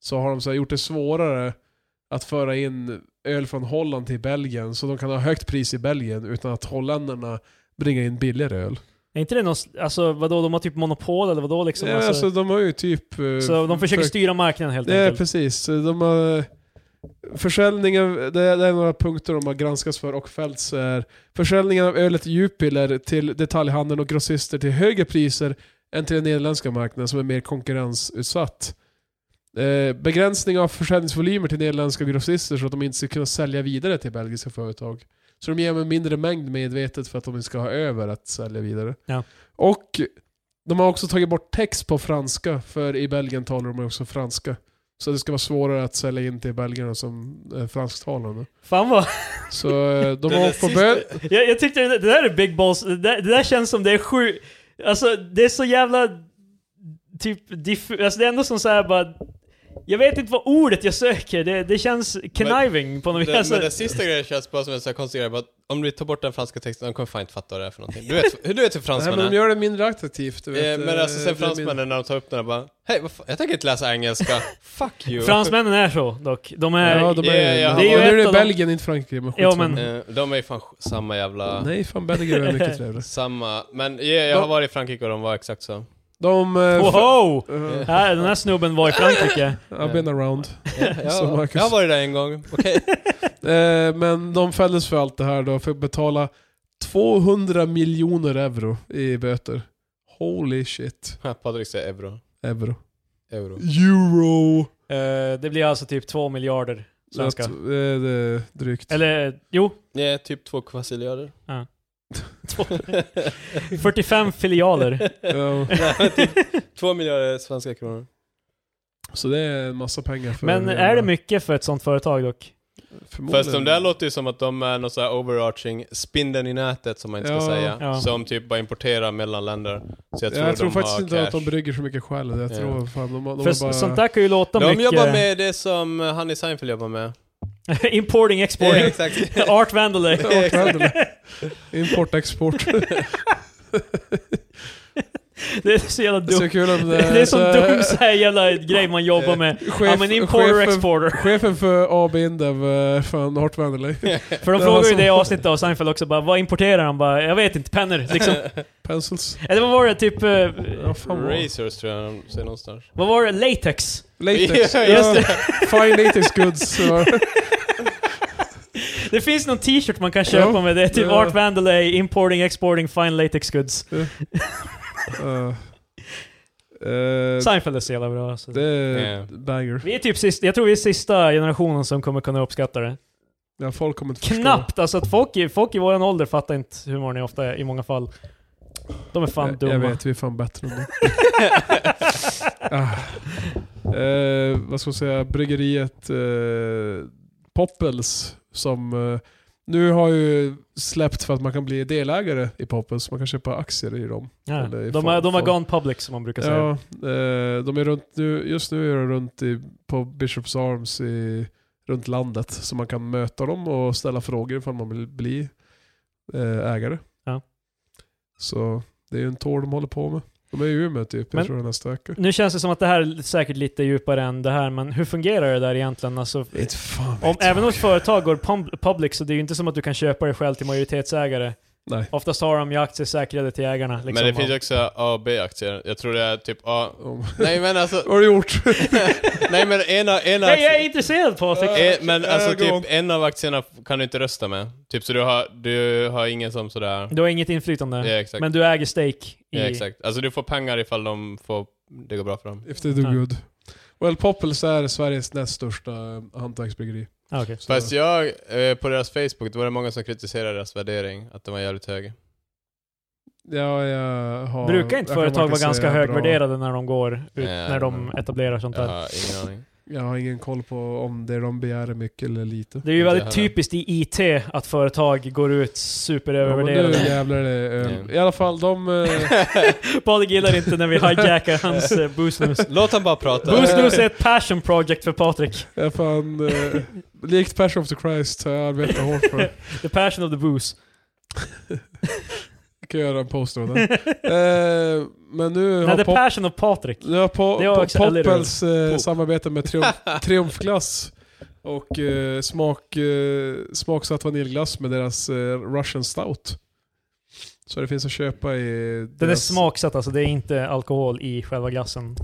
Så har de så här, gjort det svårare att föra in öl från Holland till Belgien. Så de kan ha högt pris i Belgien utan att holländarna bringar in billigare öl. Är inte det någon, s- alltså vadå, de har typ monopol eller vadå liksom? ja, alltså, alltså, de har ju typ... eh, så de försöker försökt- styra marknaden helt Ja, enkelt. precis. De har, försäljningen, det är, det är några punkter de har granskats för och fällts är försäljningen av ölet Jupiler till detaljhandeln och grossister till högre priser än till den nederländska marknaden som är mer konkurrensutsatt. Eh, begränsning av försäljningsvolymer till nederländska grossister så att de inte ska kunna sälja vidare till belgiska företag. Så de ger dem en mindre mängd medvetet för att de inte ska ha över att sälja vidare. Ja. Och de har också tagit bort text på franska, för i Belgien talar de också franska. Så det ska vara svårare att sälja in till belgarna som är fransktalande. Fan vad... Så eh, de Det är har det åkt på sista- bö- Jag, jag tyckte det, det där är big balls, det där, det där känns som det är sju... Alltså det är så jävla... Typ diffu- Alltså det är ändå som såhär bara... Jag vet inte vad ordet jag söker, det, det känns conniving på något vis. Det, Alltså, men den sista grejen känns bara som en sån här konstig grej, bara, att om du tar bort den franska texten, de kommer fan inte fatta vad det är för någonting. Du vet, hur- du vet hur Nej, men fransmännen de är. gör det mindre attraktivt. Du vet. Eh, Men alltså Eh, sen det är min- fransmännen när de tar upp den och bara Hej, vad fan, jag tänker inte läsa engelska. Fuck you. Alltså, Fransmännen är så dock. De är... Ja, de är, Ja, ja, ja. det är ju ett nu är det av de- Belgien, inte Frankrike. Men Ja, skitsamma. men- Eh, de är ju fan sj- samma jävla... Nej, fan Belgien är mycket trevligare. Samma. Men ja, jag har varit i Frankrike och de var exakt så. De... eh, Oho! f- eh, Här, den här snubben var i Frankrike. I've been around. Som Jag, Marcus. jag har varit där en gång. Okej. Eh, men de fälldes för allt det här då, för att betala 200 miljoner euro i böter. Holy shit. Patrik säger euro. Euro. euro. Euro. Eh, det blir alltså typ två miljarder svenska. Så att, eh, det är drygt. Eller jo, Nej, typ två kvasiljarder. två- 45 filialer. Ja, Nej, typ två miljarder svenska kronor. så det är en massa pengar för Men är det mycket för ett sånt företag dock? Förmodligen. Fast de där låter ju som att de är någon sån här overarching spindeln i nätet som man inte ska Ja. säga. Ja. Som typ bara importerar mellan länder. Så Jag jag tror, tror, jag tror de faktiskt har inte cash. att de brygger så mycket själv. Jag Ja. tror fan de, de För har bara... s- sånt där kan ju låta De mycket... jobbar med det som eh, han i Seinfeld jobbar med. Importing, Ja, exporting. exakt. Art Vandalay. Import, export. Det är så jävla Det är dumt. så kul om det, Det är som så- dum så här jävla grej man jobbar med. ja men importer och chefen- exporter. Chefen för AB Indev, eh, fan Art Vanderley. För de Det frågar var ju som- det i avsnittet av Seinfeld också bara, vad importerar han? Bara, jag vet inte, pennor liksom. Pencils. Eller vad var det? Typ... eh, Ja, fan vad- Razors tror jag de säger någonstans. Vad var det? Latex? Latex. Ja, ja, just fine latex goods. så- Det finns någon t-shirt man kan köpa Ja. med det. Typ Ja. Art Vandelay, importing, exporting, fine latex goods. Eh, eh, Seinfeld är så jävla bra. Alltså. det är Ja. banger. Vi är typ sist, jag tror vi är sista generationen som kommer kunna uppskatta det. Ja, folk kommer inte Knappt! Alltså att folk, i- folk i våran ålder fattar inte humorn i ofta i många fall. De är fan förstå. dumma. Jag, jag vet, vi är fan bättre än det. ah. Eh, vad ska man säga? Bryggeriet eh, Poppels som eh, nu har ju släppt för att man kan bli delägare i Poppels. Man kan köpa aktier i dem. Ja. Eller i De, är, de har form- gone public som man brukar säga. Ja, eh, de är runt nu, just nu är de runt i, på Bishops Arms i, runt landet. Så man kan möta dem och ställa frågor ifall man vill bli eh, ägare. Ja. Så det är ju en tår de håller på med. De är i Umeå typ, jag Men- tror det är nästa vecka. Nu känns det som att det här är säkert lite djupare än det här, men hur fungerar det där egentligen? Alltså, Inte fan vet om, jag. även om ett företag går pub- public så det är ju inte som att du kan köpa dig själv till majoritetsägare. Nej. Oftast har de ju aktier säkrade till ägarna. Liksom. Men det finns ju också A och B-aktier. Jag tror det är typ A... Om- Nej men alltså... Vad har du gjort? Nej men ena, ena Nej, jag är aktien... intresserad Patrik! Eh, men alltså Äh, gå om. typ en av aktierna kan du inte rösta med. Typ så du har, du har ingen som sådär... Du har inget inflytande, Ja exakt. men du äger stake i... ja, exakt. Alltså du får pengar ifall de får... Det går bra för dem. If they do Ja. good. Well, Poppels är Sveriges näst största eh, hantverksbryggeri. Ah, okej. Så- Fast jag, eh, på deras Facebook, det var det många som kritiserade deras värdering. Att den var jävligt hög. Ja, jag har, Brukar inte jag kan företag varken vara ganska säga bra- högvärderade när de går ut, Ja, när de men- etablerar sånt Jag där? har ingen aning. Jag har ingen koll på om det de begär är mycket eller lite. Det är ju Inte väldigt heller. typiskt i IT att företag går ut Ja, men nu superövervärderade. jävlar är det öl. Mm. I alla fall, de... eh, Patrik gillar inte när vi hijackar hans eh, Boost News. Låt han bara prata. Boost News är ett passion project för Patrik. är fan, eh, likt Passion of the Christ har jag arbetat hårt för. Jag The passion of the booze. kan göra en poster av den. Eh, men nu Nej, har, the pop, passion of Patrik. nu har po, det är po, också eller- Poppels eh, Pop. samarbete med triumf, Triumfglass och eh, smak, eh, smaksatt vaniljglass med deras eh, Russian Stout. Så det finns att köpa i Den är deras- smaksatt alltså, det är inte alkohol i själva glassen.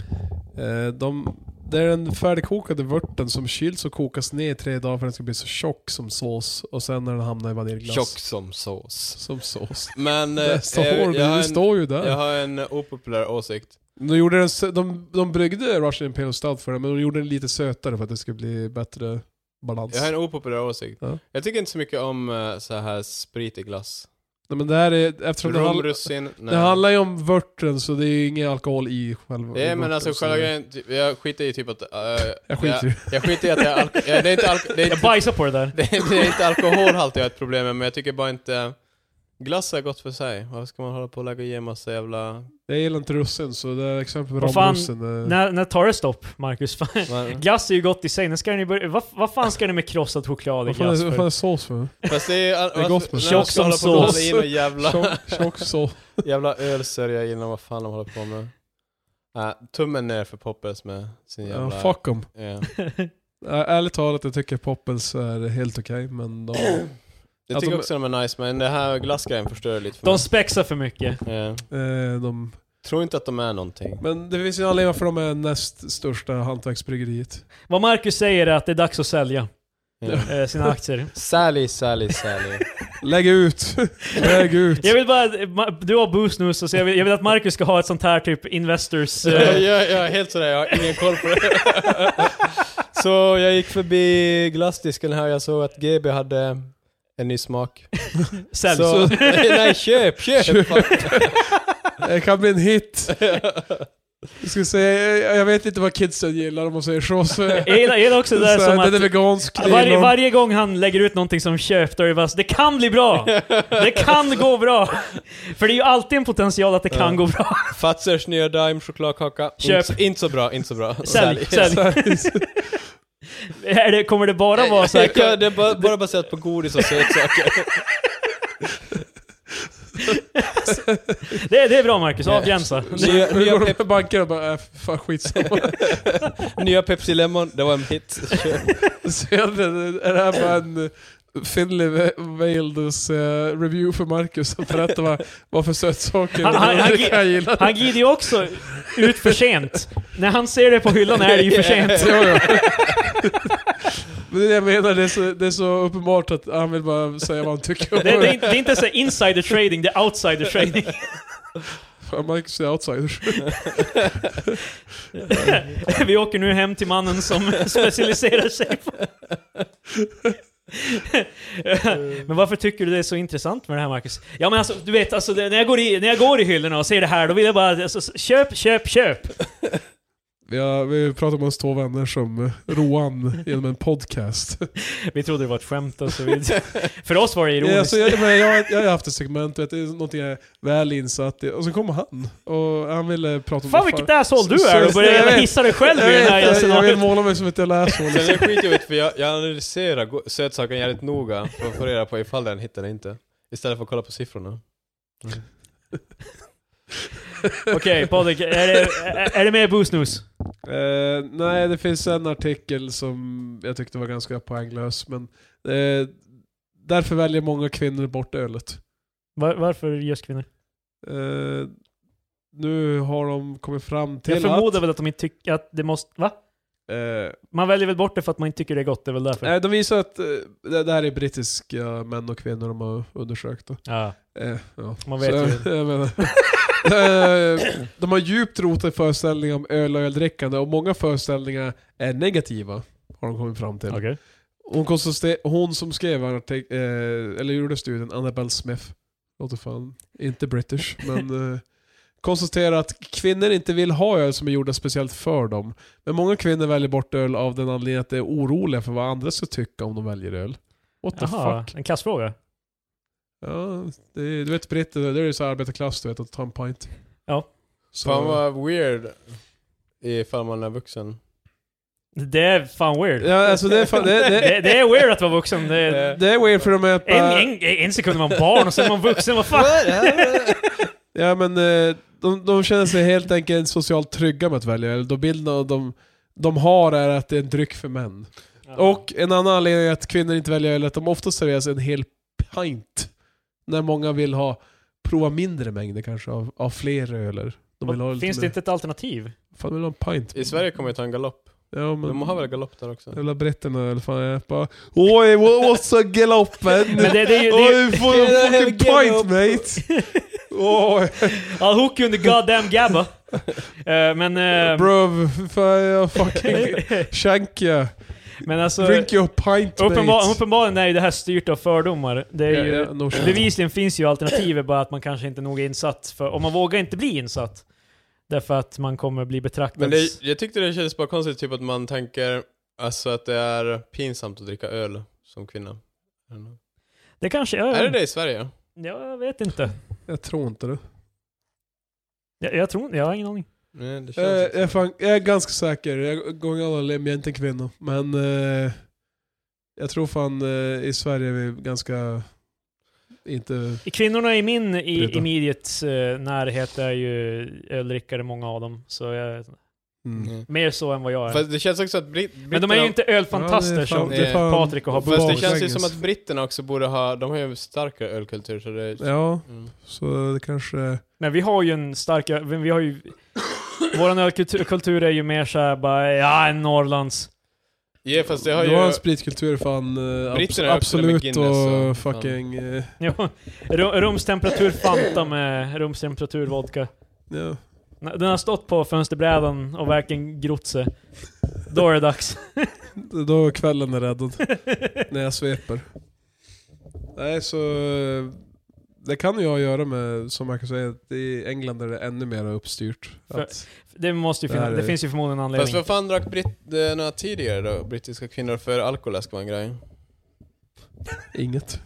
Eh, de, det är den färdigkokade vörten som kyls och kokas ner i tre dagar för att den ska bli så tjock som sås. Och sen när den hamnar i vaniljglass. Tjock som sås. Som sås. Men... eh, Det står, jag, jag, det har en, står ju där. jag har en opopulär åsikt. De, gjorde den, sö- de, de bryggde Russian Imperial Stout för den, men de gjorde den lite sötare för att det skulle bli bättre balans. Jag har en opopulär åsikt. Ja. Jag tycker inte så mycket om eh, så här sprit i glass. Nej, men det här är, eftersom det, Rom, handl, russin, nej. det handlar ju om vörten så det är ju ingen alkohol i själva Ja men vörten, alltså så själva det- grejen, typ, jag skiter i typ att... eh, Jag skiter jag, ju. jag skiter i att jag... alko- ja, det är inte alko- det är Jag inte- bajsar på det där. det är- det är inte alkoholhalt jag har ett problem med, men jag tycker bara inte... Glass är gott för sig. Varför ska man hålla på och lägga i en massa jävla... Jag gillar inte russin så det är exempel på Vad fan, romrussin. är- När, när tar det stopp, Marcus? Fan, Man, glass är ju gott i sig. Nu ska ni börja, vad, vad fan ska ni med krossad choklad i Vad fan glass är- vad fan för? är sås för? fast det är, Det är gott med när tjock man ska som hålla på och sås. blanda i någon jävla, Tjock- Tjock sås. jävla ölsörja innan vad fan de håller på med. Nej, tummen ner för Poppers med sin Ja, jävla... fuck dem. Ja. Ä- Ärligt talat, jag tycker Poppels är helt okej, men de... Jag Att tycker de- också de är nice, men det här glassgrejen förstör lite för De spexar för mycket. mig. Ja. eh, de Tror inte att de är någonting. men det finns ju en anledning varför de är näst största hantverksbryggeriet. Vad Marcus säger är att det är dags att sälja. eh, sina aktier. Sally, Sally, Sally. Lägg ut! Lägg ut! Jag vill bara, Ma- du har Boost nu, så jag vill, jag vill att Marcus ska ha ett sånt här typ Investors... jag, eh, jag, jag är helt sådär, jag har ingen koll på det. så jag gick förbi glassdisken här och jag såg att GB hade en ny smak. sälj. Så, nej, köp, köp! Det kan bli en hit! Jag, skulle säga, jag- jag vet inte vad kidsen gillar om man säger så. så Jag gillar- jag gillar också det där så här, som den är att vegansk. det varje, gillar de. varje gång han lägger ut någonting som köp, då är det bara så, det kan bli bra! Det kan gå bra! För det är ju alltid en potential att det kan gå bra. Fatzers nya Daim chokladkaka. Köp. Inte, inte så bra, inte så bra. Sälj, sälj. Är det, kommer det bara vara så här, Ja, det är bara, bara baserat på godis och sötsaker. det, det är bra Marcus, avgränsa. nya, Nu nya, går de pep, till banken och bara, äh, fan skitsamma. nya Pepsi Lemon, det var en hit. Köp. Så jag vet, Är det här bara en eh, Finley Vaildos eh, review för Marcus? Han berättar vad, vad för sötsaker Han- han- han- det kan jag gilla. Han glider ju också ut för sent. När han ser det på hyllan är det ju för sent. Ja, ja. Men det är det jag menar, det är, så, det är så uppenbart att han vill bara säga vad han tycker om Det, det, är, det. inte- det är inte så här insider trading, det är outsider trading. Fan, Marcus är outsiders. Vi åker nu hem till mannen som specialiserar sig på... men varför tycker du det är så intressant med det här Marcus? Ja men alltså, du vet, alltså, det, när, jag går i, när jag går i hyllorna och ser det här, då vill jag bara... Alltså, s- köp, köp, köp! Vi, har, vi pratar om oss två vänner som eh, roan genom en podcast. Vi trodde det var ett skämt och så vidare. För oss var det Ja, ironiskt. alltså, jag, men jag, jag har haft ett segment, vet, det är någonting jag är väl insatt i. Och så kommer han. Och han ville prata om... Fan vilket asshål du är! Du börjar Jag jävla vet. hissa dig själv i jag, den vet, här jag, jag vill scenariot. måla mig som ett jävla asshole. Sen är det skitjobbigt för jag, jag analyserar go- sötsaken jävligt noga för att få reda på ifall den hittar eller inte. Istället för att kolla på siffrorna. Okej, Patrik, är det, är- är det mer boosnus? Eh, nej, det finns en artikel som jag tyckte var ganska poänglös, men eh, därför väljer många kvinnor bort ölet. Var, varför just kvinnor? Eh, nu har de kommit fram till Jag förmodar att... väl att de inte tycker att det måste... Va? Eh, Man väljer väl bort det för att man inte tycker det är gott, det är väl därför? nej, de visar att eh, det, det här är brittiska män och kvinnor de har undersökt. Då. Ja. Eh, ja. Man vet ju. jag, jag menar, Eh, de har djupt rotade föreställningar om öl och öldrickande och många föreställningar är negativa. Har de kommit fram till. Okej. Hon, konstater- hon som skrev artik- eh, eller gjorde studien, Annabelle Smith, låter fan inte british, men eh, konstaterar att kvinnor inte vill ha öl som är gjorda speciellt för dem. Men många kvinnor väljer bort öl av den anledningen att de är oroliga för vad andra ska tycka om de väljer öl. What the Jaha, fuck? en kassfråga. Ja, det, är- du vet britter, det är ju så här arbetarklass du vet, att ta en pint. Ja. Så, Fan vad weird ifall man är vuxen. Det är fan weird. ja, alltså det är fan, det, det, Det, det är weird att vara vuxen. Det är, det är weird för de är att en, bara- en, en sekund är man barn och sen är man vuxen, vad fan? Ja men eh, de, de känner sig helt enkelt socialt trygga med att välja öl. Då bilden av de, de har är att det är en dryck för män. Och en annan anledning är att kvinnor inte väljer öl är att de ofta serveras en hel pint. När många vill ha prova mindre mängder kanske av, av fler öler. De vill ha lite Finns det mer. inte ett alternativ? Fan vill ha en pint? I Sverige kommer jag ta en galopp. Ja men... De har väl galopp där också? Jävla britterna eller fan jag bara Oj, what- what's a galoppen? Men det, det är ju... Det är, ju- Oj, får du en fucking pint mate? Oj. I'll hook you in the goddamn gabba. Eh, men... eh, Bro, fan jag fucking shank ya. men alltså... Drink your pint Uppenbar, mate. uppenbarligen är ju det här styrt av fördomar. Det är Ja, ju, ja, no shit. bevisligen finns ju alternativet bara att man kanske inte är nog insatt, för, och man vågar inte bli insatt. Därför att man kommer bli betraktad... Men det, jag tyckte det kändes bara konstigt typ att man tänker alltså att det är pinsamt att dricka öl som kvinna. I don't know. det kanske... Ja, Är det det i Sverige? Ja, jag vet inte. Jag tror inte det. Jag, jag tror Jag har ingen aning. Nej, det Jag, känns Eh, jag, inte är så. fan, jag är ganska säker. Jag går alla lem, jag är inte en kvinna. Men eh, jag tror fan eh, i Sverige är vi ganska... Inte... Kvinnorna i min i, Bryta. immediate eh, närhet är ju öldrickare, många av dem. Så jag, Mm. Mm. mer så än vad jag är. Fast det känns också att britt, britterna... men de är ju inte Ja, det ölfantaster är fan- som... det är fan- Patrik och har Fast på Fast det Baris. känns ju som att britterna också borde ha... De har ju en starkare ölkultur så det... Ja, Mm. så det kanske... Men vi har ju en stark... ö- Vi har ju... Vår ölkultur kultur är ju mer såhär bara, ja, en Norrlands. Ja, fast det har Det var en ju... spritkultur fan eh, abs- Britterna är också med absolut Guinness och, och fan. fucking... eh, Ja, ru- rumstemperatur Fanta med rumstemperatur vodka. ja. När Den har stått på fönsterbrädan och verkligen grott sig. Då är det dags. Då är kvällen är räddad. när jag sveper. Nej, så... eh, Det kan ju jag göra med, som Marcus säger, att i England är det ännu mer uppstyrt. För- Att, Det, måste ju Det finna, här är- det finns ju förmodligen en Fast anledning. vad fan drack britterna tidigare då? Brittiska kvinnor för alkoläsk var en grej. inget.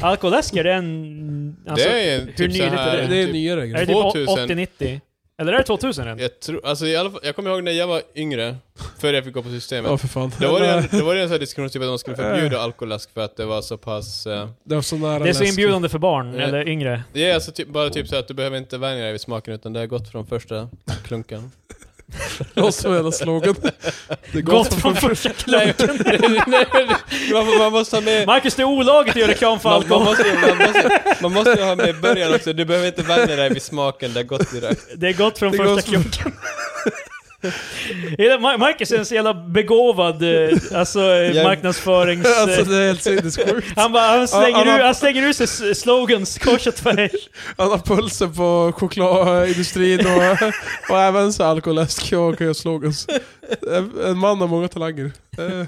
Alkoläsk är det en... Alltså, det är ju typ hur nyligt så är här, Det, det? det är typ, nyare är det grejer. typ 2000? 80-90? Eller är det 2000 än? jag, tror, alltså, i alla fall, jag kommer ihåg när jag var yngre, före jag fick gå på typ- systemet. Ja, för fan. Då var det en, Nej, då var det en sån här diskussion typ att man skulle förbjuda alkoläsk för att det var så pass... eh, det var så nära Det är så läsk. inbjudande för barn, Eh. eller yngre. det är alltså typ, bara typ så här att du behöver inte vänja dig vid smaken utan det är gott från första klunkan. Det var så jävla slogan. Det är Gott från första klunken. Nej, men man, får- man måste ha med... Marcus, det är olagligt att göra reklam för Man, alkohol. man, måste, man, måste, man måste ha med i början också, du behöver inte vänja dig vid smaken, det är gott direkt. Det är gott från Det är första gott från- klunken. Hela Ma- Marcus är en så jävla begåvad eh, alltså, eh, Jag- marknadsförings... Alltså eh, det är helt sinnessjukt. Han, bara, han, Ja, han slänger har- ur, han slänger ur sig s- slogans kors och tvärs. Han har pulsen på chokladindustrin och, och även så alkoläsk och och slogans. En- En man har många talanger. Eh,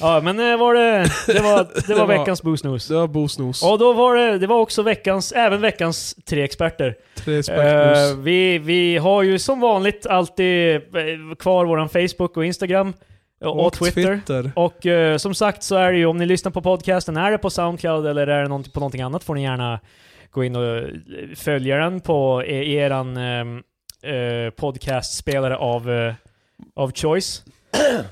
Ja, men eh, var det, det, var, det, var var- veckans boosnos. Det var bosnos. Och då var det, det var också veckans, även veckans tre experter. Tre Eh, sparknos. vi, vi har ju som vanligt alltid eh, kvar våran Facebook och Instagram eh, och, och Twitter. Och eh, som sagt så är det ju, om ni lyssnar på podcasten, är det på Soundcloud eller är det någonting, på någonting annat får ni gärna gå in och eh, följa den på er, eran eh, eh, podcastspelare av, eh, av choice.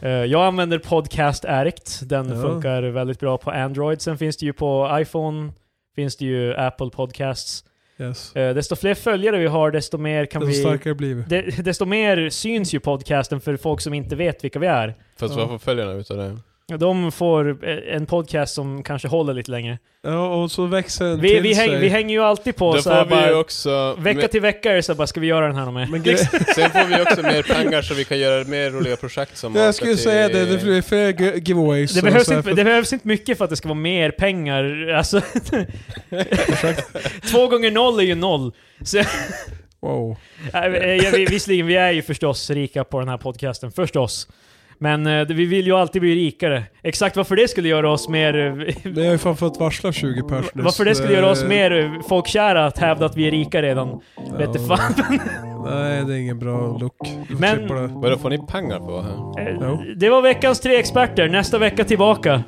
Eh, jag använder Podcast Addict, den Ja. funkar väldigt bra på Android. Sen finns det ju på iPhone, finns det ju Apple Podcasts. Yes. Eh, desto fler följare vi har, desto mer kan Desto vi... starkare blir vi. De, desto mer syns ju podcasten för folk som inte vet vilka vi är. Fast Ja. vad får följarna utav det? De får eh, en podcast som kanske håller lite längre. Ja, och så växer en Vi, till vi, häng, sig. vi hänger ju alltid på Då så här får vi ju bara, också... vecka till vecka är det så här, bara, ska vi göra den här Liksom, med? Men gre- Sen får vi också mer pengar så vi kan göra mer roliga projekt som jag åker skulle till- säga det, det blir fler gi- giveaways. Det och behövs, så här inte, för- det behövs inte mycket för att det ska vara mer pengar. Alltså, två gånger noll är ju noll. Wow. Äh, eh, ja, vi, visserligen, vi är ju förstås rika på den här podcasten, förstås. Men eh, vi vill ju alltid bli rikare. Exakt varför det skulle göra oss mer... eh, Det har ju fan fått varsla 20 pers nu. Varför så det skulle göra oss mer eh, folkkära att hävda att vi är rika redan, vet du fan. Nej, det är ingen bra look. Vi får Men- klippa det. Vadå, får ni pengar på det här? Eh, Ja. Det var veckans tre experter, nästa vecka tillbaka.